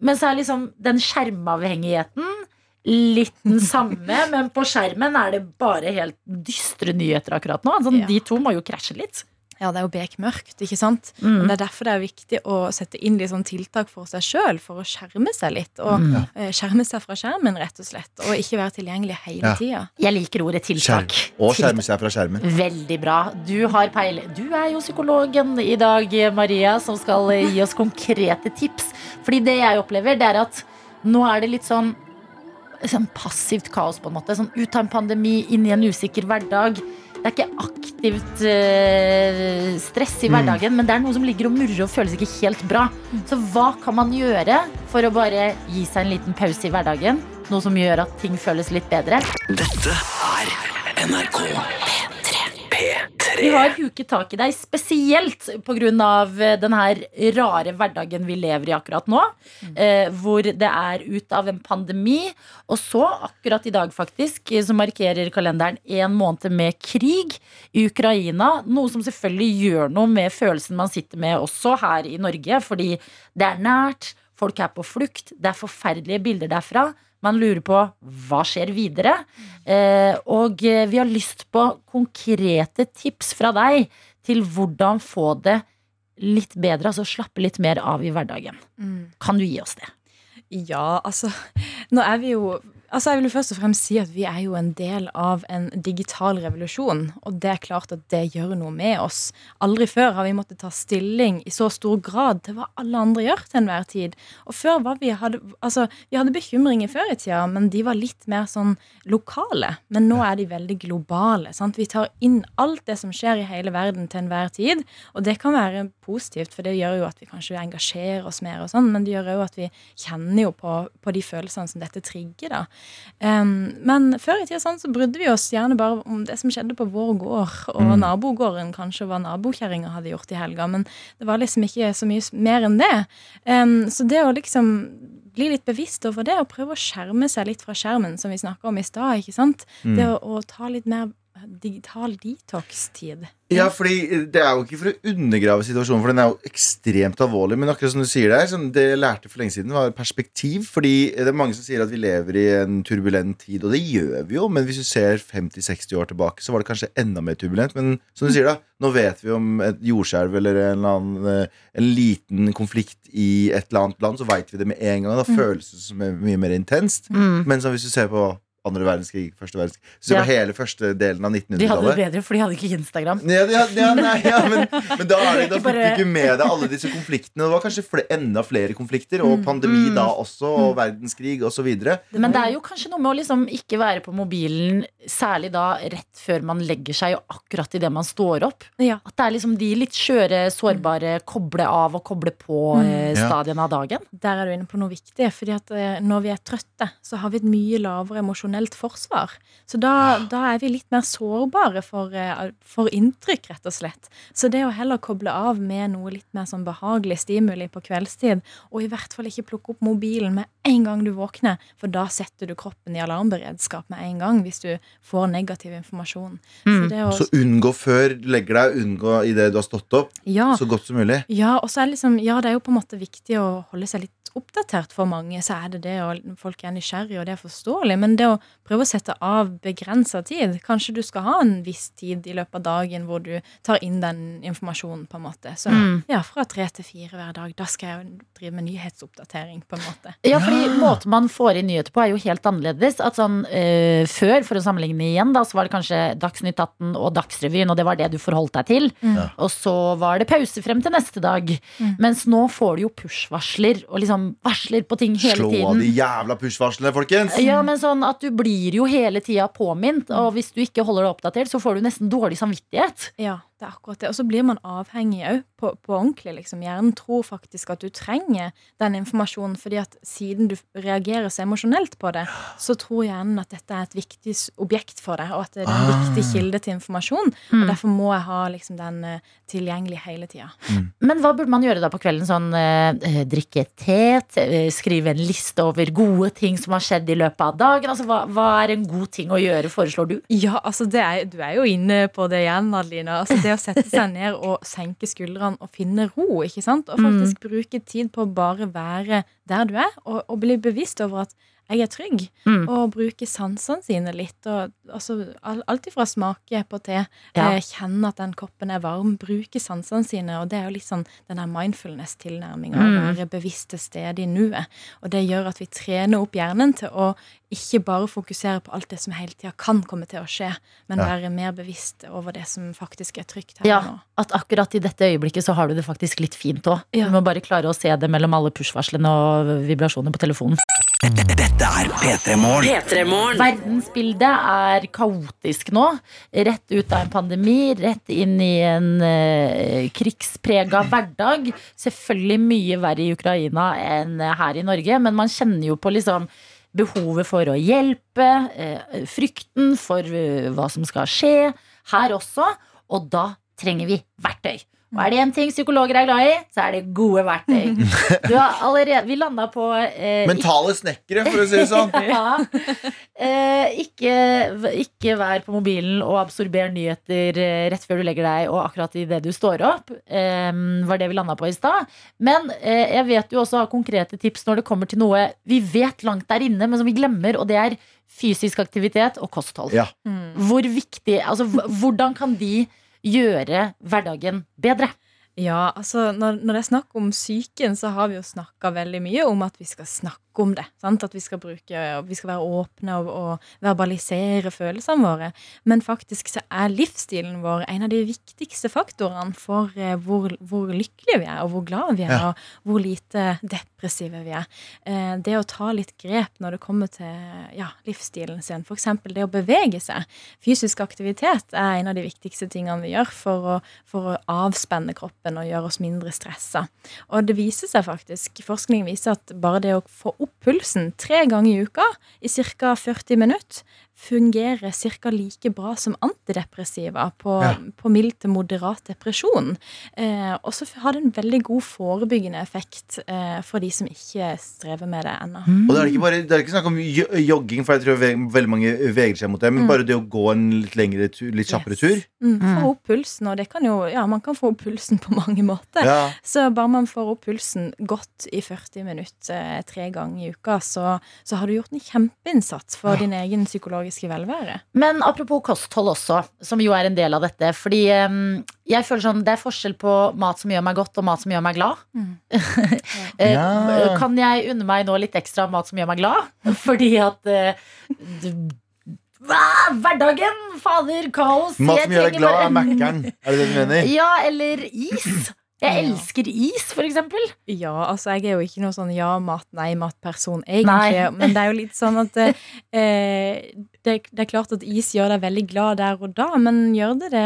Speaker 2: Men så er liksom den skjermavhengigheten litt den samme, men på skjermen er det bare helt dystre nyheter akkurat nå. Sånn,
Speaker 11: Ja.
Speaker 2: De to må jo krasje litt.
Speaker 11: Ja, det er jo bekmørkt, ikke sant?
Speaker 2: Mm.
Speaker 11: Men det er derfor det er viktig å sette inn litt sånn tiltak for seg sjøl, for å skjerme seg litt. Og
Speaker 2: Mm. Ja.
Speaker 11: eh, skjerme seg fra skjermen, rett og slett. Og ikke være tilgjengelig hele
Speaker 3: Ja.
Speaker 11: tida.
Speaker 2: Jeg liker ordet tiltak.
Speaker 3: Og skjerme seg fra skjermen.
Speaker 2: Veldig bra. Du har peil. Du er jo psykologen i dag, Maria, som skal eh, gi oss konkrete tips. Fordi det jeg opplever, det er at nå er det litt sånn, sånn passivt kaos, på en måte. Sånn ut av en pandemi, inn i en usikker hverdag. Det er ikke aktivt eh, stress i
Speaker 12: Mm.
Speaker 2: hverdagen, men det er noe som ligger og murrer og føles ikke helt bra. Så hva kan man gjøre for å bare gi seg en liten pause i hverdagen? Noe som gjør at ting føles litt bedre?
Speaker 13: Dette er NRK P3.
Speaker 2: Vi har huket tak i deg spesielt pga. eh, den her rare hverdagen vi lever i akkurat nå. Eh, hvor det er ut av en pandemi. Og så, akkurat i dag faktisk, eh, så markerer kalenderen én måned med krig i Ukraina. Noe som selvfølgelig gjør noe med følelsen man sitter med også her i Norge. Fordi det er nært, folk er på flukt, det er forferdelige bilder derfra. Man lurer på hva skjer videre. Eh, og eh, vi har lyst på konkrete tips fra deg til hvordan få det litt bedre, altså slappe litt mer av i hverdagen. Kan du gi oss det?
Speaker 11: Ja, altså Nå er vi jo Altså Jeg vil jo først og fremst si at vi er jo en del av en digital revolusjon. Og det er klart at det gjør noe med oss. Aldri før har vi måttet ta stilling i så stor grad til hva alle andre gjør til enhver tid. Og før var vi hadde, altså, vi hadde bekymringer før i tida, men de var litt mer sånn lokale. Men nå er de veldig globale. Sant? Vi tar inn alt det som skjer i hele verden til enhver tid. Og det kan være positivt, for det gjør jo at vi kanskje engasjerer oss mer, og sånn, men det gjør òg at vi kjenner jo på, på de følelsene som dette trigger. da. Em, men før i tida sånn, så brydde vi oss gjerne bare om det som skjedde på vår gård, og
Speaker 12: Mm.
Speaker 11: nabogården kanskje, og hva nabokjerringa hadde gjort i helga. Men det var liksom ikke så mye s- mer enn det. Em, så det å liksom bli litt bevisst over det, og prøve å skjerme seg litt fra skjermen, som vi snakka om i stad, ikke sant?
Speaker 3: Mm.
Speaker 11: Det å, å ta litt mer digital detox-tid.
Speaker 3: Ja, fordi eh, Det er jo ikke for å undergrave situasjonen, for den er jo ekstremt alvorlig. Men akkurat som du sier der, sånn, det jeg lærte for lenge siden, var perspektiv. Fordi eh, det er mange som sier at vi lever i en turbulent tid, og det gjør vi jo. Men hvis du ser 50-60 år tilbake, så var det kanskje enda mer turbulent. Men som du sier, da, nå vet vi om et jordskjelv eller en, eller annen, eh, en liten konflikt i et eller annet land, så veit vi det med en gang. Da
Speaker 12: Mm.
Speaker 3: føles det som er mye mer intenst.
Speaker 2: Mm.
Speaker 3: Men så hvis du ser på andre verdenskrig, første verdenskrig, så ser du
Speaker 2: Ja.
Speaker 3: på hele første delen av 1900-tallet
Speaker 2: De hadde det bedre, for de hadde ikke Instagram.
Speaker 3: ja, ja, ja, nei, ja, men, men da, er det, da
Speaker 2: Ikke
Speaker 3: fikk du
Speaker 2: bare-
Speaker 3: ikke med deg alle disse konfliktene. Det var kanskje fle enda flere konflikter, og
Speaker 2: Mm.
Speaker 3: pandemi
Speaker 2: Mm.
Speaker 3: da også, og verdenskrig osv.
Speaker 2: Men det er jo kanskje noe med å liksom ikke være på mobilen, særlig da rett før man legger seg, og akkurat idet man står opp. At det er liksom de litt skjøre, sårbare koble av og koble
Speaker 11: Mm. Ja.
Speaker 2: på-stadiene av dagen.
Speaker 11: Der er du inne på noe viktig. fordi at eh, når vi er trøtte, så har vi et mye lavere emosjonelt forsvar. Så
Speaker 3: Ah.
Speaker 11: da, da er vi litt mer sårbare for, eh, for inntrykk, rett og slett. Så det å heller koble av med noe litt mer sånn behagelig stimuli på kveldstid, og i hvert fall ikke plukke opp mobilen med en gang du våkner, for da setter du kroppen i alarmberedskap med en gang hvis du får negativ informasjon. Så det å
Speaker 3: Mm. Så unngå før du legger deg, unngå idet du har stått opp,
Speaker 2: Ah.
Speaker 11: Ja.
Speaker 3: så godt som mulig.
Speaker 11: Ja, og så er det liksom, ja, det er jo på en måte viktig å holde seg litt oppdatert for mange. Så er det det, og folk er nysgjerrige, og det er forståelig. Men det å prøve å sette av begrensa tid. Kanskje du skal ha en viss tid i løpet av dagen hvor du tar inn den informasjonen, på en måte. Så
Speaker 2: Mm.
Speaker 11: ja, fra tre til fire hver dag. Da skal jeg jo drive med nyhetsoppdatering, på en måte.
Speaker 2: Ja, fordi måten man får inn nyheter på er jo helt annerledes. At sånn, eh, før, for å sammenligne igjen, da, så var det kanskje Dagsnytt 18 og Dagsrevyen, og det var det du forholdt deg til.
Speaker 11: Mm. Ja.
Speaker 2: Og så var det pause frem til neste dag.
Speaker 11: Mm.
Speaker 2: Mens nå får du jo push-varsler, og liksom varsler på ting hele
Speaker 3: Slå
Speaker 2: tiden.
Speaker 3: av de jævla push-varslene, folkens!
Speaker 2: Ja, men sånn at du blir jo hele tida påminnet, og hvis du ikke holder deg oppdatert, så får du nesten dårlig samvittighet.
Speaker 11: Ja, det er akkurat det. Og så blir man avhengig òg, på, på ordentlig. liksom. Hjernen tror faktisk at du trenger den informasjonen, fordi at siden du reagerer så emosjonelt på det, så tror hjernen at dette er et viktig s- objekt for deg, og at det er en
Speaker 2: Ah.
Speaker 11: viktig kilde til informasjon.
Speaker 2: Mm.
Speaker 11: Og derfor må jeg ha liksom, den eh, tilgjengelig hele tida.
Speaker 2: Men hva burde man gjøre da på kvelden? Sånn eh, drikke te, te, eh, skrive en liste over gode ting som har skjedd i løpet av dagen? Altså, hva, hva er en god ting å gjøre, foreslår du?
Speaker 11: Ja, altså det er, du er jo inne på det igjen, Adelina. Altså det å sette seg ned og senke skuldrene og finne ro. ikke sant?
Speaker 2: Mm.
Speaker 11: Og faktisk bruke tid på å bare være der du er, og, og bli bevisst over at jeg er trygg.
Speaker 2: Mm.
Speaker 11: Og bruke sansene sine litt. Og, altså, al- alt ifra smake på te,
Speaker 2: Ja.
Speaker 11: eh, kjenne at den koppen er varm, bruke sansene sine. Og det er jo litt sånn den der mindfulness-tilnærminga.
Speaker 2: Mm.
Speaker 11: Være bevisst til stede i nuet. Og det gjør at vi trener opp hjernen til å ikke bare fokusere på alt det som hele tida kan komme til å skje, men
Speaker 2: Ja.
Speaker 11: være mer bevisst over det som faktisk er trygt her
Speaker 2: Ja,
Speaker 11: og nå.
Speaker 2: At akkurat i dette øyeblikket så har du det faktisk litt fint òg.
Speaker 11: Ja.
Speaker 2: Du må bare klare å se det mellom alle push-varslene og vibrasjoner på telefonen.
Speaker 13: Dette er P3 Morgen.
Speaker 2: Verdensbildet er kaotisk nå. Rett ut av en pandemi, rett inn i en eh, krigsprega hverdag. Selvfølgelig mye verre i Ukraina enn her i Norge, men man kjenner jo på liksom behovet for å hjelpe, eh, frykten for eh, hva som skal skje her også, og da trenger vi verktøy. Og er det én ting psykologer er glad i, så er det gode verktøy. Du har allerede, vi landa på eh,
Speaker 3: Mentale snekkere, for å si det sånn.
Speaker 2: ja. eh, ikke, ikke vær på mobilen og absorber nyheter eh, rett før du legger deg og akkurat i det du står opp, eh, var det vi landa på i stad. Men eh, jeg vet jo også har konkrete tips når det kommer til noe vi vet langt der inne, men som vi glemmer, og det er fysisk aktivitet og kosthold.
Speaker 3: Ja.
Speaker 2: Hvor viktig, altså hv- Hvordan kan de gjøre hverdagen bedre?
Speaker 11: Ja, altså når, når det er snakk om psyken, så har vi jo snakka veldig mye om at vi skal snakke om det. Sant? At vi skal, bruke, vi skal være åpne og, og verbalisere følelsene våre. Men faktisk så er livsstilen vår en av de viktigste faktorene for eh, hvor, hvor lykkelige vi er, og hvor glade vi er,
Speaker 2: Ja.
Speaker 11: og hvor lite depressive vi er. Eh, det å ta litt grep når det kommer til ja, livsstilen sin, f.eks. det å bevege seg. Fysisk aktivitet er en av de viktigste tingene vi gjør for å, for å avspenne kroppen og gjøre oss mindre stressa. Og det viser seg faktisk, forskning viser at bare det å få opp pulsen tre ganger i uka i ca. 40 minutter fungerer ca. like bra som antidepressiva på,
Speaker 2: Ja.
Speaker 11: på mild til moderat depresjon. Eh, og så har det en veldig god forebyggende effekt eh, for de som ikke strever med det ennå.
Speaker 3: Og det er
Speaker 2: Mm.
Speaker 3: ikke, bare, det er ikke snakk om jo- jogging, for jeg tror ve veldig mange vegrer seg mot det. Men
Speaker 11: Mm.
Speaker 3: bare det å gå en litt lengre tur, litt kjappere tur.
Speaker 11: Mm, få opp pulsen, og det kan jo, ja, man kan få opp pulsen på mange måter.
Speaker 3: Ja.
Speaker 11: Så bare man får opp pulsen godt i 40 minutter eh, tre ganger i uka, så, så har du gjort en kjempeinnsats for din egen psykologiske velvære.
Speaker 2: Men apropos kosthold også, som jo er en del av dette. Fordi em, jeg føler sånn, det er forskjell på mat som gjør meg godt, og mat som gjør meg glad. Eh,
Speaker 12: Ja.
Speaker 2: Kan jeg unne meg nå litt ekstra mat som gjør meg glad? Fordi at eh, d- Hva? Hverdagen! Fader, kaos.
Speaker 3: Mat
Speaker 2: Jeg
Speaker 3: som gjør deg
Speaker 2: trenger
Speaker 3: glad,
Speaker 2: bare-
Speaker 3: er Mækkern. Er det det du mener?
Speaker 2: Ja, eller is. Jeg elsker is, for eksempel.
Speaker 11: Ja, altså jeg er jo ikke noe sånn ja-mat, nei-mat-person, egentlig.
Speaker 2: Nei.
Speaker 11: Men det er jo litt sånn at eh, eh, det, det er klart at is gjør deg veldig glad der og da, men gjør det det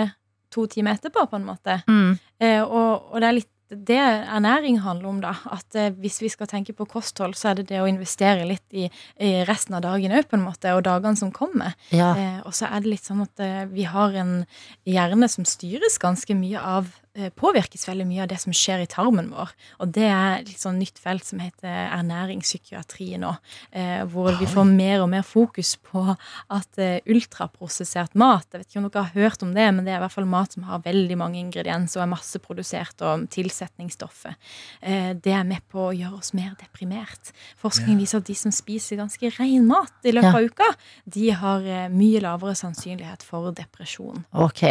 Speaker 11: to timer etterpå, på en måte?
Speaker 2: Mm.
Speaker 11: Eh, og, og det er litt det ernæring handler om, da. At eh, hvis vi skal tenke på kosthold, så er det det å investere litt i, i resten av dagen òg, på en måte, og dagene som kommer.
Speaker 2: Ja.
Speaker 11: Eh, og så er det litt sånn at eh, vi har en hjerne som styres ganske mye av eh, eh, påvirkes veldig mye av det som skjer i tarmen vår. Og det er et litt sånn nytt felt som heter ernæringspsykiatri nå. eh, Hvor vi får mer og mer fokus på at eh, ultraprosessert mat Jeg vet ikke om dere har hørt om det, men det er i hvert fall mat som har veldig mange ingredienser og er masseprodusert og tilsetningsstoffer. Eh, Det er med på å gjøre oss mer deprimert. Forskning viser at de som spiser ganske ren mat i løpet
Speaker 2: Ja.
Speaker 11: av uka, de har eh, mye lavere sannsynlighet for depresjon.
Speaker 2: Ok.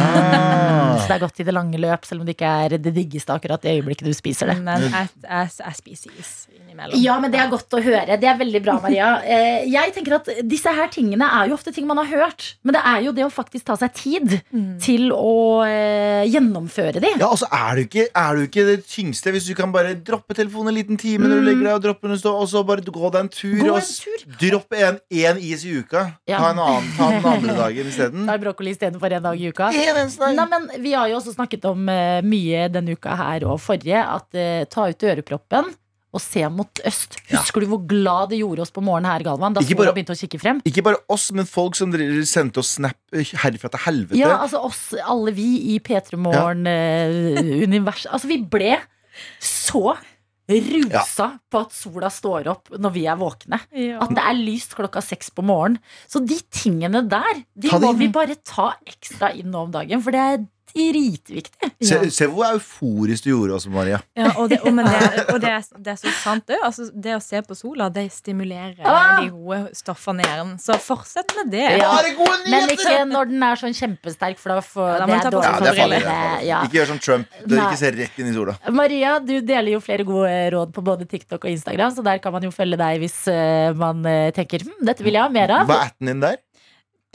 Speaker 3: Ja.
Speaker 2: Så det er godt i det lange løp, selv om det ikke er det diggeste akkurat i øyeblikket du spiser det.
Speaker 11: Men eh,
Speaker 3: Mm.
Speaker 11: jeg, jeg, jeg spiser is innimellom.
Speaker 2: Ja, men det er godt å høre. Det er veldig bra, Maria. Eh, Jeg tenker at disse her tingene er jo ofte ting man har hørt, men det er jo det å faktisk ta seg tid til å eh, gjennomføre de.
Speaker 3: Ja, og så er du ikke, er du ikke det tyngste hvis du kan bare droppe telefonen en liten time når du legger deg, og droppe den stå, og så bare gå deg en tur.
Speaker 2: Gå
Speaker 3: og
Speaker 2: en
Speaker 3: s- Dropp en- én is i uka.
Speaker 2: Ja.
Speaker 3: Ta en annen ta den andre dagen isteden.
Speaker 2: Tar brokkoli istedenfor en dag i uka.
Speaker 3: En eneste dag.
Speaker 2: Nei, men vi har jo også snakket om eh, mye denne uka her og forrige, at eh, ta ut øreproppen. Og se mot øst. Husker du hvor glad det gjorde oss på morgenen her, Galvan? Da
Speaker 3: Ikke
Speaker 2: sola
Speaker 3: bare-
Speaker 2: begynte å kikke frem?
Speaker 3: Ikke bare oss, men folk som dere sendte oss snap herfra til helvete.
Speaker 2: Ja, altså oss, alle vi i P3 Morgen-universet. Altså, vi ble så rusa på at sola står opp når vi er våkne.
Speaker 11: Ja.
Speaker 2: At det er lyst klokka seks på morgenen. Så de tingene der, de
Speaker 3: Ta det
Speaker 2: må
Speaker 3: inn.
Speaker 2: vi bare ta ekstra inn nå om dagen, for det er dritviktig.
Speaker 3: se, se hvor euforisk du gjorde oss, Maria.
Speaker 11: Ja, og det, og, men det, og det, er- det er så sant òg. Altså, det å se på sola, det stimulerer
Speaker 2: Ah!
Speaker 11: de gode stoffene i hjernen. Så fortsett med det.
Speaker 2: Ja. Men
Speaker 11: nyheter!
Speaker 2: ikke når den er sånn kjempesterk, for da får
Speaker 11: da
Speaker 2: det
Speaker 11: må man
Speaker 2: er
Speaker 11: ta på
Speaker 2: dårlig
Speaker 3: Ja,
Speaker 2: for
Speaker 3: det er farlig. det er
Speaker 2: brillene.
Speaker 3: farlig.
Speaker 2: Ja.
Speaker 3: Ikke gjør som Trump. Du
Speaker 2: Nei.
Speaker 3: ikke ser rett inn i sola.
Speaker 2: Maria, du deler jo flere gode eh, råd på både TikTok og Instagram, så der kan man jo følge deg hvis eh, man eh, tenker hm, dette vil jeg ha mer av.
Speaker 3: Hva er atten din der?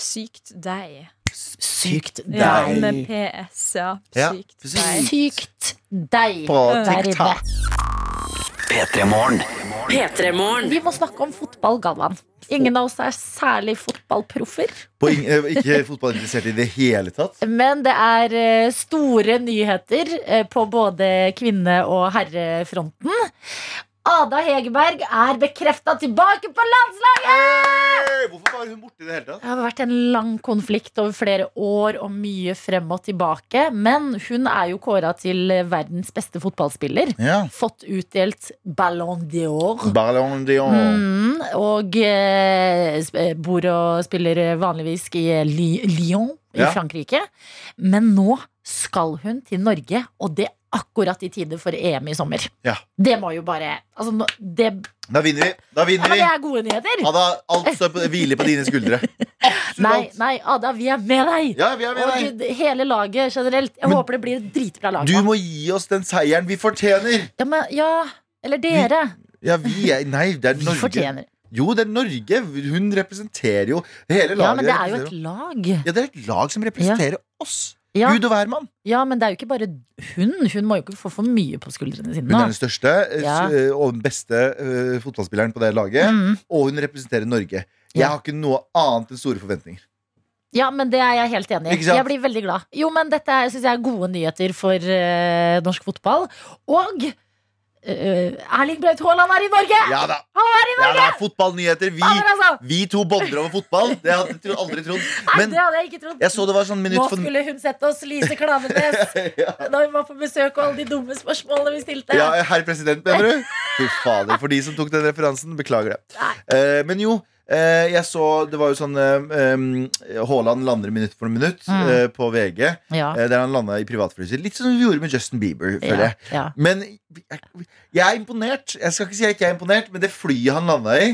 Speaker 11: Sykt deg.
Speaker 2: Sykt
Speaker 11: Ja,
Speaker 3: deg.
Speaker 11: med PS, ja.
Speaker 3: Ja.
Speaker 11: Sykt
Speaker 3: Sykt.
Speaker 11: deg.
Speaker 2: Sykt deg
Speaker 13: På
Speaker 2: der
Speaker 13: TikTok.
Speaker 2: inne.
Speaker 13: P3-morgen.
Speaker 2: Vi må snakke om fotball, Galvan. Ingen av oss er særlig fotballproffer.
Speaker 3: På ing- eh, ikke fotballinteressert i det hele tatt.
Speaker 2: Men det er eh, store nyheter eh, på både kvinne- og herrefronten. Ada Hegerberg er bekrefta tilbake på landslaget!
Speaker 3: Hey, hvorfor var hun borte i det hele tatt?
Speaker 2: Det har vært en lang konflikt over flere år og mye frem og tilbake. Men hun er jo kåra til verdens beste fotballspiller.
Speaker 3: Ja.
Speaker 2: Fått utdelt Ballon d'Or.
Speaker 3: Ballon d'Or.
Speaker 2: Mm, og eh, sp- eh, bor og spiller vanligvis i eh, Ly- Lyon i
Speaker 3: Ja.
Speaker 2: Frankrike. Men nå skal hun til Norge, og det akkurat i tide for EM i sommer.
Speaker 3: Ja.
Speaker 2: Det må jo bare altså, nå- det,
Speaker 3: Da vinner vi! Da
Speaker 2: ja,
Speaker 3: vinner
Speaker 2: men
Speaker 3: vi!
Speaker 2: det er gode nyheter!
Speaker 3: Ada, alt står på, hviler på dine skuldre.
Speaker 2: Nei, nei, Ada, vi er med deg!
Speaker 3: Ja, vi er med
Speaker 2: og
Speaker 3: deg.
Speaker 2: d- hele laget generelt. Jeg
Speaker 3: Men-
Speaker 2: håper det blir et dritbra lag.
Speaker 3: Du
Speaker 2: da.
Speaker 3: må gi oss den seieren vi fortjener!
Speaker 2: ja, men, ja, eller dere.
Speaker 3: Ja, vi er Nei, det er
Speaker 2: Vi
Speaker 3: Norge.
Speaker 2: fortjener.
Speaker 3: Jo, det er Norge. Hun representerer jo hele laget.
Speaker 2: Ja, men det er jo
Speaker 3: representerer
Speaker 2: et lag.
Speaker 3: Ja, det er et lag som representerer oss.
Speaker 2: Ja.
Speaker 3: Gud og hvermann.
Speaker 2: Ja, men det er jo ikke bare hun. Hun må jo ikke få for mye på skuldrene sine.
Speaker 3: Hun
Speaker 2: da.
Speaker 3: er den største eh,
Speaker 2: Ja.
Speaker 3: s- eh, og den beste eh, fotballspilleren på det laget.
Speaker 2: Mm.
Speaker 3: Og hun representerer Norge. Jeg har ikke noe annet enn store forventninger.
Speaker 2: Ja, men det er jeg helt enig i.
Speaker 3: Ikke sant?
Speaker 2: Jeg blir veldig glad. Jo, men dette er- synes jeg er gode nyheter for eh, norsk fotball. Og eh, Erling Braut Haaland er i Norge!
Speaker 3: Ja da!
Speaker 2: Han er i
Speaker 3: Ja, det
Speaker 2: Norge!
Speaker 3: er fotballnyheter. Vi,
Speaker 2: Fader, altså!
Speaker 3: vi to bonder over fotball. Det hadde jeg tro- aldri trodd.
Speaker 2: Nei,
Speaker 3: Men
Speaker 2: det hadde jeg ikke trodd.
Speaker 3: jeg så det var sånn
Speaker 2: Nå
Speaker 3: minutt for
Speaker 2: skulle hun sett oss, Lise Klaveness,
Speaker 3: ja.
Speaker 2: da hun var på besøk og alle de dumme spørsmålene vi stilte.
Speaker 3: ja, herr president, mener du? Fy fader, for de som tok den referansen, beklager det. Eh, men jo, eh, jeg så Det var jo sånn eh, eh, Haaland lander minutt for minutt
Speaker 2: Mm.
Speaker 3: eh, på VG.
Speaker 2: Ja.
Speaker 3: eh, der han landa i privatflyet sitt. Litt som vi gjorde med Justin Bieber, føler jeg.
Speaker 2: Ja, ja.
Speaker 3: Men jeg, jeg er imponert. Jeg skal ikke si jeg ikke er imponert, men det flyet han landa i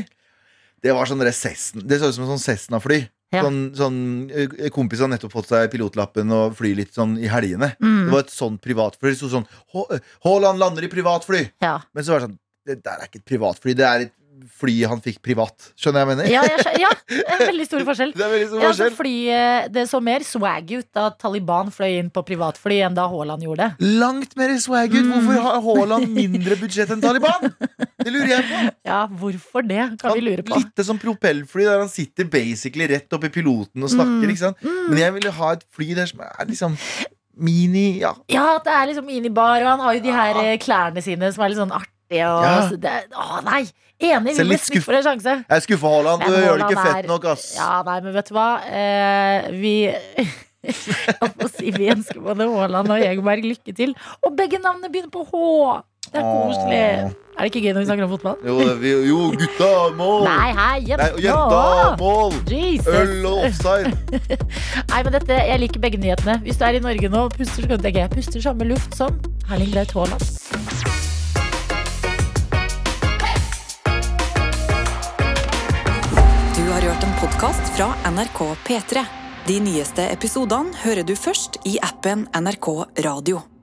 Speaker 3: det var sånn der Cessna, Det så ut som en sånn Cessna-fly.
Speaker 2: Ja.
Speaker 3: Sånn, sånn, eh, kompis har nettopp fått seg pilotlappen og flyr litt sånn i helgene.
Speaker 2: Mm.
Speaker 3: Det var et sånn privatfly. Det sto sånn «Hå- eh, Haaland lander i privatfly!
Speaker 2: Ja.
Speaker 3: Men så var det sånn Det der er ikke et privatfly. Det er et fly han fikk privat. Skjønner jeg hva jeg mener?
Speaker 2: Ja, jeg, skjø- ja, det er veldig stor forskjell.
Speaker 3: Det er veldig stor
Speaker 2: Ja, så
Speaker 3: forskjell.
Speaker 2: flyet, det så mer swag ut da Taliban fløy inn på privatfly enn da Haaland gjorde det.
Speaker 3: Langt mer swag ut.
Speaker 2: Mm.
Speaker 3: Hvorfor har Haaland mindre budsjett enn Taliban? Det lurer jeg på.
Speaker 2: Ja, hvorfor det, kan vi lure på.
Speaker 3: Litt det som propellfly, der han sitter basically rett oppi piloten og
Speaker 2: Mm.
Speaker 3: snakker. Ikke sant? Men jeg ville ha et fly der som er liksom mini Ja.
Speaker 2: Ja, at det er liksom minibar, og han har jo de her eh, klærne sine som er litt sånn artige. Og,
Speaker 3: Ja.
Speaker 2: så det, å nei! Enig,
Speaker 3: Ser
Speaker 2: vi må
Speaker 3: litt
Speaker 2: stikke
Speaker 3: skuff-
Speaker 2: for en sjanse.
Speaker 3: Jeg er skuffa, Haaland. Du
Speaker 2: Men
Speaker 3: gjør det ikke
Speaker 2: Haaland
Speaker 3: fett
Speaker 2: er-
Speaker 3: nok, ass.
Speaker 2: Ja, nei, men vet du hva? Eh, vi Og si vi ønsker både Haaland og Egeberg lykke til. Og begge navnene begynner på H! Det er koselig.
Speaker 3: Åh.
Speaker 2: Er det ikke gøy når vi snakker om fotball?
Speaker 3: Jo, det- vi, jo gutta, mål!
Speaker 2: Nei, hei, jenta!
Speaker 3: Nei, jenta, mål!
Speaker 2: Jesus.
Speaker 3: Øl og offside.
Speaker 2: Nei, men dette, Jeg liker begge nyhetene. Hvis du er i Norge nå og puster, så kan du tenke jeg puster samme luft som Erling Braut Haaland.
Speaker 1: Du har hørt en podkast fra NRK P3. De nyeste episodene hører du først i appen NRK Radio.